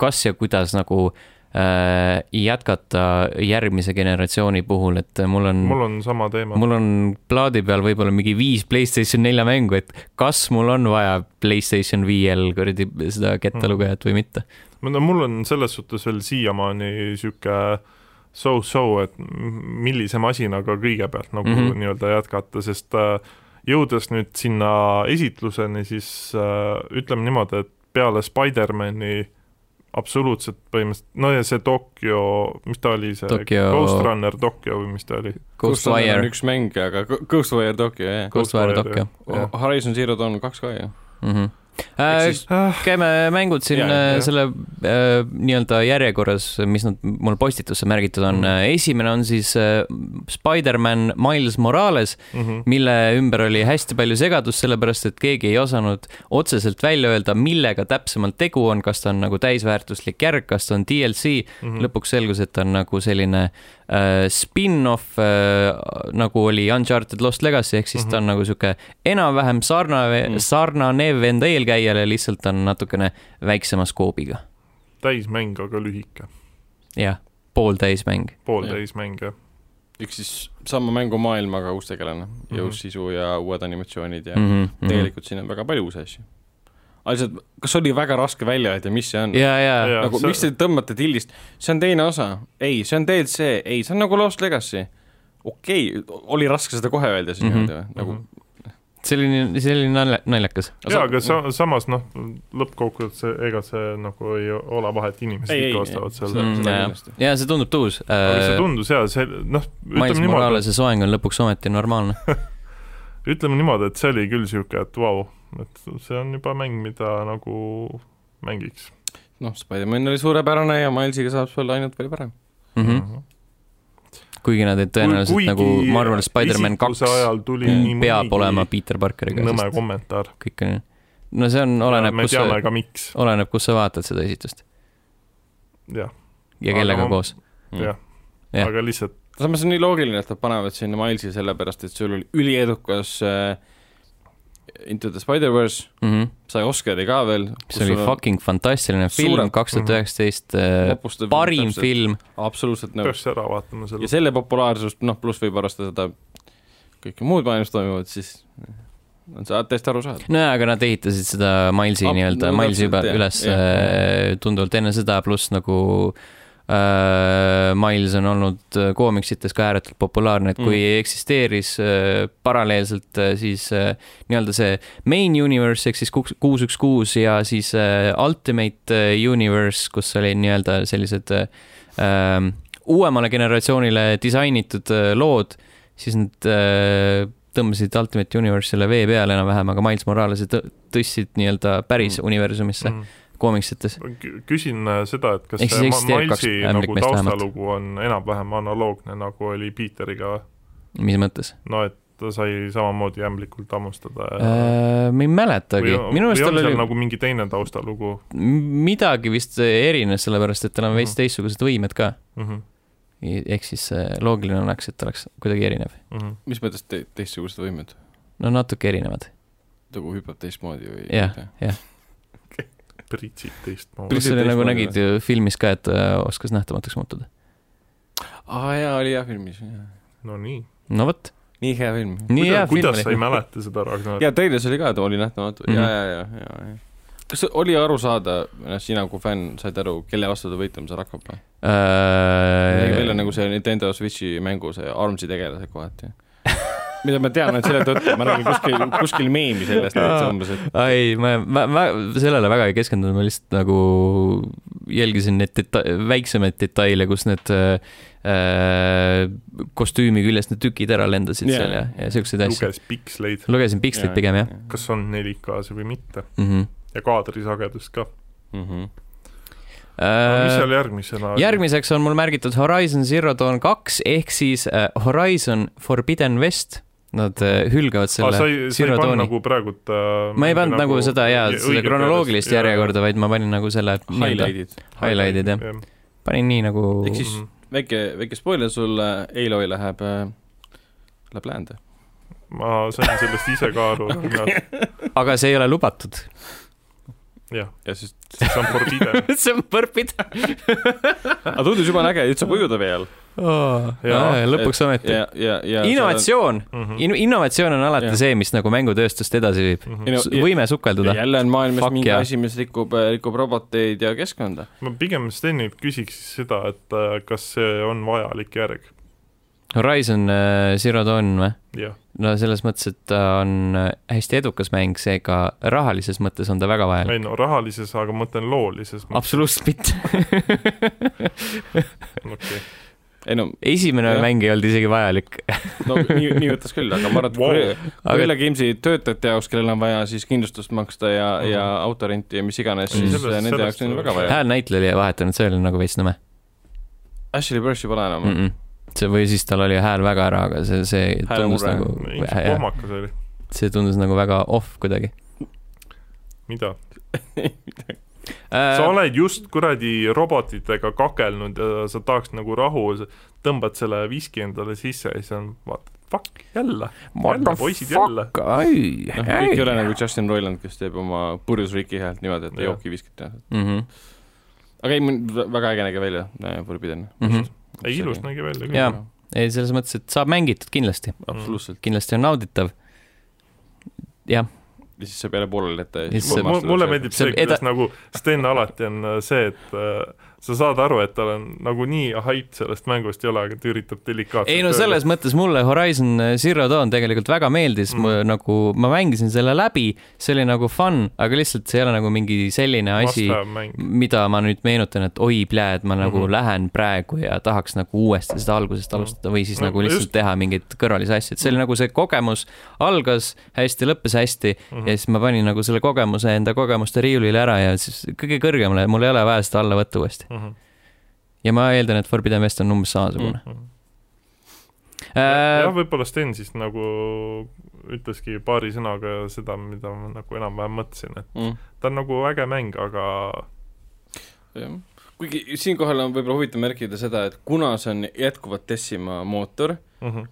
kas ja kuidas nagu äh, jätkata järgmise generatsiooni puhul , et mul on ,
mul on sama teema .
mul on plaadi peal võib-olla mingi viis Playstation nelja mängu , et kas mul on vaja Playstation viiel kuradi seda
Mhm.
kettalugejat või mitte .
no mul on selles suhtes veel siiamaani niisugune so-so , et m- millise masinaga kõigepealt nagu mm
Mhm.
-hmm. nii-öelda jätkata , sest äh, jõudes nüüd sinna esitluseni , siis äh, ütleme niimoodi , et peale Spider-mani absoluutselt põhimõtteliselt , no ja see Tokyo , mis ta oli , see
Tokyo-
Ghost Runner Tokyo või mis ta oli ?
on
Ghostwire ,
üks mäng , aga Gh- Ghostwire Tokyo , jah .
Ghostwire
Ghostwire,
Tokyo .
jah.
Horizon Zero Dawn kaks ka ju .
Äh, käime mängud siin
Jaa,
äh,
jah.
selle äh, nii-öelda järjekorras , mis nad mul postitusse märgitud on . esimene on siis äh, Spider-man Miles Morales ,
Mhm,
mille ümber oli hästi palju segadust , sellepärast et keegi ei osanud otseselt välja öelda , millega täpsemalt tegu on , kas ta on nagu täisväärtuslik järg , kas ta on DLC .
mhm. Hmm.
lõpuks selgus , et ta on nagu selline äh, spin-off äh, , nagu oli Uncharted Lost Legacy , ehk siis mm -hmm. ta
Mhm.
on nagu sihuke enam-vähem sarnane
Mm.
Hmm.
mm. , sarnanev enda eelkäijale , lihtsalt on natukene väiksema skoobiga .
täismäng , aga lühike ,
jah , pooltäismäng .
pooltäis mäng , jah .
ehk siis sama mängumaailm , aga uus tegelane mm , -hmm.
Mhm.
uus sisu ja uued animatsioonid ja mm
Mm
-hmm.
-hmm.
tegelikult siin on väga palju uusi asju . aga lihtsalt , kas oli väga raske välja öelda , mis see on ?
ja , ja ,
Jaa,
nagu see...
see-
miks te tõmbate tillist , see on teine osa , ei , see on DLC , ei , see on nagu Lost Legacy . okei okay, , oli raske seda kohe öelda siis
Mhm.
niimoodi või , nagu
selline , selline nalja- naljakas .
jaa , aga sa, samas noh , lõppkokkuvõttes see- ega see nagu ei ole vahet , inimesed
Ei, ei,
ikka
ei.
ostavad selle .
Mm,
seda
jaa.
kindlasti.
ja see tundub tuus
aga see
äh, .
tundus jaa , see noh ,
Miles
ütleme niimoodi ,
Moralese soeng on lõpuks ometi normaalne .
ütleme niimoodi , et see oli küll niisugune , et vau , et see on juba mäng , mida nagu mängiks
noh , Spider-man oli suurepärane ja Milesiga saab see olla ainult veel parem .
Mhm. kuigi nad olid tõenäoliselt
Hmm. Noh, Kuigi
Kuigi nagu , ma arvan , Spider-man kaks
esitluse ajal tuli
mm,
nii
peab
mõnigi
olema Peter Parkeriga ,
nõme
sest
kommentaar .
kõik on , no see on , oleneb ,
me
kus sa
teame , ka miks ,
oleneb , kus sa vaatad seda esitust
jah ,
ja
Aga
kellega
ma-
aga... koos .
jah .
Jah.
aga lihtsalt
samas on nii loogiline , et nad panevad sinna Milesi sellepärast , et sul oli üliedukas äh, Into the Spider-verse ,
Mm -hmm.
sai Oscari ka veel .
see oli fucking fantastiline film
Mhm.
suurem- ,
kaks tuhat üheksateist , parim . film ,
absoluutselt nõus .
peaks ära vaatama
ja
selle ,
selle populaarsust , noh , pluss võib arvestada seda kõike muud maailmas toimuvat , siis äh, on see täiesti arusaadav .
nojah , aga nad ehitasid seda Milesi
Ah,
nii-öelda
no ,
Milesi
täpselt,
juba
jah,
üles
jah.
äh, tunduvalt enne seda , pluss nagu äh, Miles on olnud äh, koomiksites ka ääretult populaarne , et kui
Mm.
mm. eksisteeris äh, paralleelselt äh, siis äh, nii-öelda see main universe ehk siis kuus , üks , kuus ja siis äh, ultimate äh, universe , kus oli nii-öelda sellised äh, ähm, uuemale generatsioonile disainitud äh, lood , siis nad äh, tõmbasid Ultimate Universe'ile vee peale enam-vähem , aga Miles Morales'i tõ- tõstsid nii-öelda päris
Mm.
mm. universumisse mm. koomiksites .
küsin äh, seda , et kas
Ehk siis
see Ma-
eksisteerib kaks
Milesi nagu
ämblikmeest vähemalt.
taustalugu on enam-vähem analoogne , nagu oli Peteriga ,
mis mõttes
no et ta sai samamoodi ämblikult hammustada ja
äh, ? ma ei mäletagi , minu meelest tal oli nagu...
nagu mingi teine taustalugu
midagi vist erines , sellepärast et tal on veits
Mhm.
teistsugused võimed ka .
mm . -hmm.
ehk siis äh, loogiline oleks , et ta oleks kuidagi erinev .
Mm -hmm.
mis mõttes te teistsugused võimed ,
no natuke erinevad .
nagu hüppab teistmoodi või ?
Jah.
pritsid teistmoodi .
Pritsid-
pluss oli nagu
teistmoodi
nägid ju filmis ka , et ta oskas nähtamatuks muutuda .
aa jaa , oli hea filmis .
no nii .
no vot ,
nii hea film .
nii hea film
kuidas sa ei
oli .
mäleta seda Ragnarit ?
ja treilis oli ka , ta oli nähtamatu mm ,
Mhm.
-hmm. ja , ja , ja , ja , ja . kas see oli aru saada , noh , sina kui fänn said aru , kelle vastu ta võitlema seal hakkab või ?
Äh,
meil on nagu see Nintendo Switchi mängu see ARMS-i tegelased kohati . mida ma tean ainult selle tõttu , ma nägin kuskil , kuskil meemi sellest , et see umbes , et
ei , ma, ma , ma sellele väga ei keskendunud , ma lihtsalt nagu jälgisin neid deta- , väiksemaid detaile , kus need äh, kostüümi küljest need tükid ära lendasid
Jaa.
yeah. seal ja , ja siukseid asju .
luges piksleid ,
lugesin pikslit pigem jah
kas on 4K-s või mitte
mm . -hmm.
ja kaadrisagedust ka .
mm . -hmm.
mis
Äh,
seal järgmisena oli ?
järgmiseks on mul märgitud Horizon Zero Dawn kaks ehk siis äh, Horizon Forbidden West . Nad äh, hülgavad
selle
selle
sa ei , sa ei
Zero
pannud
Dawni .
nagu praegult äh,
ma ei pannud nagu seda jaa ,
õiget
seda kronoloogilist
järjest- jaa.
järjekorda , vaid ma panin nagu selle .
highlight'id .
highlight'id jah , panin nii nagu .
Mhm.
ehk siis väike , väike spoiler sulle , Aloy läheb , läheb läände .
ma sain sellest ise ka aru , et nad ,
aga see ei ole lubatud .
jah ,
ja siis ,
see on forbidden .
see on põrpida
aga tundus jumala äge , üldse ujuda veel .
oh, .
Jaa,
lõpuks ometi .
Noh, ja , ja , ja .
innovatsioon ,
Mhm.
innovatsioon on alati
Jah.
see , mis nagu mängutööstust edasi viib .
Mhm.
võime sukelduda .
jälle on maailmas
Fuck
Fuck mingi
yeah.
yeah. asi , mis rikub , rikub roboteid ja keskkonda .
ma pigem Stenilt küsiks siis seda , et äh, kas see on vajalik järg ,
Horizon äh, Zero Dawn või ?
jah .
no selles mõttes , et ta on äh, hästi edukas mäng , seega rahalises mõttes on ta väga vajalik .
ei no rahalises , aga ma mõtlen loolises mõttes ,
absoluutselt mitte .
okei .
ei no ,
esimene
Jah.
mäng ei olnud isegi vajalik .
no nii , nii võttes küll , aga ma arvan , et
Wow.
wow. kui
aga
Ülle Kimsi töötajate jaoks , kellel on vaja siis kindlustust maksta
Mhm.
ja mm , -hmm. ja autorenti ja mis iganes ,
Mm.
siis
Sellest-
sellest, nende
sellest
jaoks on
tuleb-
väga vaja .
häälnäitleja oli vahetanud , see oli nagu veits nõme
Ashley Bursi pole enam
mm .
mm .
-mm. see või siis tal oli hääl väga ära , aga see , see
Hääl
tundus
mure.
nagu ,
ilmselt pohmakas oli ,
see tundus nagu väga off kuidagi .
mida ?
Äh,
Äh,
sa oled just kuradi robotitega kakelnud ja sa tahaks nagu rahu , tõmbad selle viski endale sisse ja siis on vaata , fuck jälle , jälle poisid jälle .
ai ,
noh , kõik ei ole nagu Justin Roiland , kes teeb oma purjus Ricky häält niimoodi , et
Jah.
jooki viskab .
mm .
aga ei , väga äge nägi välja , Forbidden .
-hmm.
ei , ilus nägi välja küll .
Jaa. ei , selles mõttes , et saab mängitud kindlasti ,
absoluutselt ,
kindlasti on nauditav . jah ,
ja siis see peale pooleli jätta .
Siis see-
mulle meeldib
see-
see , kuidas
eda-
nagu Sten alati on äh, see , et äh, sa saad aru , et tal on nagunii haip sellest mängust ei ole , aga ta üritab delikaatselt
ei no selles mõttes mulle Horizon äh, Zero Dawn tegelikult väga meeldis mm. , nagu ma mängisin selle läbi , see oli nagu fun , aga lihtsalt see ei ole nagu mingi selline asi ,
asi
mida ma nüüd meenutan , et oi pljääd , ma nagu mm
Mhm.
-hmm. lähen praegu ja tahaks nagu uuesti seda algusest alustada või siis
No
no, nagu lihtsalt
just. Mm.
just... teha mingeid kõrvalisi asju , et see oli nagu see kogemus algas hästi , lõppes hästi mm
Mhm.
-hmm. ja siis ma panin nagu selle kogemuse enda kogemuste riiulile ära ja siis kõige kõrgemale , mul ei ole vaja seda alla võtta uuesti .
Mhm.
ja ma eeldan , et Forbidden West on umbes samasugune mm . -hmm.
jah , Mhm. võib-olla Sten siis nagu ütleski paari sõnaga seda , mida ma nagu enam-vähem mõtlesin , et
Mhm.
ta on nagu äge mäng , aga
jah , kuigi siinkohal on võib-olla huvitav märkida seda , et kuna see on jätkuvalt Decima mootor
mm -hmm.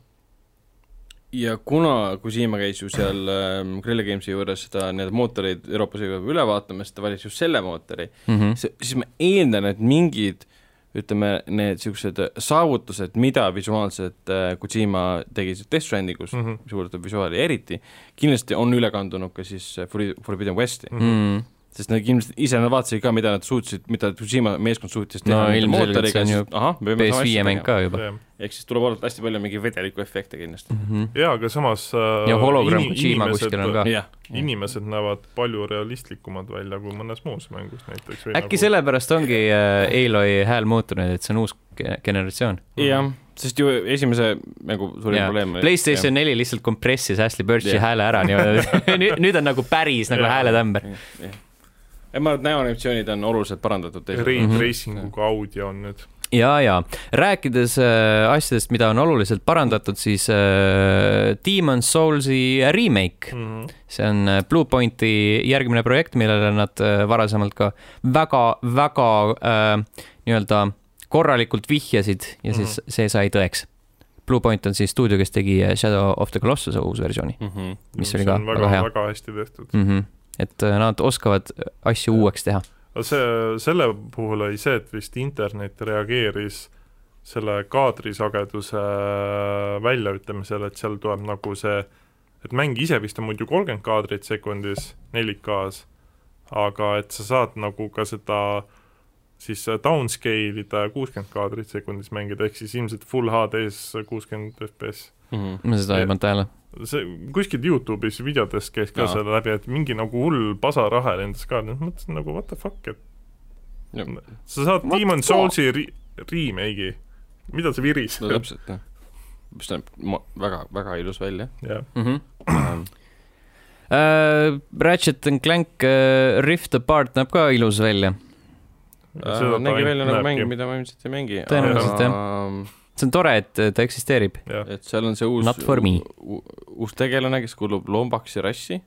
ja kuna Kusima käis ju seal ähm, Grille Gamesi juures seda , need mootoreid Euroopas juba üle vaatamas , ta valis just selle mootori ,
Mm -hmm.
siis ma eeldan , et mingid ütleme , need niisugused saavutused , mida visuaalselt äh, Kojima tegi siis Death Strandingus mm ,
Mhm.
-hmm. mis puudutab visuaali eriti , kindlasti on üle kandunud ka siis äh, Forbi- Forbidden Westi .
Mhm.
Mm -hmm.
sest nad kindlasti ise nad vaatasid ka , mida nad suutsid , mida Kojima meeskond suutis teha
No
nende
ilmselgelt
mootoriga,
see on
siis-
ju
ahah, me peame sama asja
PS5 mäng
tegema.
ka juba
jah.
ehk siis tuleb olnud hästi palju mingeid vedeliku efekte kindlasti .
mm . -hmm.
jaa , aga samas äh,
ja hologramm
ini-
Kojima
inimesed-
kuskil on ka .
jah ,
inimesed näevad palju realistlikumad välja kui mõnes muus mängus näiteks . nagu-
äkki sellepärast ongi äh, Aloy hääl muutunud , et see on uus ge- generatsioon .
jah , sest ju esimese mängu suurim
Jaa.
probleem
Playstation neli lihtsalt kompressis Ashley Birchi
Jah.
yeah. hääle ära niimoodi , nüüd , nüüd on nagu päris nagu
Jah.
hääletämber .
ei ma arvan , et näoanimatsioonid on oluliselt parandatud teisel
Mhm.
Re-tracinguga audio on nüüd
ja , ja rääkides äh, asjadest , mida on oluliselt parandatud , siis äh, Demon's Soulsi remake ,
mm . -hmm.
see on äh, Bluepointi järgmine projekt , millele nad äh, varasemalt ka väga-väga äh, nii-öelda korralikult vihjasid ja siis see sai tõeks . Bluepoint on siis stuudio , kes tegi äh, Shadow of the Colossuse uus versiooni
mm . -hmm.
Mis oli ka väga
väga
hea.
väga hästi tehtud .
mm . -hmm. et äh, nad oskavad asju uueks teha .
aga see , selle puhul oli see , et vist internet reageeris selle kaadrisageduse äh, väljaütlemisele , et seal tuleb nagu see , et mäng ise vist on muidu kolmkümmend kaadrit sekundis 4K-s , aga et sa saad nagu ka seda siis äh, downscale ida kuuskümmend kaadrit sekundis mängida , ehk siis ilmselt full HD-s kuuskümmend FPS .
Mm -hmm.
ma seda
Ja-
ei pannud tähele .
see kuskil Youtube'is videotes käis ka
Jaa.
selle läbi , et mingi nagu hull pasarahe lendas ka , mõtlesin nagu what the fuck , et
no
sa saad
What
What Demon
the-
Soulsi ri- , remake'i , mida sa virised no, ?
täpselt jah , mis näeb ma- väga , väga ilus välja . Äh,
jah ,
Mhm. Äh, Ratchet and Clank äh, Rift Apart näeb ka ilus välja .
Äh, nägi välja nagu mäng , mida ma ilmselt ei mängi .
Tõenäoliselt, jah. see on tore , et äh, ta eksisteerib .
jah ,
et seal on see uus
Not for me. ,
uus tegelane , kes kuulub lombaks ja rassi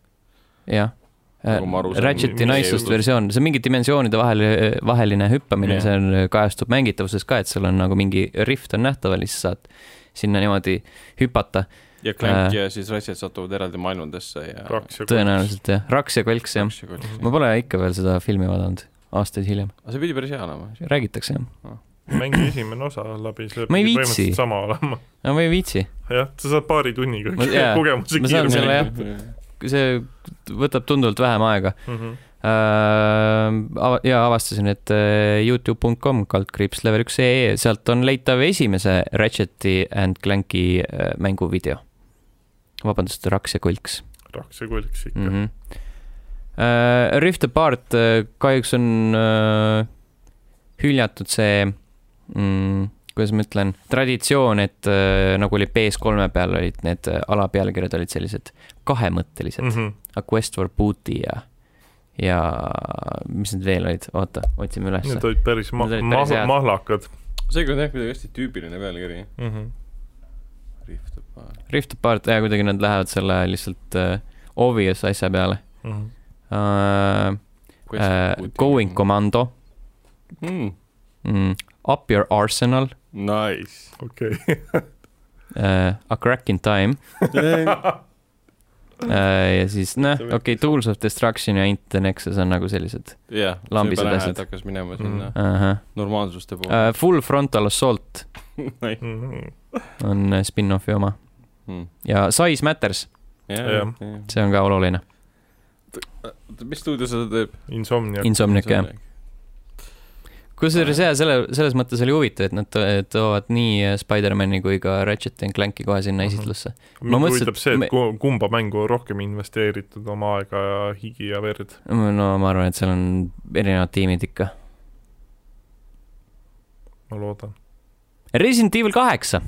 jah ,
Nagu ma aru saan,
Ratcheti
mi- mi-
nicest
mi-
versioon , see on mingi dimensioonide vahel , vaheline hüppamine yeah. ,
Jah.
see on , kajastub mängindavuses ka , et sul on nagu mingi rift on nähtaval ja siis saad sinna niimoodi hüpata .
ja
Äh.
Clank ja siis Ratchet satuvad eraldi maailmadesse ja .
kaks ja kolm .
tõenäoliselt jah , Raks ja Kõlks jah . ma
aga
pole ikka veel seda filmi vaadanud , aastaid hiljem ,
see pidi päris hea olema .
räägitakse jah .
mängi esimene osa läbi , see
Ma ei viitsi.
põhimõtteliselt sama olema .
no ma ei viitsi ,
jah , sa saad paari tunniga
Ma- jaa.
kogemuse
Ma saan
kiiremini
selle, jah. see võtab tunduvalt vähem aega .
Mhm.
Äh, ja avastasin , et äh, Youtube.com kaldkriips level üks ee , sealt on leitav esimese Ratcheti and Clanki äh, mänguvideo . vabandust , Raks ja Kulks
raks ja kulks ikka
mm .
mm .
-hmm. Äh, Rift Apart äh, kahjuks on äh, hüljatud see mm, , kuidas ma ütlen , traditsioon , et äh, nagu oli PS3-e peal olid need äh, alapealkirjad olid sellised kahemõttelised .
-hmm.
A Quest for Booty ja , ja mis need veel olid , oota , otsime ülesse
Need . olid päris ma- ,
Need olid päris
ma-
head. ,
mahlakad
seekord on jah kuidagi hästi tüüpiline pealkiri .
mm . -hmm.
Rift Apart .
Rift Apart , jaa , kuidagi nad lähevad selle lihtsalt uh, obvious asja peale
Mm -hmm.
uh, . Uh, going . Commando
Hmm,
mm, , Up Your Arsenal
Nice .
okei okay. ,
uh, , A Crack in Time uh, ja siis noh , okei okay, , Tools of Destruction ja Into the Nexus on nagu sellised
jah ,
Lambised
see
asjad.
pääle hakkas minema sinna
uh . -huh.
normaalsuste poole .
Uh, Full Frontal Assault
mm -hmm.
on äh, spin-offi oma ja Size Matters ,
Hmm. jah
Jah. ,
see on ka oluline .
mis stuudio seda teeb ?
Insomniac In... ,
Insomniac jah . kusjuures jaa , selle , selles mõttes oli huvitav , et nad to- toovad nii äh, Spider-man'i kui ka Ratchet and Clank'i kohe sinna
Mhm.
esitlusse .
mind
mõtlesin,
huvitab see , et
me-
me... kumba mängu on rohkem investeeritud oma aega ja higi ja verd .
no ma arvan , et seal on erinevad tiimid ikka .
ma loodan .
Resident Evil kaheksa ,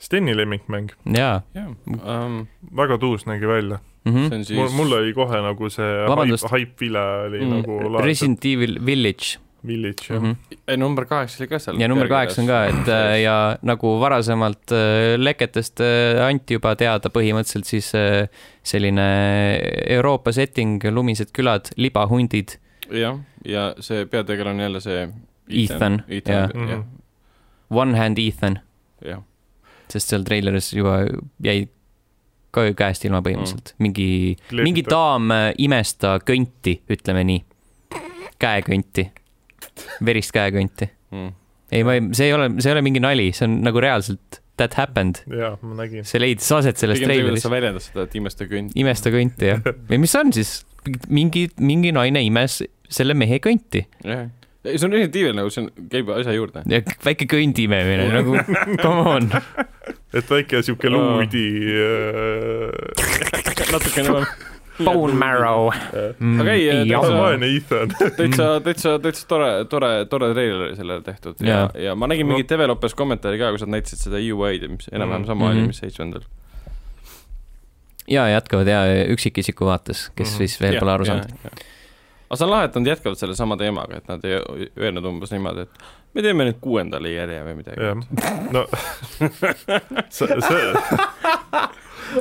Steni lemmikmäng ,
jaa
jah um, ,
väga tuus nägi välja
mm .
see
-hmm.
on
siis... . mul ,
siis .
mul oli kohe nagu see
Vabandust.
hype , hype vile oli
Mm,
mm. nagu laetud
Resident Evil Village
Village jah
mm
mm .
-hmm.
ei , number kaheksa oli ka seal .
ja number kaheksa on ka , et äh, ja nagu varasemalt äh, leketest äh, anti juba teada põhimõtteliselt siis äh, selline Euroopa setting , lumised külad , libahundid ,
jah , ja see peategelane on jälle see .
Ethan, jah.
Ethan , jah ,
One Hand Ethan
jah .
sest seal treileris juba jäi ka ju käest ilma põhimõtteliselt mm. . mingi , mingi . daam äh, imesta kõnti , ütleme nii . käekõnti , verist käekõnti .
Hmm.
ei , ma ei , see ei ole , see ei ole mingi nali , see on nagu reaalselt that happened .
jaa , ma nägin .
see leidis aset selles
pigem see ,
treileris
kuidas sa . väljendad seda , et imesta kõnd .
imesta kõnti jah . või mis see on siis ? mingi , mingi naine imes selle mehe kõnti
jah , ei see on Resident Evil nagu , see on , käib asja juurde .
ja k- väike kõndi imemine nagu come on .
et väike siuke
Aa.
luudi äh,
natukene on .
Bone marrow .
Aga ei,
Mm,
äh, ,
Jaa.
vaene Ethan .
täitsa , täitsa , täitsa tore , tore , tore treiler oli sellele tehtud ja,
Jaa.
ja , ja ma nägin mingit developers kommentaari ka , kus nad näitasid seda UI-d , mis enam-vähem sama
Mhm.
oli , mis seitsmendal .
ja jätkavad ja üksikisiku vaates , kes
Mhm.
siis veel pole aru saanud .
saanud . aga see on lahe , et nad jätkavad selle sama teemaga , et nad ei öelnud umbes niimoodi , et me teeme nüüd kuuendale järje või midagi .
jah , no see , see ,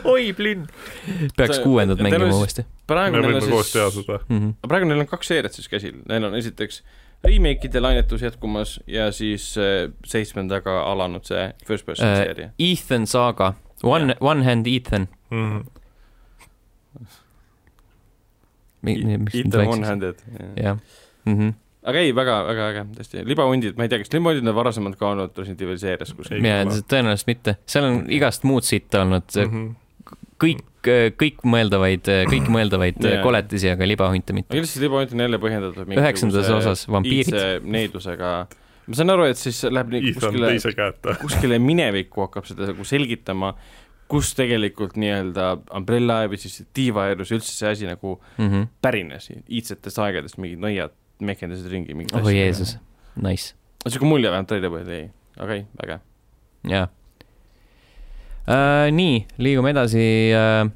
oi , plinn . peaks
See-
kuuendat
ja
mängima
tervis-
uuesti
praegu
me
neil
võime
on
koos teha
siis ,
seda .
mm . -hmm.
praegu neil on kaks seeriat siis käsil , neil on esiteks remake'ide lainetus jätkumas ja siis äh, seitsmendaga alanud see first person
Äh,
äh, seeria .
Ethan Saga , One , One Hand Ethan .
Mhm.
Ethan One-Handed .
jah , Mhm. mhmh ,
aga ei , väga , väga äge , tõesti , libahundid , ma ei tea , kas libahundid on varasemalt ka olnud Resident Evil seerias kuskil ?
ja
kõla.
tõenäoliselt mitte , seal on igast muud sitta olnud ,
Mhm.
Mhm.
kõik , kõik mõeldavaid , kõik mõeldavaid äh,
Jaa.
koletisi , aga libahunte mitte .
aga lihtsalt libahund on jälle põhjendatud
üheksandas osas vampiirid ,
iidse needusega , ma saan aru , et siis läheb nii
Ethan
kuskile ,
teise käeta .
kuskile minevikku hakkab seda nagu selgitama , kus tegelikult nii-öelda Umbrella või siis tiivaelus üldse see asi nagu
Mhm.
pärines , iidsetest aegadest mingid nõiad mekendasid ringi mingit
oh Jeesus , nice ,
niisugune mulje vähemalt oli lõbus , ei , aga ei , väga hea .
jaa . nii , liigume edasi äh, ,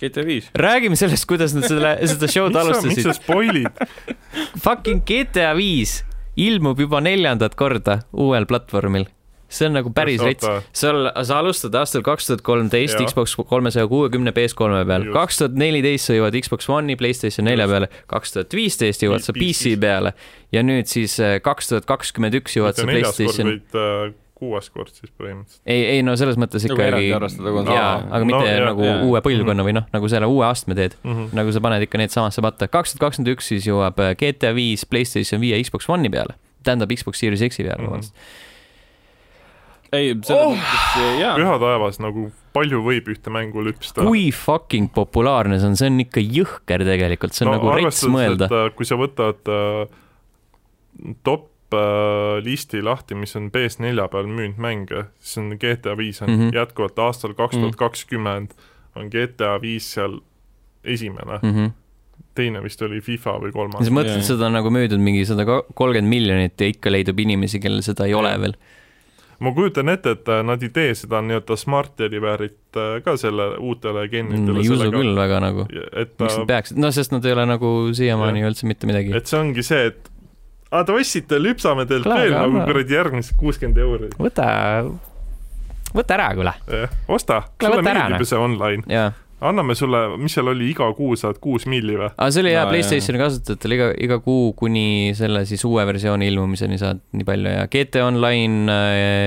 GTA viis ,
räägime sellest , kuidas nad selle , seda show'd
miks
alustasid
sa . spoilid ?
fucking GTA viis ilmub juba neljandat korda uuel platvormil see on nagu päris rits . seal , sa alustad aastal kaks tuhat kolmteist
Jaa.
Xbox kolmesaja kuuekümne PS3 peal
Just. ,
kaks tuhat neliteist sa jõuad Xbox One'i , Playstation nelja
Just.
peale , kaks tuhat viisteist jõuad sa PC
PC-s.
peale ja nüüd siis äh, kaks tuhat kakskümmend üks jõuad sa Playstation ,
vaid äh, kuues kord siis põhimõtteliselt .
ei , ei no selles mõttes
Nagu eraldi
ikkagi
arvestada konsooli.
jaa , aga mitte
No, jaa,
nagu
jaa.
uue põlvkonna või noh , nagu selle uue astme teed . nagu sa paned ikka need samasse patta , kaks tuhat kakskümmend üks siis jõuab äh, GTA viis Playstation viie Xbox One'i peale , tähendab Xbox Series X-i peale
Mhm.
vabandust .
ei , selles oh. mõttes jaa ,
püha taevas nagu palju võib ühte mängu lüpsta .
kui fucking populaarne see on , see on ikka jõhker tegelikult , see on no, nagu rets mõelda .
et äh, kui sa võtad äh, top äh, listi lahti , mis on PS4 peal müünud mänge , siis on GTA viis on mm
Mhm.
-hmm. jätkuvalt aastal kaks tuhat kakskümmend on GTA viis seal esimene ,
Mm -hmm.
teine vist oli FIFA või
ja
kolmas
sa . mõtled
Jaa, , jaa.
seda on nagu müüdud mingi sada kolmkümmend miljonit ja ikka leidub inimesi , kellel seda ei ole veel .
ma kujutan ette , et äh, nad ei tee seda nii-öelda smart delivery't äh, ka selle uutele geenidele
Mm, ei usu küll väga nagu ,
et
miks
äh,
nad peaksid , no sest nad ei ole nagu siiamaani üldse mitte midagi .
et see ongi see , et Ah, aga tossite , lüpsame teilt
Klaar,
veel nagu
klaar.
kuradi järgmised kuuskümmend euri ,
võta , võta ära kuule .
osta ,
Klaar,
sulle
võta ära, noh.
meeldib ju see online ,
jaa ,
anname sulle , mis seal oli , iga kuu saad kuus milli või ?
aga see oli hea
Jaa,
Playstationi kasutajatel iga , iga kuu kuni selle siis uue versiooni ilmumiseni saad nii palju ja GT Online äh,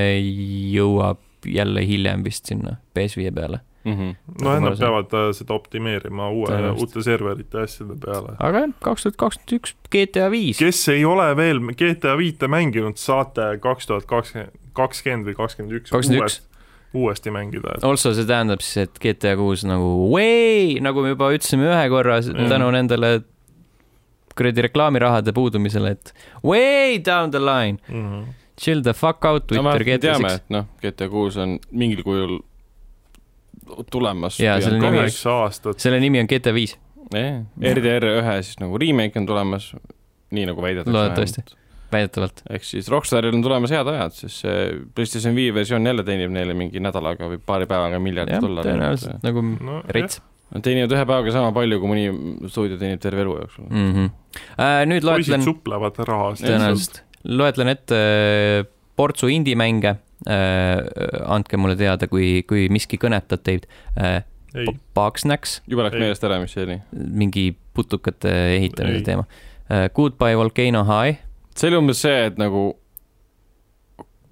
jõuab jälle hiljem vist sinna PS5 peale .
jaa .
no
Nagu ma aru
nad
saan.
peavad äh, seda optimeerima uue ,
Tõenäoliselt.
uute serverite ja asjade peale .
aga jah , kaks tuhat kakskümmend üks GTA viis .
kes ei ole veel GTA viite mänginud , saate kaks tuhat kakskümmend , kakskümmend või kakskümmend üks
21.
uuesti , uuesti mängida .
Also see tähendab siis , et GTA kuus nagu way , nagu me juba ütlesime ühe korra s-
Jah.
tänu nendele kuradi reklaamirahade puudumisele , et way down the line ,
Mm -hmm.
chill the fuck out
no
Twitter
vähemalt me
GTA
teame
six ,.
et noh , GTA kuus on mingil kujul tulemas .
Jaa, selle nimi
nimi .
kaheksa aastat ,
selle nimi on GTA viis ,
RDR ühe siis nagu remake on tulemas , nii nagu väidetakse .
Loodetavasti. . väidetavalt .
ehk siis Rockstaril on tulemas head ajad , siis see PlayStation viie versioon jälle teenib neile mingi nädalaga või paari päevaga miljard
jah ,
dollarit .
tõenäoliselt nagu
no jah ,
rets .
Nad teenivad ühe päevaga sama palju , kui mõni stuudio teenib terve elu jooksul .
mm . -hmm. Äh, nüüd
poisid
loetlen ,
suplevad raha eest .
tõenäoliselt , loetlen ette äh, portsu indie-mänge äh, . andke mulle teada , kui , kui miski kõnetab teid äh, .
ei ,
Bugsnax ,
juba läks
Ei.
meelest ära , mis see oli .
mingi putukate ehitamise
Ei.
ei. teema äh, . Goodbye Volcano High ,
see oli umbes see , et nagu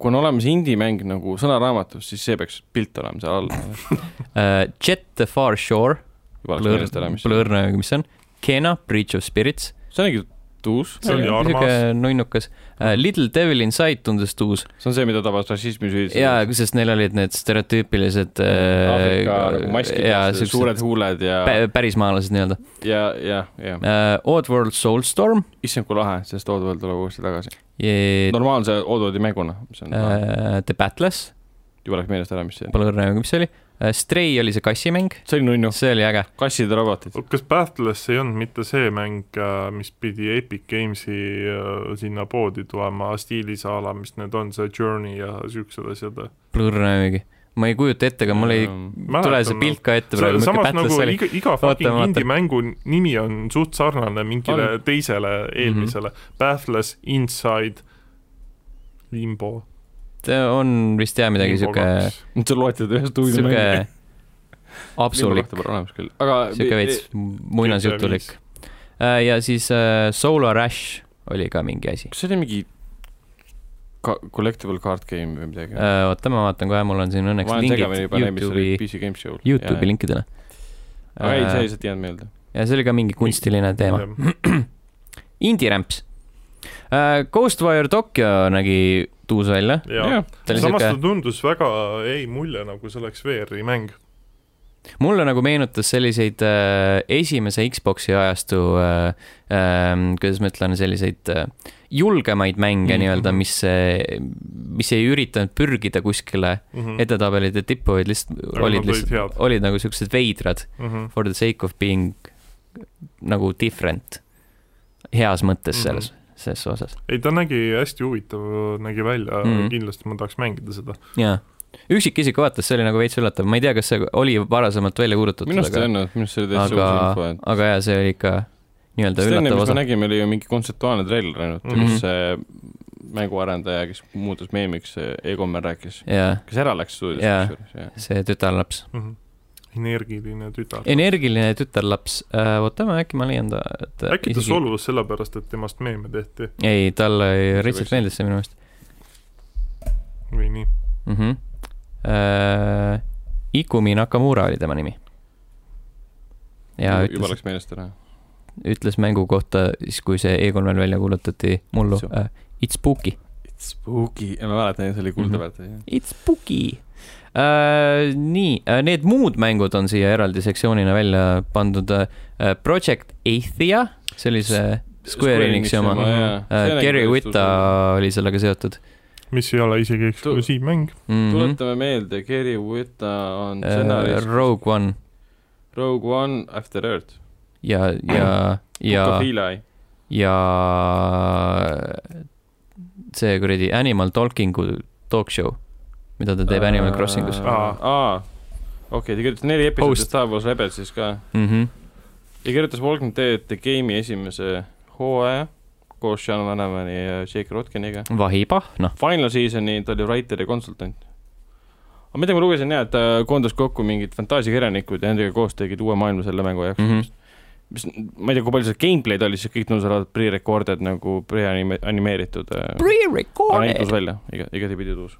kui on olemas indie-mäng nagu sõnaraamatus , siis see peaks pilt olema seal all .
äh, Jet the Far Shore ,
juba läks
blur
meelest ära , mis see oli .
blur , mis see on , Kena , Breach of Spirits ,
see ongi tuus ,
See oli armas.
niisugune nunnukas äh, , Little Devil Inside tundus tuus
see on see , mida tabas rassismi süüdi .
ja sest neil olid need stereotüüpilised äh,
Aafrika nagu maskid ja
jaa,
see-
siuksed
suured huuled ja ,
pä- pärismaalased nii-öelda .
ja , ja , ja
uh, Oddworld Soulstorm
issand , kui lahe , sest Oddworld tuleb uuesti tagasi .
ja no,
normaalse Oddworldi mänguna , mis on lahe.
uh, The Battles ,
juba läks meelest ära , mis see oli .
pole õrna , mis see oli uh, . Stray oli see kassimäng ,
see oli
Noh.
nunnu ,
see oli äge .
kassid ja robotid .
kas Battles ei olnud mitte see mäng , mis pidi Epic Games'i äh, sinna poodi tulema stiilis a la , mis need on , see Journey ja siuksed asjad ?
pole õrna müügi , ma ei kujuta ette , aga mul ei
Äh,
tule see pilt ka ette praegu , milline
samas
Battles
nagu
see oli .
iga , iga
Vaata,
fucking
vaata.
indie-mängu nimi on suht sarnane mingile on. teisele
Mhm.
eelmisele mm . -hmm. Battles , Inside , Limbo .
Äh, on vist jah midagi siuke ,
nüüd sa loetled ühe stuudio
siuke
mängu .
apsulik ,
pole olemas küll , aga .
siuke
Äh,
veits muinasjutulik . ja siis uh, Solar Ash oli ka mingi asi .
kas see oli mingi ka- collectible card game või midagi ?
Äh, oota , ma vaatan kohe , mul on siin õnneks lingid Youtube'i ,
PC Game Show .
Youtube'i . Äh, linkidele .
aga ei , see lihtsalt ei jäänud meelde .
ja see oli ka mingi kunstiline teema . Indie-rämps . Äh, Ghostwire Tokyo nägi tuus välja .
jaa ,
ta oli
samas
siuke
ta , tundus väga , jäi mulje , nagu see oleks VR-i mäng .
mulle nagu meenutas selliseid äh, esimese Xbox'i ajastu äh, , äh, kuidas ma ütlen , selliseid äh, julgemaid mänge
Mhm.
mm. nii-öelda , mis , mis ei üritanud pürgida kuskile
Mhm.
edetabelite tippu , vaid lihtsalt
Mm. Aga nad
olid
olid
lihtsalt
head. ,
olid nagu siuksed veidrad
et
for the sake of being nagu different . heas mõttes
Mhm.
selles mm , -hmm. selles osas .
ei , ta nägi hästi huvitav , nägi välja mm ,
Mhm.
-hmm. kindlasti ma tahaks mängida seda .
jaa , üksikisik vaatas , see oli nagu veits üllatav , ma ei tea , kas see oli varasemalt välja kuulutatud ,
minu arust ei
aga ,
olnud , minu arust see oli
aga
täitsa uus info ,, et .
aga jaa , see oli ikka nii-öelda
sest enne ,
üllatav
mis me
osa .
nägime , oli ju mingi kontseptuaalne treiler ainult mm ,
Mhm.
-hmm. kus see mänguarendaja , kes muutus meemiks , Egon rääkis ,
jaa ,
kes ära läks stuudiost
Jaa.
kusjuures , jah .
see tütarlaps .
Mhm. energiline tütar .
energiline tütarlaps äh, , oota ma äkki ma leian ta , et
äkki ta . solvus sellepärast , et temast meeme tehti
ei , talle
See
lihtsalt
võiks-
meeldis see minu meelest
või nii ?
mm . -hmm. Äh, Ikumi Nakamura oli tema nimi . ja
juba
ütles ,
läks meelest ära .
ütles mängu kohta siis , kui see E3-l välja kuulutati mullu
Su-
äh, It's spooky ,
It's spooky , ma mäletan , see oli kuldaväärt mm . -hmm.
it's spooky äh, . nii äh, , need muud mängud on siia eraldi sektsioonina välja pandud äh, . Project Athia , see oli see Square Enixi oma . äh, . Gary Whitta oli sellega seotud
mis ei ole isegi eksklusiivmäng .
mm .
tuletame meelde , Gary Whitta on
-hmm.
stsenarist äh,
Rogue One
Rogue One After Earth ,
ja , ja , ja
Book , of Eli ,
ja see kuradi Animal Talking'u talk show , mida ta teeb Animal Crossingus
Aa.
aa , okei , ta kirjutas neli episoodi
Host.
Star Wars Rebelsis ka
mm . -hmm.
ja kirjutas Walking Dead The Game'i esimese hooaja koos Sean Vanemani ja Jake Rotkiniga .
vahipahna ,
Final Seasoni ta oli writer ja konsultant . aga midagi ma lugesin jah , et ta koondas kokku mingid fantaasiakirjanikud ja nendega koos tegid uue maailma selle mängu jaoks
Mhm.
mm . -hmm. mis , ma ei tea , kui palju seal gameplay'd oli , siis kõik nõusolavad pre-recorded nagu pre-animeeritud .
pre-recorded
näitus . välja , iga , igatepidi tuus .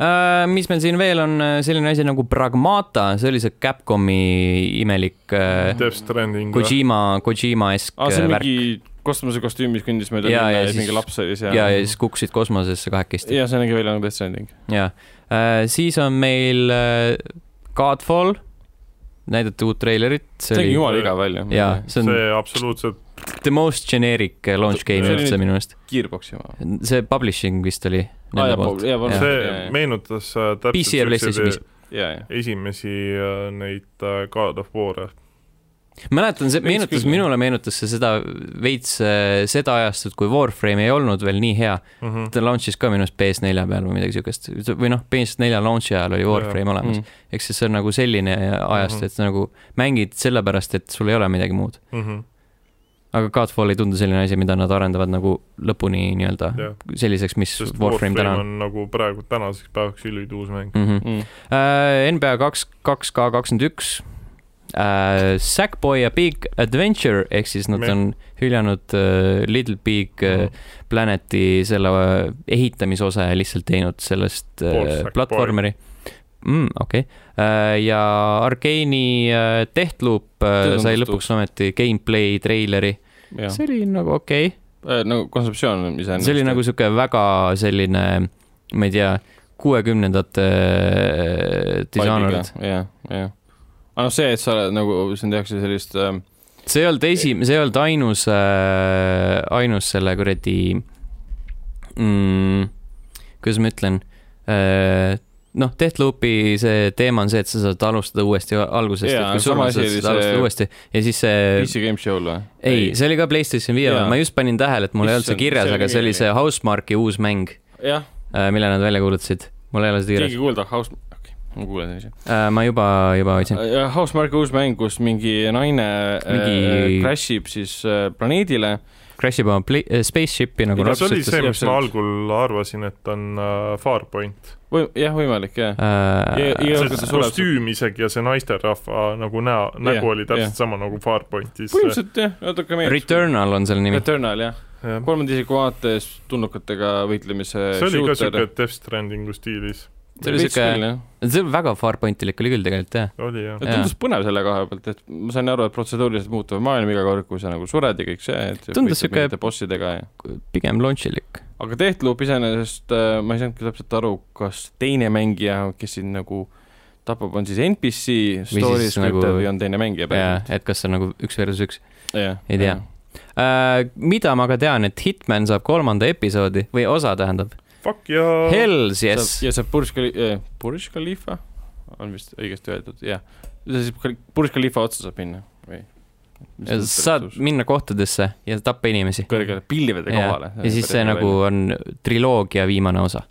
Uh, mis meil siin veel on , selline asi nagu Pragmata , see oli see Capcomi imelik uh,
Death Stranding .
Kojima , Kojima-esk
aa , Ah, see on
äh, värk
mingi kosmosekostüümis kõndis mööda
Jaa, ja
linna ja siis
siis-
mingi laps oli seal .
ja , ja siis kukkusid kosmosesse kahekesti .
ja see nägi välja nagu Death Stranding .
jaa , siis on meil äh, Godfall , näidati uut treilerit , see
see nägi
oli
jumala igav välja .
jaa , see on
see absoluutselt ,
the most generic äh, launch game
See oli
üldse
nüüd-
minu meelest .
Gearboxi oma .
see publishing vist oli
aa
nende
jaa ,
poolt .
jaa ,
Jaa.
vabandust .
see meenutas äh,
PC ja
täpselt
PlayStation
siukseid
viis .
jaa , jaa .
esimesi äh, neid äh, God of War'e .
mäletan , see
Võiks
meenutas ,
küll.
minule meenutas see seda veits äh, seda ajastut , kui Warframe ei olnud veel nii hea .
Mhm.
ta launch'is ka minu arust PS4 peal või midagi siukest või noh , PS4 launch'i ajal oli Warframe olemas .
Mm,
ehk siis see on nagu selline ajast ,
Mm. Mhm.
et sa nagu mängid sellepärast , et sul ei ole midagi muud .
Mhm.
aga Godfall ei tundu selline asi , mida nad arendavad nagu lõpuni nii-öelda
Jah.
selliseks , mis
sest
Warframe täna on .
on nagu praegu tänaseks päevaks ülituus mäng .
Mm -hmm.
mm. .
Äh, NBA kaks , kaks K kakskümmend üks . Sackboy ja Big Adventure ehk siis nad
Me- Mhm.
on hüljanud äh, Little Big äh, Planeti selle äh, ehitamise osa ja lihtsalt teinud sellest
Pool
äh,
Sackboy.
platvormeri . Mm, okei okay. , ja Arkeeni äh, Deathloop äh,
See
sai
tundus
lõpuks ometi gameplay treileri ,
jah
see oli nagu okei okay. .
äh, , nagu kontseptsioon on iseenesest .
see oli nagu sihuke väga selline , ma ei tea , kuuekümnendate äh, disainerid .
jah , jah . aga noh , see , et sa oled nagu , siin tehakse sellist äh,
see ei olnud esim- , see ei olnud ainus äh, , ainus selle kuradi mm, , kuidas ma ütlen äh, , noh , Deathloopi see teema on see , et sa saad alustada uuesti algusest
Jaa,
yeah, , et kui
sama
surnud sa
asi oli
saad alustada
see-
uuesti ja siis see
PC game show'l või ?
Äh, ei , see oli ka PlayStation viie
Jaa.
peal , ma just panin tähele , et mul ei olnud see
Issand,
kirjas ,
see oli
aga see oli
nii-
see Housemarque'i uus mäng ,
jah ,
mille nad välja kuulutasid . mul ei ole seda kirjas Äh,
keegi , ei kuulda , House , okei okay, , ma kuulen siis .
ma juba , juba hoidsin .
jah , House Mark uus mäng , kus mingi naine mingi... Äh,
Mingi-
crash ib siis äh, planeedile .
Crash ib oma play- , spaceship'i nagu
kas
Raps
see oli
ütles
see , mis ma
täpselt.
algul arvasin , et on äh, Farpoint ?
või jah , võimalik jah .
Äh,
Ja- ja-
see
aga see sureb-
kostüüm isegi ja see naisterahva nagu näo , nägu oli
jah.
täpselt sama nagu Farpointis .
põhimõtteliselt jah , natuke meeldis .
Returnal on selle nimi .
Returnal jah ,
see
kolmanda isiku vaates tulnukatega võitlemise .
oli ka siuke Death Strandingu stiilis .
see oli siuke , see on väga Farpointilik oli küll tegelikult jah .
oli jah
Ja
Jaa.
tundus põnev selle koha pealt , et ma sain aru , et protseduuriliselt muutuv maailm iga kord , kui sa nagu sured ja kõik see , et
Tundus
võitled
sihuke-
mingite bossidega ja
pigem launch'ilik .
aga Deathloop iseenesest äh, ma ei saanudki täpselt aru , kas teine mängija , kes sind nagu tapab , on siis NPC
Või
story
siis nagu-
scripted nagu... või on teine mängija
jaa , et kas see on nagu üks versus üks
yeah.
ei tea. . äh, . mida ma ka tean , et Hitman saab kolmanda episoodi või osa tähendab .
Fuck
Oh,
ja
Hells
ja
yes .
see Burj Khalifa , Burj Khalifa on vist õigesti öeldud , jah . see siis Khal- Burj Khalifa otsa saab minna või ?
saad minna kohtadesse ja tappa inimesi .
kõrgele pilvede
ja,
kohale .
ja siis see nagu on triloogia viimane osa .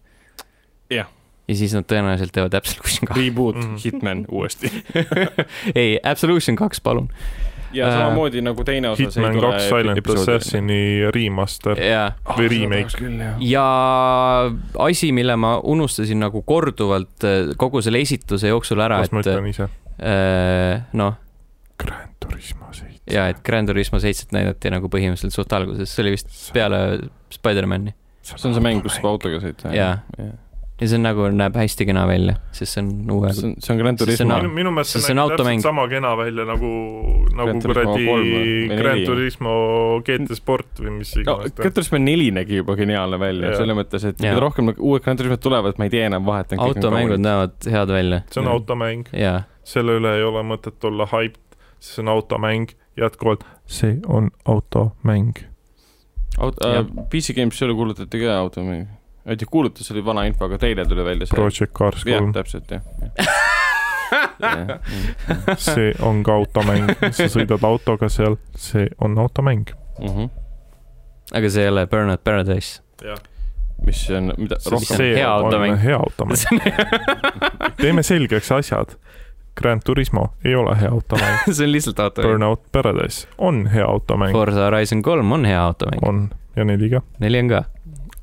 Jah.
ja siis nad tõenäoliselt teevad Absolution kaks .
Reboot
Mhm.
mm , -hmm. Hitman uuesti .
ei , Absolution kaks , palun .
ja
Äh,
samamoodi nagu teine osa .
Hitman kaks Silent Assassini remaster
jaa ,
või remake.
Ah, küll jah .
ja asi , mille ma unustasin nagu korduvalt äh, kogu selle esituse jooksul ära ,
kas ma
et
ütlen ise ?
äh, noh ,
Grand Turismo seitse .
ja et Grand Turismo seitset näidati nagu põhimõtteliselt suht alguses , see oli vist peale Spider-man'i
see on see mäng , kus saab . autoga sõita .
Jaa. ja see on nagu näeb hästi kena välja , sest see on uue
see on , see on Grand
See- see on
Turismo
minu , minu meelest
see
see
on
näeb
automäng.
täpselt sama kena välja nagu , nagu
Grand Turismo
kuradi
kolm või- või
Grand
neli.
Turismo GT Sport või mis
no
iganes ta
Grand Turismo neli nägi juba geniaalne välja
Jaa.
selles mõttes , et
Jaa.
mida rohkem nagu uued Grand Turismod tulevad , ma ei tee enam vahet . nagu
automängud . näevad head välja
see on
Jah.
automäng ,
ja
selle üle ei ole mõtet olla hyped , sest see on automäng , jätkuvalt see on automäng .
auto
Jah. ,
PC äh, Games üle kuulutati ka automäng . ei , kuulutus oli vana info , aga teile tuli välja see .
Project Cars
jah
kolm ,,
täpselt jah .
see on ka automäng , sa sõidad autoga seal , see on automäng .
Mhm.
aga see ei ole Burnout Paradise .
mis on , mida
on
rohkem .
hea automäng.
hea automäng . teeme selgeks asjad . Grand Turismo ei ole hea automäng ,
see on lihtsalt automäng .
Burnout Paradise on hea automäng ,
Forza Horizon kolm on hea automäng ,
on ja neli ka .
neli on ka .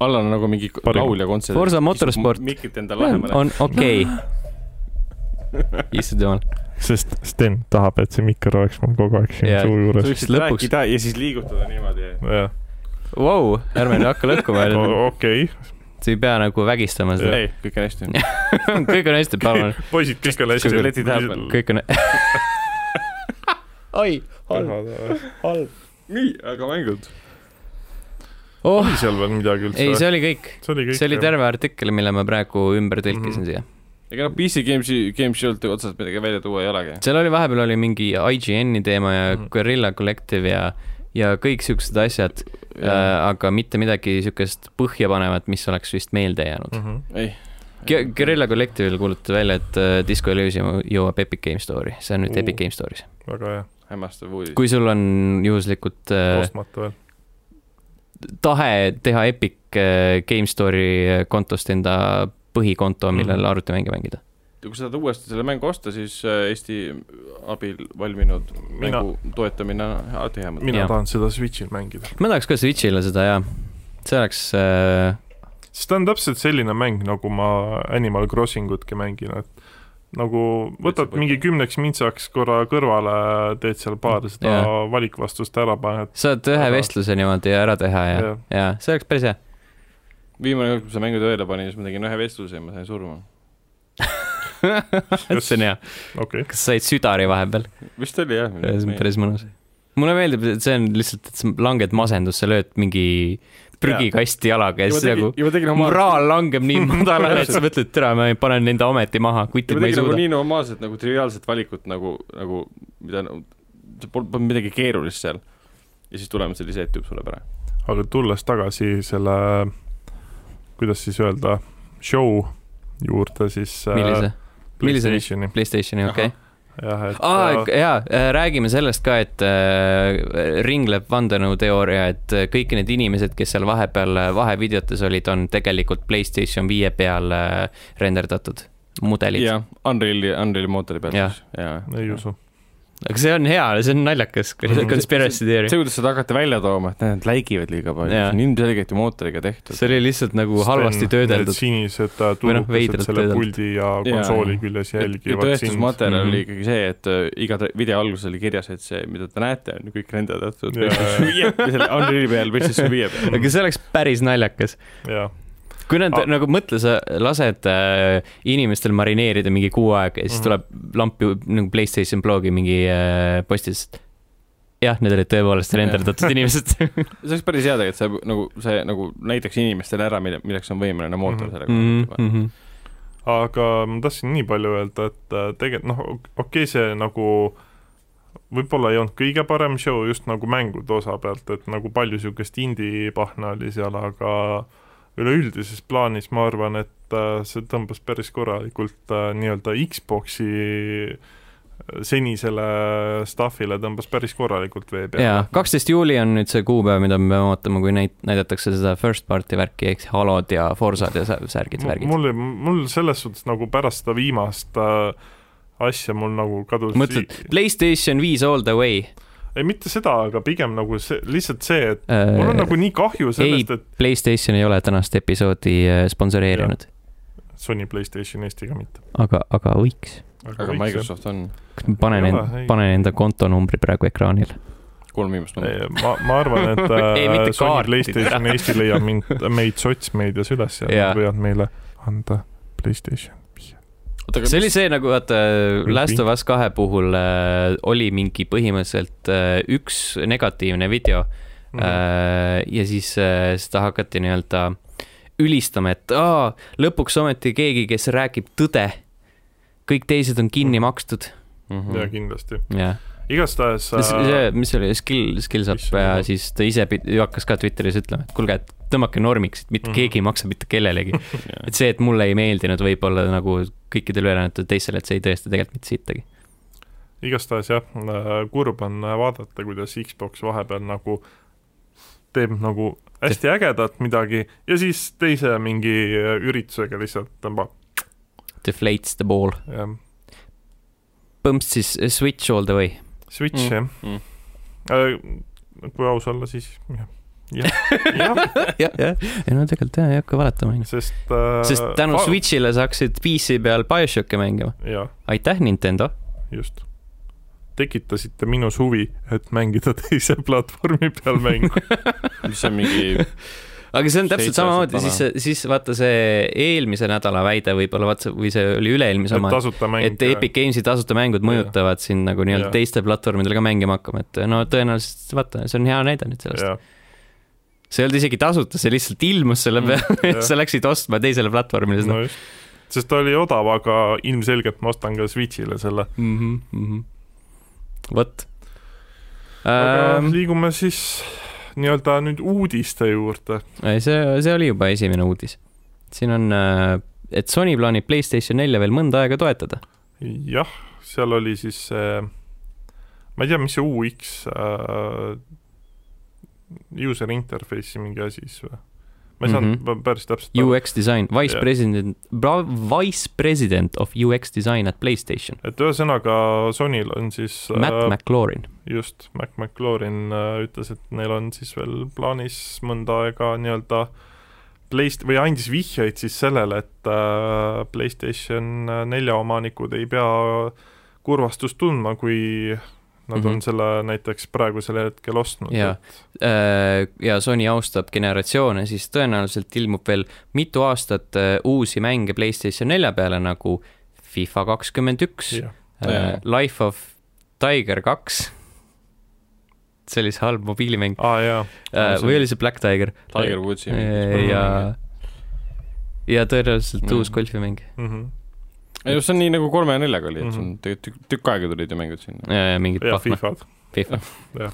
Allan on nagu mingi
Parim.
laulja kontsert .
Forsa Motorsport.
mikrit endale lähemale .
on okei okay. . issand jumal ,
sest Sten tahab , et see mikker oleks mul kogu aeg siin
Jaa.
suu
sa
juures .
võiksid
lõpuks-
rääkida ja siis liigutada niimoodi .
jah ,
vau , ärme nüüd hakka lõhkuma ,
okei ,
sa ei pea nagu vägistama seda .
ei , kõik on hästi .
kõik on hästi , palun ,
poisid , kõik on hästi .
Letid tähelepanu.
kõik on . oi ,
nii , aga mängud .
oh ,
oli seal veel midagi üldse ?
ei , see oli kõik ,
see oli kõik . Mhm.
see oli . terve artikkel , mille ma praegu ümber tõlkisin siia .
ega noh , PC Games'i , Games'i alt otseselt midagi välja tuua ei olegi .
seal oli vahepeal oli mingi IGN-i teema ja
Mhm.
Guerrilla Collective ja , ja kõik siuksed asjad , aga mitte midagi siukest põhjapanevat , mis oleks vist meelde
Mhm.
jäänud .
ei .
Guerrilla Collective'il kuulutati välja , et äh, Disco Elysium jõuab Epic Game Store'i , see on nüüd
Oo.
Epic Game Store'is .
väga hea ,
hämmastav uudis .
kui sul on juhuslikult äh,
ostmata veel .
tahe teha Epic äh, Game Store'i kontost enda põhikonto , millel
Mhm.
arvutimänge mängida .
kui sa tahad uuesti selle mängu osta , siis äh, Eesti abil valminud
Mina-
mängu toetamine on alati hea mõte .
mina
Jaa.
tahan seda Switch'il mängida ,
ma tahaks ka Switch'ile seda ja see oleks äh,
sest ta on täpselt selline mäng , nagu ma Animal Crossing utki mängin , et nagu võtad
Võtsa-
mingi kümneks mintsaks korra kõrvale , teed seal paar seda yeah.
Jaa.
valikvastust ära , paned .
saad ühe
Aga-
vestluse niimoodi ära teha ja ,
Jah.
ja see oleks päris hea .
viimane kord , kui ma selle mängu tööle panin , siis ma tegin ühe vestluse ja ma sain surma .
see on hea .
okei okay. ,
kas said südari vahepeal ?
vist oli jah .
see on päris mõnus . mulle meeldib , et see on lihtsalt , et sa langed masendusse , lööd mingi prügikasti jalaga ja
ja ma
siis nagu
tegin , ja ma tegin oma
moraal langeb nii madalale , et sa mõtled , et tere , ma panen enda ometi maha ,
ja
kuti
ma
ma ei
tegin nagu
suuda .
nii normaalset nagu triviaalset valikut nagu , nagu mida nagu, , see pol- polnud midagi keerulist seal . ja siis tulemus oli see , et tüüp sureb ära .
aga tulles tagasi selle , kuidas siis öelda , show juurde , siis äh,
millise ? Millise?
Playstationi ,
Playstationi , okei .
jah , et
aa ,
äh,
jaa , räägime sellest ka , et äh, ringleb vandenõuteooria , et äh, kõik need inimesed , kes seal vahepeal äh, vahevideotes olid , on tegelikult Playstation viie peal äh, renderdatud mudelid .
jah , Unreal'i , Unreal'i mootori peal
Jah.
siis , jaa .
ei usu .
aga see on hea , see on naljakas ,
Mhm.
conspiracy theory .
see , kuidas seda hakati välja tooma , et näed , nad läigivad liiga palju , see
Jaa.
on ilmselgelt ju mootoriga tehtud .
see oli lihtsalt nagu halvasti töödeldud .
sinised äh,
Või noh,
tulukesed
veidralt
selle
töödeldud.
puldi ja
Jaa.
konsooli küljes
ja
jälgivad sind .
tõestusmaterjal
Mhm.
oli ikkagi see , et äh, iga tre- video alguses oli kirjas , et see , mida te näete , on ju kõik renderdatud
Jaa.
PlayStation äh, viie , selle Unreal'i peal , PlayStation viie peal .
aga see oleks päris naljakas .
jah ,
kui nad
Ah.
nagu mõtle , sa lased äh, inimestel marineerida mingi kuu aega ja siis
Mhm.
tuleb lamp ju nagu Playstation blogi mingi äh, postis . jah , need olid tõepoolest renderdatud inimesed .
see oleks päris hea tegelikult , see nagu , see nagu näitaks inimestele ära , mille , milleks on võimeline mootor
Mhm.
sellega mm -hmm.
jah ,
aga ma tahtsin nii palju öelda , et äh, tegelikult noh , okei okay, , see nagu võib-olla ei olnud kõige parem show just nagu mängude osa pealt , et nagu palju niisugust indie-pahna oli seal , aga üleüldises plaanis ma arvan , et äh, see tõmbas päris korralikult äh, nii-öelda Xbox'i senisele stuff'ile tõmbas päris korralikult vee peale .
kaksteist juuli on nüüd see kuupäev , mida me peame ootama , kui näit- , näidatakse seda first party värki ehk siis Halod ja Forsad ja sa- särgid ,
Mu-
värgid .
mul , mul selles suhtes nagu pärast seda viimast äh, asja mul nagu kadus
mõtled , Playstation viis all the way ,
ei mitte seda , aga pigem nagu see , lihtsalt see , et mul on
äh, .
nagu nii kahju sellest , et
Playstation ei ole tänast episoodi äh, sponsoreerinud ,
Sony Playstation Eesti ka mitte .
aga , aga võiks .
aga Microsoft on
kas ma panen
Ei ole,
end
ei. ,
panen enda kontonumbri praegu ekraanile ?
kolm viimast numbrit .
ma , ma arvan , et
Ei,
äh,
mitte
Sony
kaartid.
Playstation Eesti leiab mind , meid sotsmeedias üles ja
Jaa.
nad võivad meile anda Playstation .
see oli see nagu vaata Last of Us kahe puhul äh, oli mingi põhimõtteliselt äh, üks negatiivne video
Mhm.
mm. äh, ja siis äh, seda hakati nii-öelda ülistama , et aa , lõpuks ometi keegi , kes räägib tõde . kõik teised on kinni makstud
Mhm.
ja kindlasti ,
ja
igastahes äh,
see , see , mis see oli , skill , skill saab
Issand,
ja
jah.
siis ta ise pid- hakkas ka Twitteris ütlema , et kuulge , et tõmmake normiks , et mitte
Mhm.
keegi ei maksa mitte kellelegi . et see , et mulle ei meeldinud , võib-olla nagu kõikidele ülejäänud teistele , et see ei tõesta tegelikult mitte sittagi .
igastahes jah , kurb on vaadata , kuidas Xbox vahepeal nagu teeb nagu hästi ägedat midagi ja siis teise mingi üritusega lihtsalt tõmbab ,
Deflates the ball ,
jah .
põmps siis eh, switch all the way .
Switch mm.
mm.
jah mm. . kui aus olla , siis jah , jah , jah ,
jah , jah , ei no tegelikult jah , ei hakka valetama , onju .
sest äh,
sest tänu äh, . Switch'ile saaksid PC peal BioShocki mängima .
jah ,
aitäh , Nintendo .
just . tekitasite minus huvi , et mängida teise platvormi peal mängu .
mis on mingi ,
aga see on täpselt
Seitse aastat
samamoodi , siis , siis vaata see eelmise nädala väide võib-olla , vaata , või see oli üle-eelmise
et
oma ,
tasuta mäng .
et Epic Games'i tasuta mängud mõjutavad sind nagu nii-öelda
Jah.
teiste platvormidel ka mängima hakkama , et eh, no tõenäoliselt vaata , see on hea näide nüüd sellest .
sellest .
see ei olnud isegi tasuta , see lihtsalt ilmus selle
Mm,
peale ,
jah.
et sa läksid ostma teisele platvormile seda
no just , sest ta oli odav , aga ilmselgelt ma ostan ka Switch'ile selle .
mm . -hmm. vot
aga
ähm, .
liigume siis nii-öelda nüüd uudiste juurde .
ei , see , see oli juba esimene uudis . siin on , et Sony plaanib Playstation nelja veel mõnda aega toetada .
jah , seal oli siis see , ma ei tea , mis see UX äh, , user interface'i mingi asi siis või ? ma ei saanud mm
Mhm.
-hmm. päris täpselt aru ,
UX disain , vice
Jah.
yeah. president , vice president of UX design at Playstation .
et ühesõnaga Sonyl on siis
Matt
äh,
McLaurin .
just , Mac McLaurin äh, ütles , et neil on siis veel plaanis mõnda aega nii-öelda Playst- või andis vihjeid siis sellele , et äh, PlayStation nelja omanikud ei pea kurvastust tundma , kui nad mm -hmm.
Mhm.
on selle näiteks praegusel hetkel ostnud .
Jaa. Äh, ja Sony austab generatsioone , siis tõenäoliselt ilmub veel mitu aastat äh, uusi mänge Playstation nelja peale nagu FIFA kakskümmend üks ,
jah ,
Äh, Life of Tiger kaks . see oli see halb mobiilimäng
aa Ah, jaa ,
äh,
see
või
oli-
oli see Black Tiger
Tiger Woodsi
Äh, ja , ja tõenäoliselt
Mm.
uus golfimäng
Mhm.
ei no see on nii nagu kolme ja neljaga oli , et see on tegelikult tükk- tükk aega tulid ju mängud sinna .
äh, , mingit
ja
pahma ,
FIFA-d .
FIFA .
ja ,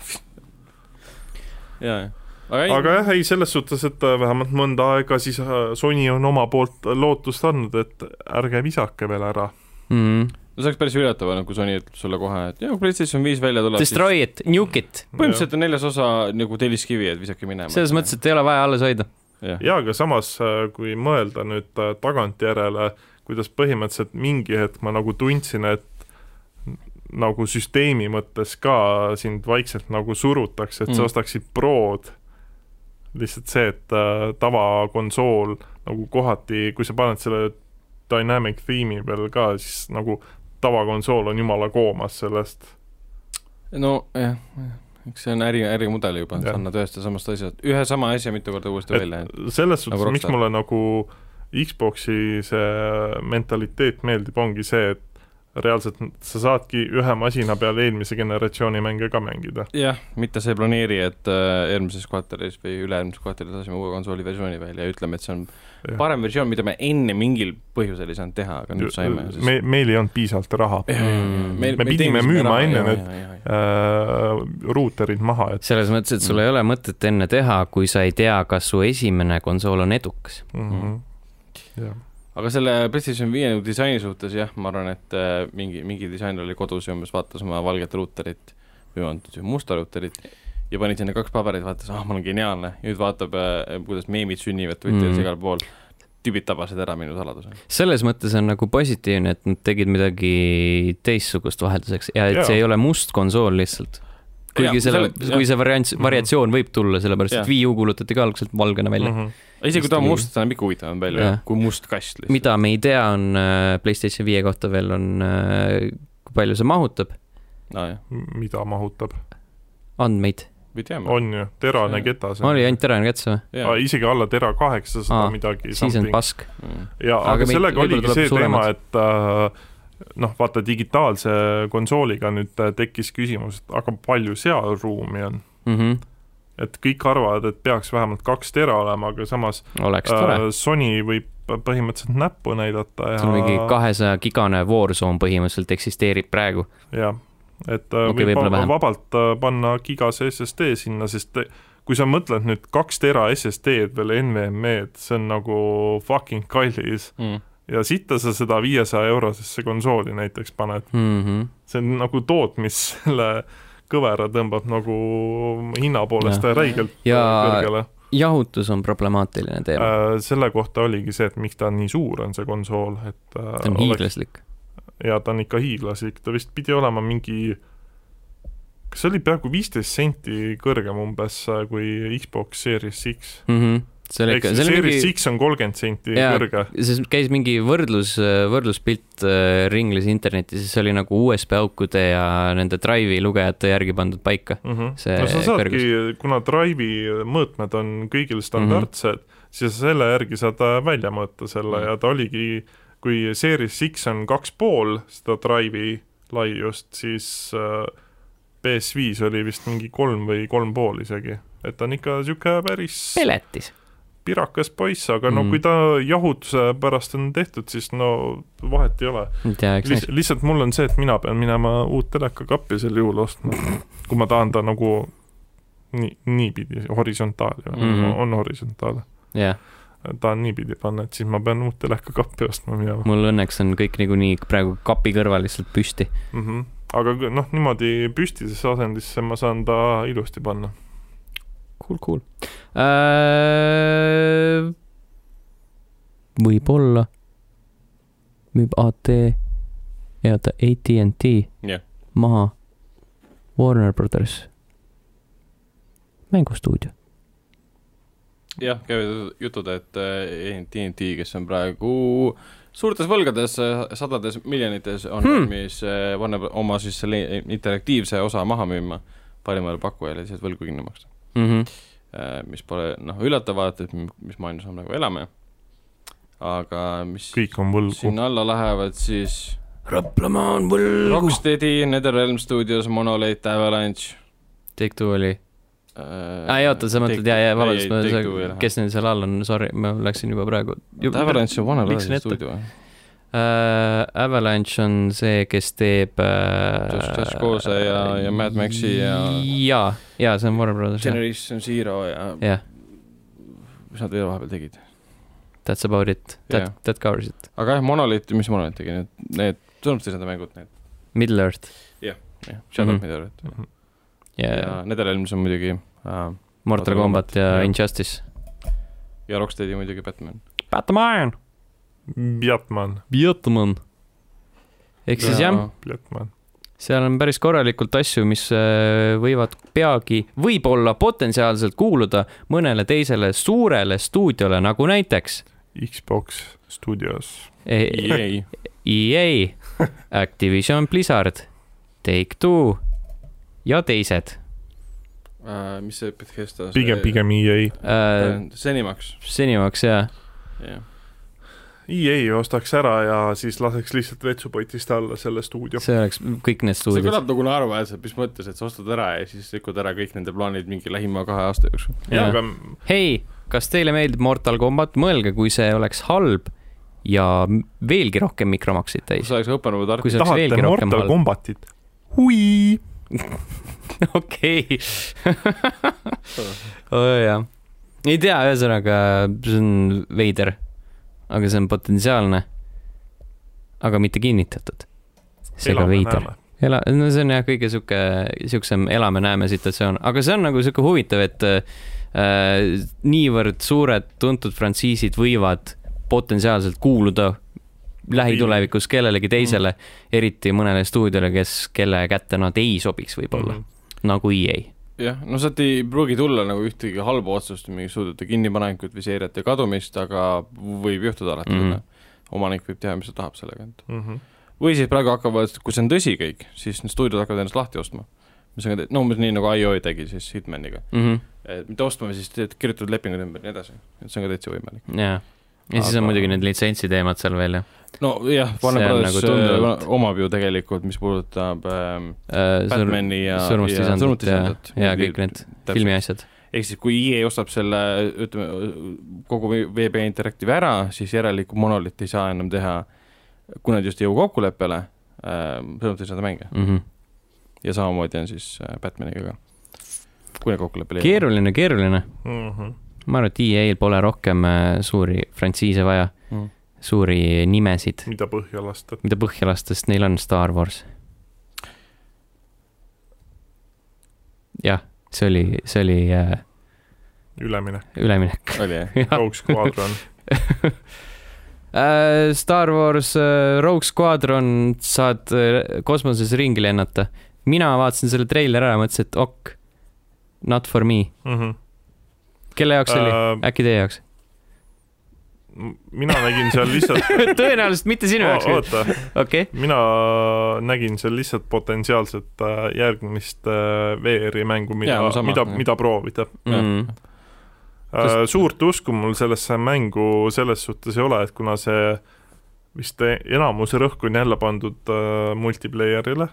ja . aga ei ,
aga jah , ei selles suhtes , et äh, vähemalt mõnda aega siis äh, Sony on oma poolt lootust andnud , et ärge visake veel ära .
Mhm.
no see oleks päris üllatav olnud , kui Sony ütleb sulle kohe , et jah , PlayStation viis välja tuleb .
Destroy it , nuke it ,
põhimõtteliselt on neljas osa nagu telliskivi , et visake minema .
selles mõttes , et ei ole vaja alles hoida .
jah ,
jaa , aga samas , kui mõelda nüüd äh, tagantjärele , kuidas põhimõtteliselt mingi hetk ma nagu tundsin , et nagu süsteemi mõttes ka sind vaikselt nagu surutakse , et mm.
Mm.
sa ostaksid Prod . lihtsalt see , et äh, tavakonsool nagu kohati , kui sa paned selle dynamic theme'i peal ka , siis nagu tavakonsool on jumala koomas sellest .
no jah , eks see on äri , ärimudel juba , et
Jah.
sa annad ühest ja samast asjast , ühe sama asja mitu korda uuesti välja .
selles suhtes
Nagu
nagu , miks
Rockstar.
mulle nagu Xbox'i see mentaliteet meeldib , ongi see , et reaalselt sa saadki ühe masina peal eelmise generatsiooni mänge ka mängida .
jah , mitte see planeeri , et äh, eelmises kvartalis või üle-eelmises kvartalis lasime uue konsooli versiooni välja ja ütleme , et see on
Jah.
parem versioon , mida me enne mingil põhjusel ei saanud teha , aga nüüd saime .
äh, me , meil ei olnud piisavalt raha . me pidime müüma enne need-
need .
Äh, ruuterid maha , et
selles mõttes , et sul ei ole mõtet enne teha , kui sa ei tea , kas su esimene konsool on edukas .
mm
Mm-hmm.
-hmm. jah ,
aga selle PlayStation viie nagu disaini suhtes jah , ma arvan , et äh, mingi , mingi disainer oli kodus ja umbes vaatas oma valget ruuterit või on see musta ruuterit ja panid sinna kaks paberit , vaatas , ah , ma olen geniaalne , nüüd vaatab äh, , kuidas meemid sünnivad Twitteris
Mm.
mm. igal pool . tüübid tabasid ära minu saladuse .
selles mõttes on nagu positiivne , et nad tegid midagi teistsugust vahelduseks ja et
Jaa.
see ei ole must konsool lihtsalt . kuigi
Jaa,
selle ,
selle-
kui see variants ,
Mhm.
variatsioon võib tulla , sellepärast
Jah.
et Wii U kuulutati ka algselt valgena välja .
Mhm.
isegi kui ta on
Vist oli-
must , ta näeb ikka huvitavam välja
Jah.
kui must kast lihtsalt .
mida me ei tea , on äh, Playstation viie kohta veel on , kui palju see mahutab
aa jah ,
Mm-hmm. mida mahutab ,
andmeid .
me teame .
on ju , terane
See-
ketas .
oli ainult terane kätse või ?
Ah, isegi alla tera kaheksasada
Aa,
midagi .
siis on pask .
Mm.
ja
Aga
aga, aga
meid-
sellega
võib-olla
oligi
tuleb
see teema ,
suuremaks.
et äh, noh , vaata digitaalse konsooliga nüüd äh, tekkis küsimus , et aga palju seal ruumi on ,
Mhm.
et kõik arvavad , et peaks vähemalt kaks tera olema , aga samas
oleks tore
äh, . Sony võib põhimõtteliselt näppu näidata
see on mingi
ja ,
kahesaja gigane Warzone põhimõtteliselt eksisteerib praegu .
jah , et
Okei,
äh, okay, võib
võib-olla
va-
vähem.
vabalt äh, panna gigase SSD sinna , sest te- kui sa mõtled nüüd kaks tera SSD-d veel NVMe-d , see on nagu fucking kallis
Mm.
ja sitta sa seda viiesaja eurosesse konsooli näiteks paned ,
Mhm.
see on nagu toot , mis selle kõvera tõmbab nagu hinna poolest räigelt
Ja-
kõrgele .
jahutus on problemaatiline teema ,
Äh, selle kohta oligi see , et miks ta nii suur on , see konsool , et äh,
see on
oleks-
hiiglaslik .
ja ta on ikka hiiglaslik , ta vist pidi olema mingi kas see oli peaaegu viisteist senti kõrgem umbes äh, kui Xbox Series X ?
Mm-hmm. see oli
ehk
ikka ,
siis
see oli
Series
mingi
mingi... X on kolmkümmend senti
Jaa.
kõrge .
siis käis mingi võrdlus , võrdluspilt äh, ringles internetis , see oli nagu USB aukude ja nende Drive'i lugejate järgi pandud paika .
mm . -hmm.
See
no sa saadki
kõrgus. ,
kuna Drive'i mõõtmed on kõigil standardsed mm ,
Mhm.
-hmm. siis selle järgi saad äh, välja mõõta selle ja ta oligi , kui Series X on kaks pool seda Drive'i laiust , siis äh, PS5 oli vist mingi kolm või kolm pool isegi , et ta on ikka niisugune päris
peletis .
pirakas poiss , aga no
Mhm.
kui ta jahutuse pärast on tehtud , siis no vahet ei ole .
ei tea , eks
Liht,
näis .
lihtsalt mul on see , et mina pean minema uut telekakappi sel juhul ostma , kui ma tahan ta nagu nii , niipidi , horisontaal ju mm ,
Mhm.
-hmm. on horisontaal .
jah ,
tahan niipidi panna , et siis ma pean uut telekakappi ostma minema
mul õnneks on kõik niikuinii praegu kapi kõrval lihtsalt püsti .
mm . -hmm. aga kõ- noh , niimoodi püstisesse asendisse ma saan ta ilusti panna .
Cool , cool äh, . võib-olla müüb AT , oota , AT&T
Jah.
maha Warner Brothers mängustuudio .
jah , käivad jutud , et äh, TNT , kes on praegu suurtes võlgades , sadades miljonites , on
Hmm.
valmis hmm. paneb oma siis selle interaktiivse osa maha müüma parimale pakkujale , lihtsalt võlgu kinni maksta .
mm .
Mhm.
-hmm.
mis pole noh , üllatav vaadata , et m- mis maailmas me nagu elame . aga mis
kõik on võlgu .
sinna alla lähevad , siis
Raplamaa on võlgu .
Rocksteadi , NetherRealm Studios , Monolith , Avalanche
Take Two oli ,
äh,
aa ei oota , sa mõtled , jaa , jaa , vabandust ,
ma , kes
kes neil seal all on , sorry , ma läksin juba praegu .
Avalanche on vana
Liiksin
laadne
ette.
stuudio ,
äh, . Avalanche on see , kes teeb äh, .
Just- Just Cause'i ja- ja Mad Maxi ja-
jaa , jaa , see on Warner Brothers , jah ,
Generation Zero ja
jah ,
mis nad veel vahepeal tegid .
that's about it , that
Jah.
yeah. , that covers it .
aga jah , Monolith , mis Monolith tegi , need , need , tunnustasid need mängud , need ,
Middle Earth
jah , Shadow mm
Mhm.
-hmm. mida olid .
ja,
ja
ja
Netherrealms on muidugi äh,
Mortal
Mortal
Combat ja
jah.
Injustice .
ja Rocksteadi muidugi Batman .
Batman ,
Batman ,
Batman . ehk siis jah ,
Batman .
seal on päris korralikult asju , mis äh, võivad peagi võib-olla potentsiaalselt kuuluda mõnele teisele suurele stuudiole , nagu näiteks
Xbox Studios .
EA ,
EA ,
EA , E Activision Blizzard , Take Two ja teised
äh, mis see Bethesda
pigem , pigem E EA .
äh, .
senimaks ,
senimaks jaa ,
jah .
EA E ostaks ära ja siis laseks lihtsalt vetsupotist alla selle stuudio .
see oleks kõik need
see
stuudiod .
kõlab nagu naeruväärselt , mis mõttes , et sa ostad ära ja siis lükkad ära kõik nende plaanid mingi lähima kahe aasta jooksul .
jaa ,
jaa.
aga
hei , kas teile meeldib Mortal Combat , mõelge , kui see oleks halb ja m- veelgi rohkem mikromakseid täis .
see oleks Open World
kui
Art ,
see oleks
tahate
veelgi rohkem
Mortal
halb .
Combatit ? hui ,
okei . jah , ei tea , ühesõnaga see on veider , aga see on potentsiaalne , aga mitte kinnitatud . seega veider . ela- , no see on jah , kõige sihuke , siuksem elame-näeme situatsioon , aga see on nagu sihuke huvitav , et äh, niivõrd suured tuntud frantsiisid võivad potentsiaalselt kuuluda lähitulevikus
Mhm.
kellelegi teisele , eriti mõnele stuudiole , kes , kelle kätte nad ei sobiks võib-olla .
Mhm.
nagu EA .
jah , no sealt ei pruugi tulla nagu ühtegi halba otsust , mingit suudete kinnipanekut või seirete kadumist , aga võib juhtuda alati
Mhm.
mm . -hmm. omanik võib teha , mis ta tahab sellega , et
mm . -hmm.
või siis praegu hakkavad , kui see on tõsi kõik , siis need stuudiod hakkavad ennast lahti ostma . mis on ka , no umbes nii nagu IO tegi siis Hitmaniga , et mitte ostma , siis teed kirjutatud lepingud ümber ja nii edasi , et see on ka täitsa võimalik .
jaa . ja siis on
Aga-
muidugi need litsentsi teemad seal veel , jah .
no jah ,
See
Warner
on
Brothers
nagu tunduvalt-
äh, omab ju tegelikult , mis puudutab ähm,
Äh,
Batman'i ja ,
surmast
ja
lisandit ja , ja kõik need . filmi asjad .
ehk siis , kui EA ostab selle , ütleme , kogu VB Interactive ära , siis järelikult Monolith ei saa enam teha , kui nad just ei jõua kokkuleppele , selles mõttes ei saa ta mänge
Mhm.
ja samamoodi on siis äh, Batmaniga ka . kui nad kokkuleppele ei jõua .
keeruline , keeruline .
Mm -hmm.
ma arvan , et EA-l pole rohkem äh, suuri frantsiise vaja ,
Mm.
suuri nimesid ,
mida põhja lasta .
mida põhja lasta , sest neil on Star Wars . jah , see oli , see oli äh,
üleminek ,
üleminek .
oli jah ?
Ah.
Rogue Squadron ,
Äh, Star Wars äh, Rogue Squadron saad äh, kosmoses ringi lennata . mina vaatasin selle treileri ära ja mõtlesin , et ok , not for me .
Mhm.
kelle jaoks see oli ?
Äh.
äkki teie jaoks ?
mina nägin seal lihtsalt ,
tõenäoliselt mitte sinu jaoks ,
oota ,
okei .
mina nägin seal lihtsalt potentsiaalset äh, järgmist äh, VR-i mängu , mida
Jaa, no , sama,
mida ,
jah.
mida proovida .
Mm.
Sest-
suurt usku mul sellesse mängu selles suhtes ei ole , et kuna see vist enamuse rõhku on jälle pandud äh, multiplayerile ,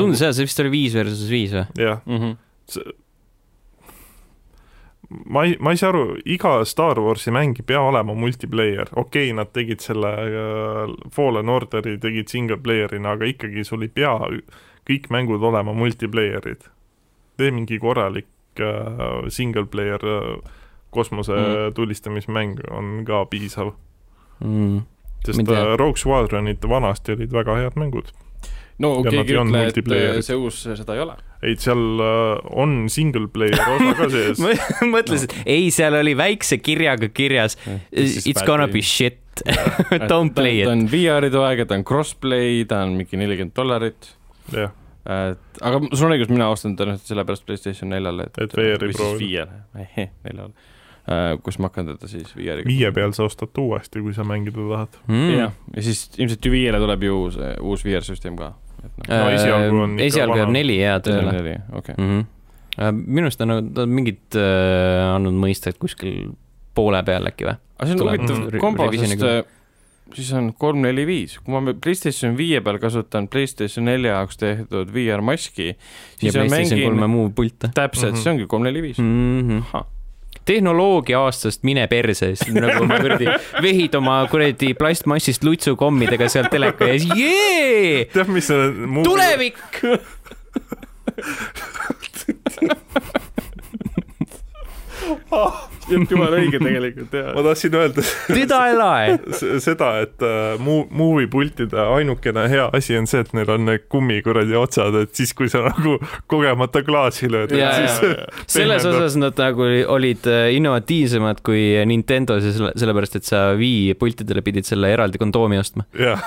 tundus jah , see vist oli viis versus viis või ?
jah ,
Mhm.
ma ei , ma ei saa aru , iga Star Warsi mäng ei pea olema multiplayer , okei okay, , nad tegid selle äh, Fallen Orderi tegid single player'ina , aga ikkagi sul ei pea ü- kõik mängud olema multiplayer'id . tee mingi korralik äh, single player äh, kosmose
Mm.
mm. tulistamismäng on ka piisav ,
Ma
sest
ei tea.
äh, Rogue Squadronid vanasti olid väga head mängud .
no
Ja nad
keegi
ei
ei
olnud
ütle , et äh,
multiplayerid.
see uus äh, seda ei ole .
ei , seal äh, on single player osa ka sees
ma mõtlesin , ei , seal oli väikse kirjaga kirjas It's gonna be shit . Don't play it .
ta on VR-ide aeg , ta on crossplay , ta on mingi nelikümmend dollarit ,
jah ,
et aga sul on õigus , mina ostan tõenäoliselt sellepärast Playstation neljale , et
Et VR-i
või siis
proovida.
viiele , neljale , kus ma hakkan teda siis VR-iga
viie peal sa ostad uuesti , kui sa mängida tahad .
Hmm. Mm.
jah , ja siis ilmselt ju viiele tuleb ju uus , uus VR-süsteem ka .
no esialgu on ikka
Äh, esialgu jääb
vana.
neli head tööle .
okei ,
mm . -hmm. minu arust on nad on mingid äh, andnud mõista , et kuskil poole peal äkki või ?
aga see on
Tuleb
huvitav
re-
kombo ,
revisjoni
sest äh, siis on kolm , neli , viis , kui ma PlayStation viie peal kasutan PlayStation nelja jaoks tehtud VR-maski ,
ja
siis ma
PlayStation kolme
mängin
muu pilte
täpselt ,
Mhm.
see ongi kolm , neli , viis .
mm . -hmm tehnoloogia aastast mine perse , siis nagu ma kuradi vehid oma kuradi plastmassist lutsukommidega seal teleka ees , jee ,
tead , mis see muu-
tulevik .
jumala õige tegelikult ,
ma tahtsin öelda
tõda ei lae .
s- seda , et äh, mu- , muuvipultide ainukene hea asi on see , et neil on need kummikuradi otsad , et siis , kui sa nagu kogemata klaasi lööd ,
Jaa,
et siis
selles
Pehmendab.
osas nad nagu olid äh, innovatiivsemad kui Nintendo , sellepärast et sa Wii pultidele pidid selle eraldi kondoomi ostma
jah ,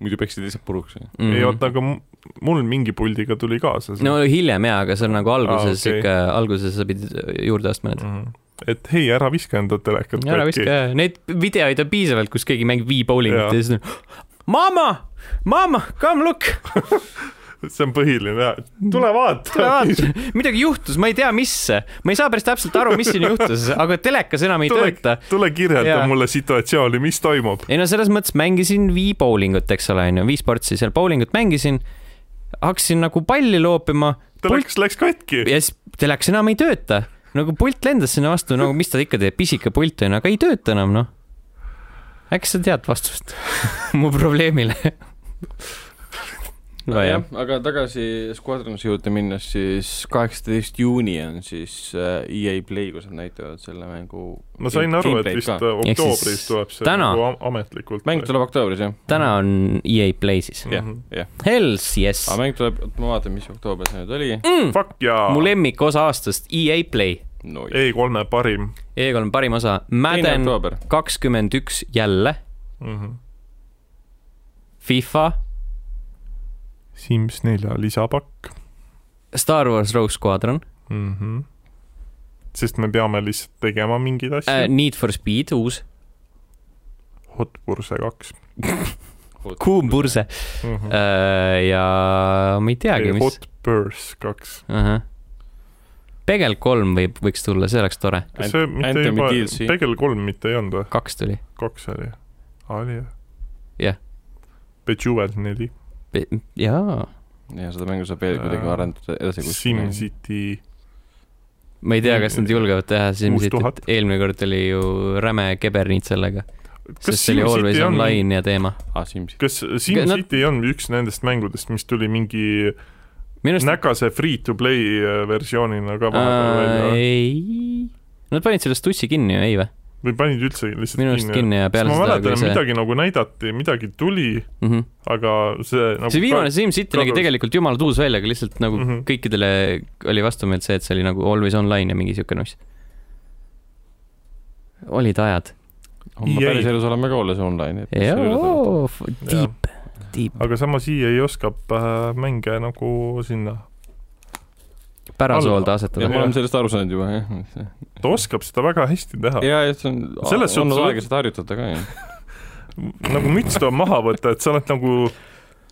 muidu peksid lihtsalt puruks .
mm
ei oota , aga mu- mul mingi puldiga tuli kaasa see
no hiljem jaa , aga see on nagu alguses ah,
Aa, okei.
okay. ikka , alguses sa pidid äh, juurde ostma need .
Mhm. et hei , ära viska enda telekat
ära viska
katki .
jah , neid videoid on piisavalt , kus keegi mängib V-bowlingut ja
Jaa.
siis on mamma , mamma , come look ,
see on põhiline , tule
tule
vaata .
vaata , midagi juhtus , ma ei tea , mis , ma ei saa päris täpselt aru , mis siin juhtus , aga telekas enam ei
tule
tööta .,
tule kirjelda
Jaa.
mulle situatsiooni , mis toimub .
ei no selles mõttes mängisin V-bowlingut , eks ole , onju , V-sportsi seal bowlingut mängisin , hakkasin nagu palli loopima
telekas läks katki .
ja siis telekas enam ei tööta . nagu pult lendas sinna vastu , nagu mis ta ikka teeb , pisike pult on , aga ei tööta enam noh . äkki sa tead vastust mu probleemile ?
nojah , aga tagasi Squadronsi juurde minnes , siis kaheksateist juuni on siis äh, EA Play , kus nad näitavad selle mängu .
ma sain aru , et vist äh,
Ehk siis
oktoobris tuleb see
täna.
nagu am- ametlikult .
mäng tuleb oktoobris jah ,
täna on EA Play siis .
jah
Mhm. ,
jah ,
Hells yes Mm.
aga . mäng tuleb , ma vaatan , mis oktoobris see nüüd oli ,
Fuck jaa .
mu lemmikosa aastast , EA Play .
no ja
E3-e parim
E3 parim osa ,
teine
Madden
oktoober ,
kakskümmend üks jälle ,
mm . -hmm.
FIFA ,
Sims nelja lisapakk
Star Wars Rogue Squadron
mm . -hmm. sest me peame lihtsalt tegema mingeid asju
äh, ,
äh, .
Need for Speed uus ,
Hot Purse kaks
kuum purse
mm . -hmm.
äh, ja ma ei teagi , mis .
Hot Purse kaks .
Pegel kolm võib , võiks tulla , see oleks tore ,
kas see mitte
Anthemi
juba
DLC. ,
Pegel kolm mitte ei olnud või ?
kaks tuli .
kaks oli , oli jah ?
Jah. .
Bejeweled neli ,
jaa ,
ja seda mängu saab veel kuidagi
Äh,
arendada edasi .
SimCity ,
ma ei tea , kas nad julgevad teha siin ,
6000.
eelmine kord oli ju räme kebernit sellega ,
kas
sest see oli Always
SimCity on ,
Online ja teema .
ah , Sims .
kas
Nad-
SimCity on üks nendest mängudest , mis tuli mingi
minu arust
näkase free-to-play äh, versioonina ka vahepeal välja
äh,
või?
ei , nad panid selle stussi kinni ju , ei või ?
või panid üldse lihtsalt
minu arust kinni ja
Sest
peale
ma
seda
mäletan , et midagi nagu näidati , midagi tuli ,
mm . -hmm.
aga see nagu
see viimane SimCity nägi
Progress.
tegelikult jumala tuus välja , aga lihtsalt nagu mm
Mhm.
-hmm. kõikidele oli vastumeelt see , et see oli nagu always online ja mingi siuke nuss . olid ajad .
homme
Jäi.
päriselus oleme ka olles online .
Jah.
deep , deep .
aga samas EA oskab äh, mänge nagu sinna ,
pärasoolde
alla-
ja
asetada
me . oleme sellest aru saanud juba , jah .
ta oskab seda väga hästi teha .
ja , ja see on ,
Selles
on
suhtes-
aega seda harjutada ka , jah .
nagu müts tuleb maha võtta , et sa oled nagu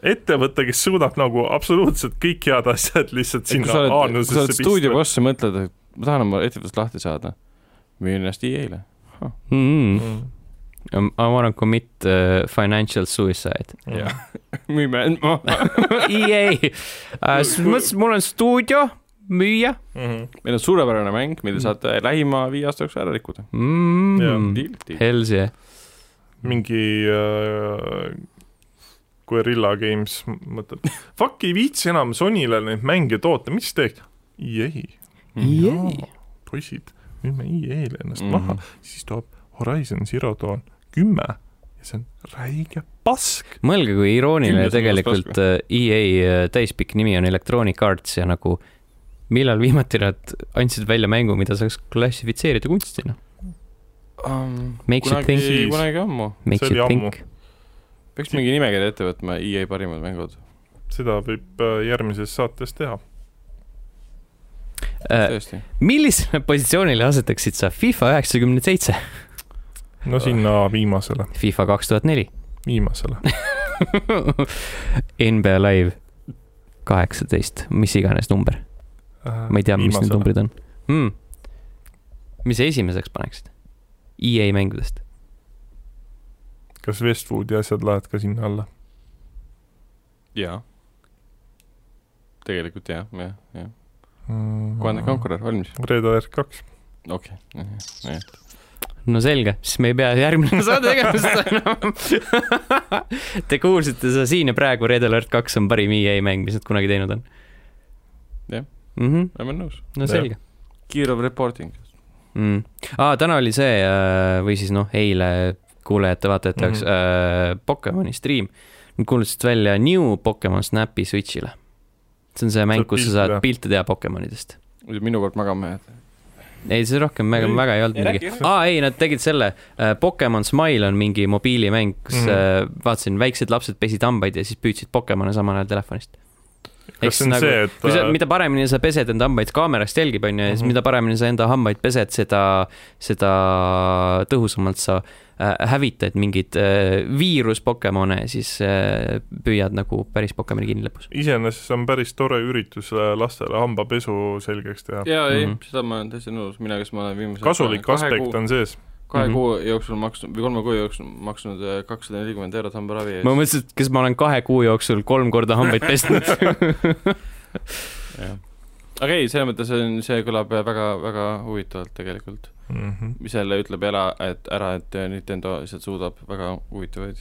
ettevõte , kes suudab nagu absoluutselt kõik head asjad lihtsalt
kui
sinna
sa oled , kui sa
aanusesse
oled stuudio
pista .
boss ja mõtled , et ma tahan oma ettevõttest lahti saada , müün ennast E EA-le .
Mm-hmm.
Mm.
Um, I wanna commit uh, financial suicide .
jah , müüme end maha .
EA
Kui-
uh, , mul on stuudio , müüa
Mm.
meil on suurepärane mäng , mille saate lähima viie aasta jooksul ära rikkuda .
mm, .
Deal , deal .
Hells yeah .
mingi äh, Guerilla Games mõtleb , fuck ei viitsi enam Sonyle neid mänge toota , mis teeks ? EA ,
Mm.
EA .
poisid , müüme EA-le ennast
Mhm.
mm. maha , siis tuleb Horizon Zero Dawn kümme ja see on räige pask .
mõelge , kui
Kümnes
irooniline
on
tegelikult äh, EA äh, täispikk nimi on Electronic Arts ja nagu millal viimati nad andsid välja mängu , mida saaks klassifitseerida kunstina ? Makes you think.
Um, kunagi , kunagi ammu .
Makes
See oli
you
ammu.
think .
peaks mingi nimekirja ette võtma , EA parimad mängud .
seda võib äh, järgmises saates teha .
Äh.
tõesti .
millisele positsioonile asetaksid sa FIFA üheksakümne seitse ,
no
Äh.
sinna viimasele ,
FIFA kaks tuhat neli ,
viimasele .
NBA Live kaheksateist , mis iganes number , ma ei tea , mis need numbrid on mm. . mis sa esimeseks paneksid EA mängudest ?
kas Westwoodi asjad lähevad ka sinna alla ?
jaa . tegelikult jah , jah , jah . Quantic . Conqueror valmis ,
Red Alert kaks .
okei okay. .
no selge , siis me ei pea järgmine saade tegema seda enam . Te kuulsite seda siin ja praegu Red Alert kaks on parim EA mäng , mis nad kunagi teinud on .
Jah.
mm . -hmm.
oleme nõus .
no
Jah.
selge
kiirav reporting .
mm. . aa , täna oli see äh, või siis noh , eile kuulajate-vaatajate jaoks mm -hmm. äh, Pokemoni stream . Nad kuulutasid välja New Pokemon Snapi Switch'ile . see on see mäng , kus sa
pilte
saad
teha.
pilte teha Pokemonidest .
muidu minu kord magama jääd .
ei , see rohkem väga,
Ei,
väga ei olnud
ei
midagi
räägi. .
aa , ei , nad tegid selle äh, , Pokemon Smile on mingi mobiilimäng , kus
Mhm.
mm. vaatasin , väiksed lapsed pesid hambaid ja siis püüdsid Pokemone samal ajal telefonist .
kas see on nagu, see , et
kui sa ,
äh,
mida paremini sa pesed enda hambaid , kaamerast jälgib , on ju , ja siis
Mhm.
mida paremini sa enda hambaid pesed , seda , seda tõhusamalt sa äh, hävitad mingeid äh, viiruspokemone ja siis äh, püüad nagu päris Pokemoni kinni lõpus .
iseenesest on päris tore üritus äh, lastele hambapesu selgeks teha .
jaa , ei mm ,
Mhm.
-hmm. seda ma olen täiesti nõus , mina , kes ma olen viimased
kasulik aspekt on sees .
kahe
Mhm.
kuu jooksul maksnud või kolme kuu jooksul maksnud äh, kakssada nelikümmend eurot hambaravi
ma mõtlesin , et kas ma olen kahe kuu jooksul kolm korda hambaid pesnud .
eest . aga ei , selles mõttes on , see kõlab äh, väga , väga huvitavalt tegelikult .
Mhm,
mis jälle ütleb ära , et ära , et äh, Nintendo lihtsalt suudab väga huvitavaid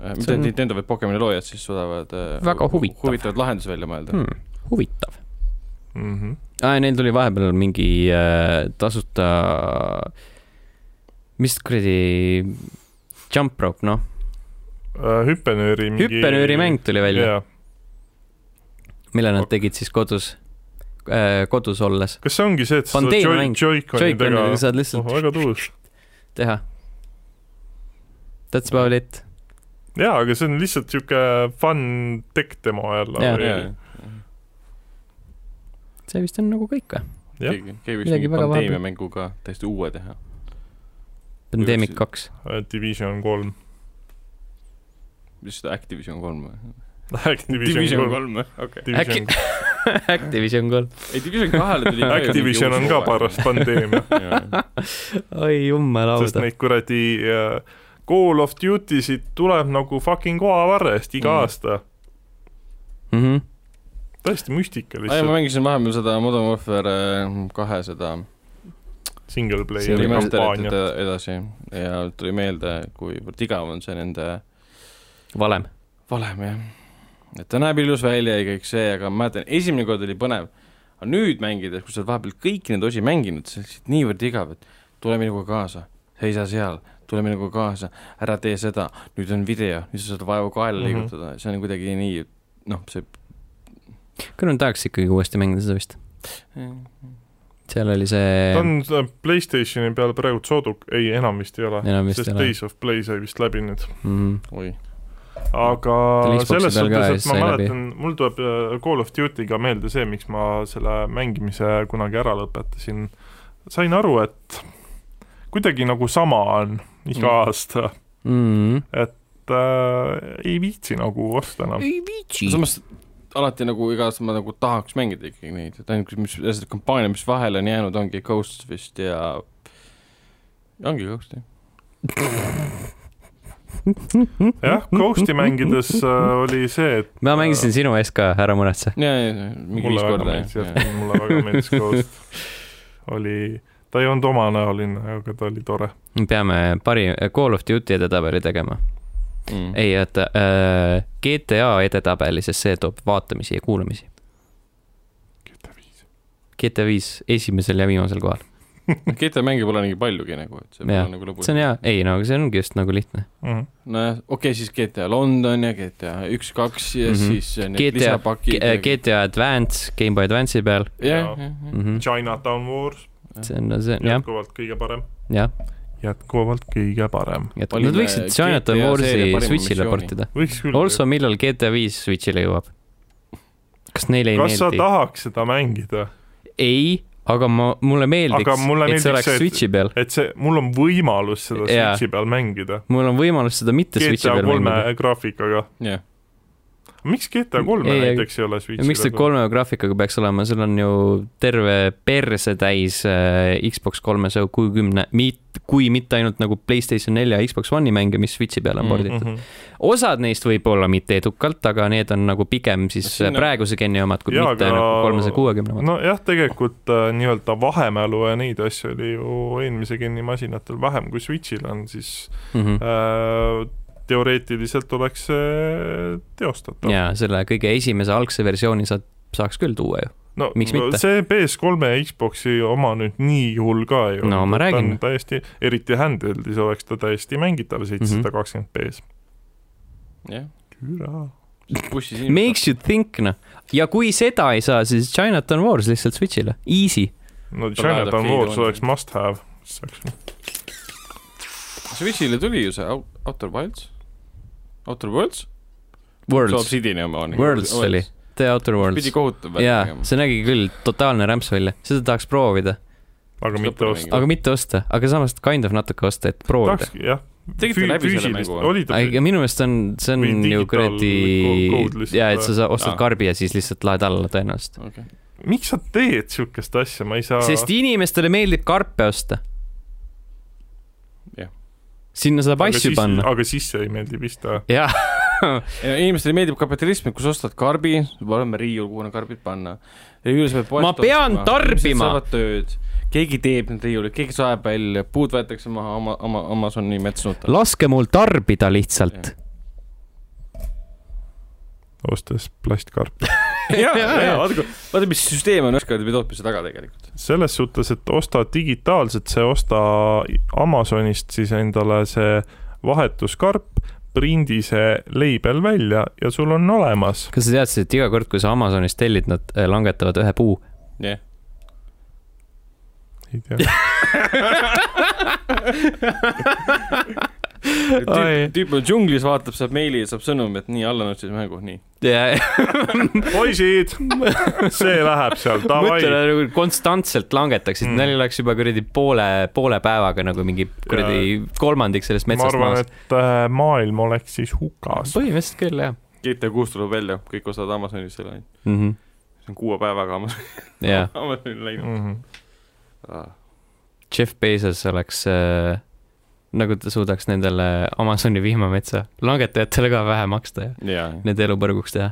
äh, mitte
See on-
on... Nintendo , vaid Pokemoni loojad siis suudavad äh,
Väga
hu-
huvitav.
huvitavaid lahendusi välja mõelda hmm. .
hmm, huvitav .
mhm.
aa , neil tuli vahepeal mingi äh, tasuta , mis kuradi , jump rope , noh ,
Äh, hüppenööri mingi .
hüppenöörimäng tuli välja ,
välja .
mille nad tegid siis kodus äh, , kodus olles .
kas see ongi see , et sa saad
Pandeemia mäng.
joy- joy-conidega
Joy-Coniga saad
oh,
lihtsalt
väga tuus .
teha . That's about it .
jaa , aga see on lihtsalt siuke fun tech demo jälle
Jaa. .
Yeah.
see vist on nagu kõik või ?
Jah.
keegi , keegi võiks
Midagi
mingi
väga
pandeemia
vahepeal.
mänguga täiesti uue teha .
Pandemic
Kuidas-
kaks .
Division kolm .
mis seda Activision kolm või ?
Activision kolm .
kolm või ? okei .
äkki Activision
Division ,,
kolm .
ei , Division kahele tuli .
Activision on ka paras pandeemia ,
oi
sest
jummalauda .
neid kuradi äh, Call of Duty sid tuleb nagu fucking koavarrest iga
Mm.
mm. aasta .
Mhm.
täiesti müstika
aa jaa , ma
lihtsalt ,
mängisin vahepeal seda Modern Warfare äh, kahe seda
single player
remaster'it
kampaania .
ed- edasi ja tuli meelde , kuivõrd igav on see nende
valem .
valem jah . et ta näeb ilus välja ja kõik see , aga ma mäletan , esimene kord oli põnev , aga nüüd mängides , kui sa oled vahepeal kõiki neid osi mänginud , see on lihtsalt niivõrd igav , et tule minuga kaasa , seisa seal , tule minuga kaasa , ära tee seda , nüüd on video , nüüd sa saad vaeva kaela
Mhm.
liigutada mm , -hmm. see on kuidagi nii , noh , see
küll ma tahaks ikkagi uuesti mängida seda vist .
Mm.
seal oli see
ta on äh, Playstationi peal praegu sooduk , ei enam vist ei ole ,
enam vist
sest
ei ole .
Days of Play sai vist läbi nüüd .
Mm.
oi ,
Ta oli
aga
Xboxi
selles
peal ka ja
suhtes ,
siis
et ma
sai läbi.
mäletan , mul tuleb äh, Call of Duty'ga meelde see , miks ma selle mängimise kunagi ära lõpetasin . sain aru , et kuidagi nagu sama on iga
Mm.
mm. aasta ,
Mm.
et äh, ei viitsi nagu osta enam .
ei viitsi
samas alati nagu iga aasta ma nagu tahaks mängida ikkagi neid , et ainult , mis see kampaania , mis vahele on jäänud , ongi Ghosts vist ja ongi Ghost jah .
jah , Ghosti mängides äh, oli see , et
ma mängisin sinu eest ka , ära muretse .
ja , ja , ja
mulle
mingi viis
väga
korda
meeldis ,
jah
jah , mulle väga meeldis Ghost . oli , ta ei olnud omanäoline , aga ta oli tore .
me peame pari eh, Call of Duty edetabeli tegema .
mm. .
ei , oota äh, , GTA edetabeli , sest see toob vaatamisi ja kuulamisi . GTA viis esimesel ja viimasel kohal .
GTA mänge pole nii paljugi nagu , et see
Jah,
pole nagu lõbus
see on . hea , ei no aga see ongi just nagu lihtne .
Mhm.
nojah , okei okay, , siis GTA London ja GTA üks , kaks ja mm
Mhm.
-hmm. siis need
GTA
lisapakid .
äh, GTA Advance , Gameboy Advance'i peal
jah , jah , jah .
mm .
Mm-hmm.
-hmm.
Chinatown Wars ,
see on , see on jah ,
jätkuvalt kõige parem .
jah .
jätkuvalt kõige parem .
et
Valime
nad võiksid Chinatown
GTA seeria
Warsi
parima
Switch'ile
missiooni.
portida .
võiks küll .
Also , millal GTA viis Switch'ile jõuab ? kas neile ei
kas sa
meeldi ?
tahaks seda mängida ,
ei , aga ma , mulle meeldiks
Aga , mulle
et see
meeldiks
oleks
see, et-
Switch'i peal .
et see , mul on võimalus seda
Jaa.
Switchi peal mängida .
mul on võimalus seda mitte Switch'i
GTA
peal mängida .
kolme graafikaga .
jah ,
miks GTA kolme
Ei, aga-
näiteks ei ole
ja miks
Switchi
ta kolme graafikaga peaks olema , seal on ju terve perse täis äh, Xbox kolmesaja kuuekümne , mit- , kui mitte ainult nagu Playstation nelja ja Xbox One'i mänge , mis Switch'i peale on
Mm,
Mhm.
porditud mm . -hmm. osad neist võib-olla mitte edukalt , aga need on nagu pigem siis
Siin on-
praeguse geni omad , kui
Jaa,
mitte
aga-
nagu kolmesaja kuuekümne omad .
nojah , tegelikult äh, nii-öelda vahemälu ja neid asju oli ju eelmise geni masinatel vähem kui Switchil on , siis
Mhm.
äh, teoreetiliselt oleks see teostatav .
jaa , selle kõige esimese algse versiooni sa saaks küll tuua ju .
no
Miks mitte?
see PS3 ja Xboxi oma nüüd nii hull ka ei ole
No ma räägin.
ta on täiesti , eriti handheld'is oleks ta täiesti mängitav seitsesada kakskümmend B-s .
jah .
küra .
bussis
Makes you think noh , ja kui seda ei saa , siis Chinatown Wars lihtsalt Switch'ile , easy .
no
Ta läheb
Chinatown Wars
Fade on-
oleks must have . saaks
Switch'ile tuli ju see Out- Outer Wilds , Outer Worlds , see
Worlds ,
Obsidiani oma on .
Worlds oli. The Outer
pidi
Worlds .
kohutav välja
jaa ,
tegema .
see nägi küll totaalne rämps välja , seda tahaks proovida ,
aga mitte
lõpuni
osta .
aga mitte osta , aga samas kind of natuke osta , et proovida .
tahakski jah .
Tegite läbi selle mängu või?
oli ta ,
aga minu meelest on , see on
Või
ju
digitaal- ko-
kuradi
code , lihtsalt
jaa , et sa saa- ostad
Aa.
karbi ja siis lihtsalt laed alla tõenäoliselt .
okei ,
miks sa teed siukest asja , ma ei saa .
sest inimestele meeldib karpe osta
Jah. .
sinna saab asju panna .
aga sisse ei meeldi pista .
jah ,
inimestele meeldib kapitalism , kus ostad karbi , paneme riiul , kuhu need karbid panna . riiulis peab
Ma pean tarbima!
saavad tööd , keegi teeb need riiulid , keegi saeb välja , puud võetakse maha oma , oma , Amazoni metsnutel .
laske mul tarbida lihtsalt .
ostes plastkarpi .
jaa ,
jaa, jaa.
jaa , vaata , vaata , mis süsteem on ükskord juba tootmise taga tegelikult .
selles suhtes , et osta digitaalselt , see osta Amazonist siis endale see vahetuskarp , prindi see leibel välja ja sul on olemas .
kas sa teadsid , et iga kord , kui sa Amazonis tellid , nad eh, langetavad ühe puu ?
jah ,
ei tea ,
Oi.
tüüp tüüp on džunglis , vaatab , saab meili , saab sõnumi , et nii , alla nutsis mängu , nii .
poisid , see läheb seal ,
mõtlen
davai .
nagu konstantselt langetaksid
Mm.
mm. , neil oleks juba kuradi poole , poole päevaga nagu mingi kuradi kolmandik sellest
ma
metsast
arvan ,
maas .
et äh, maailm oleks siis hukas .
põhimõtteliselt küll jah
GTA kuus tuleb välja , kõik osad Amazonis selle ainult .
mm . -hmm.
see on kuue päevaga Amazon ,
ja
Amazonil läinud .
Mhm.
Ah,
Jeff Bezos oleks äh, , nagu ta suudaks nendele Amazoni vihmametsa langetajatele ka vähe maksta ja
jaa ,
need elu põrguks teha .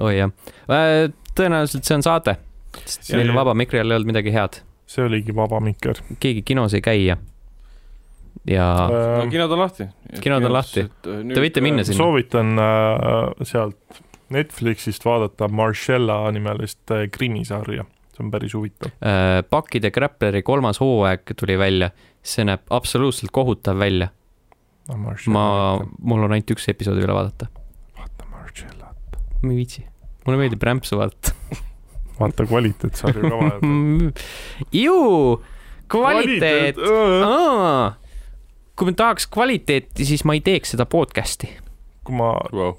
oi jah äh, , tõenäoliselt see on saade , sest
Ja-
meil vaba mikri all ei olnud midagi head ,
see oligi Vaba Mikker .
keegi kinos ei käi ja , ja
Äh,
no kinod on lahti .
Ehm,
äh,
Kinod on lahti. . te võite minna sinna.
soovitan äh, sealt Netflixist vaadata Marcella nimelist äh, krimisarja , see on päris huvitav .
äh, Pakkide Grappleri kolmas hooaeg tuli välja , see näeb absoluutselt kohutav välja ,
Ah,
ma , mul on ainult üks episood üle vaadata ,
vaata Marcellat ,
ma ei viitsi , mulle meeldib rämpsu vaadata .
vaata kvaliteetsarju ka vahepeal .
Mm. ju , kvaliteet , kui ma tahaks kvaliteeti , siis ma ei teeks seda podcast'i .
kui ma ,
wow. .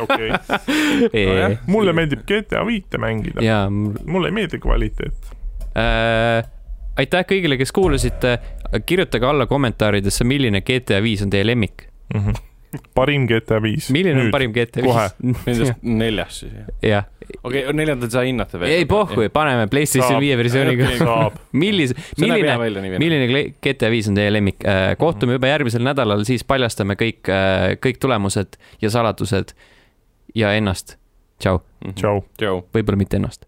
okei , okei .
jaa ,
mulle meeldib GTA viite mängida ,
mul-
mulle ei meeldi kvaliteet .
äh, aitäh kõigile , kes kuulasite , kirjutage alla kommentaaridesse , milline GTA viis on teie lemmik ,
Mhm. parim GTA viis .
milline on parim GTA
kohe.
viis ?
Nendest neljast siis , jah .
jah ,
okei okay, , neljandat sa hinnata veel .
ei pohhu , paneme Playstation
Saab.
viie versiooniga .
saab ,
millise , milline ,
milline ?
milline kle- GTA viis on teie lemmik ? kohtume juba järgmisel nädalal , siis paljastame kõik , kõik tulemused ja saladused ja ennast . tšau ,
tšau .
Mhm. tšau .
võib-olla mitte ennast .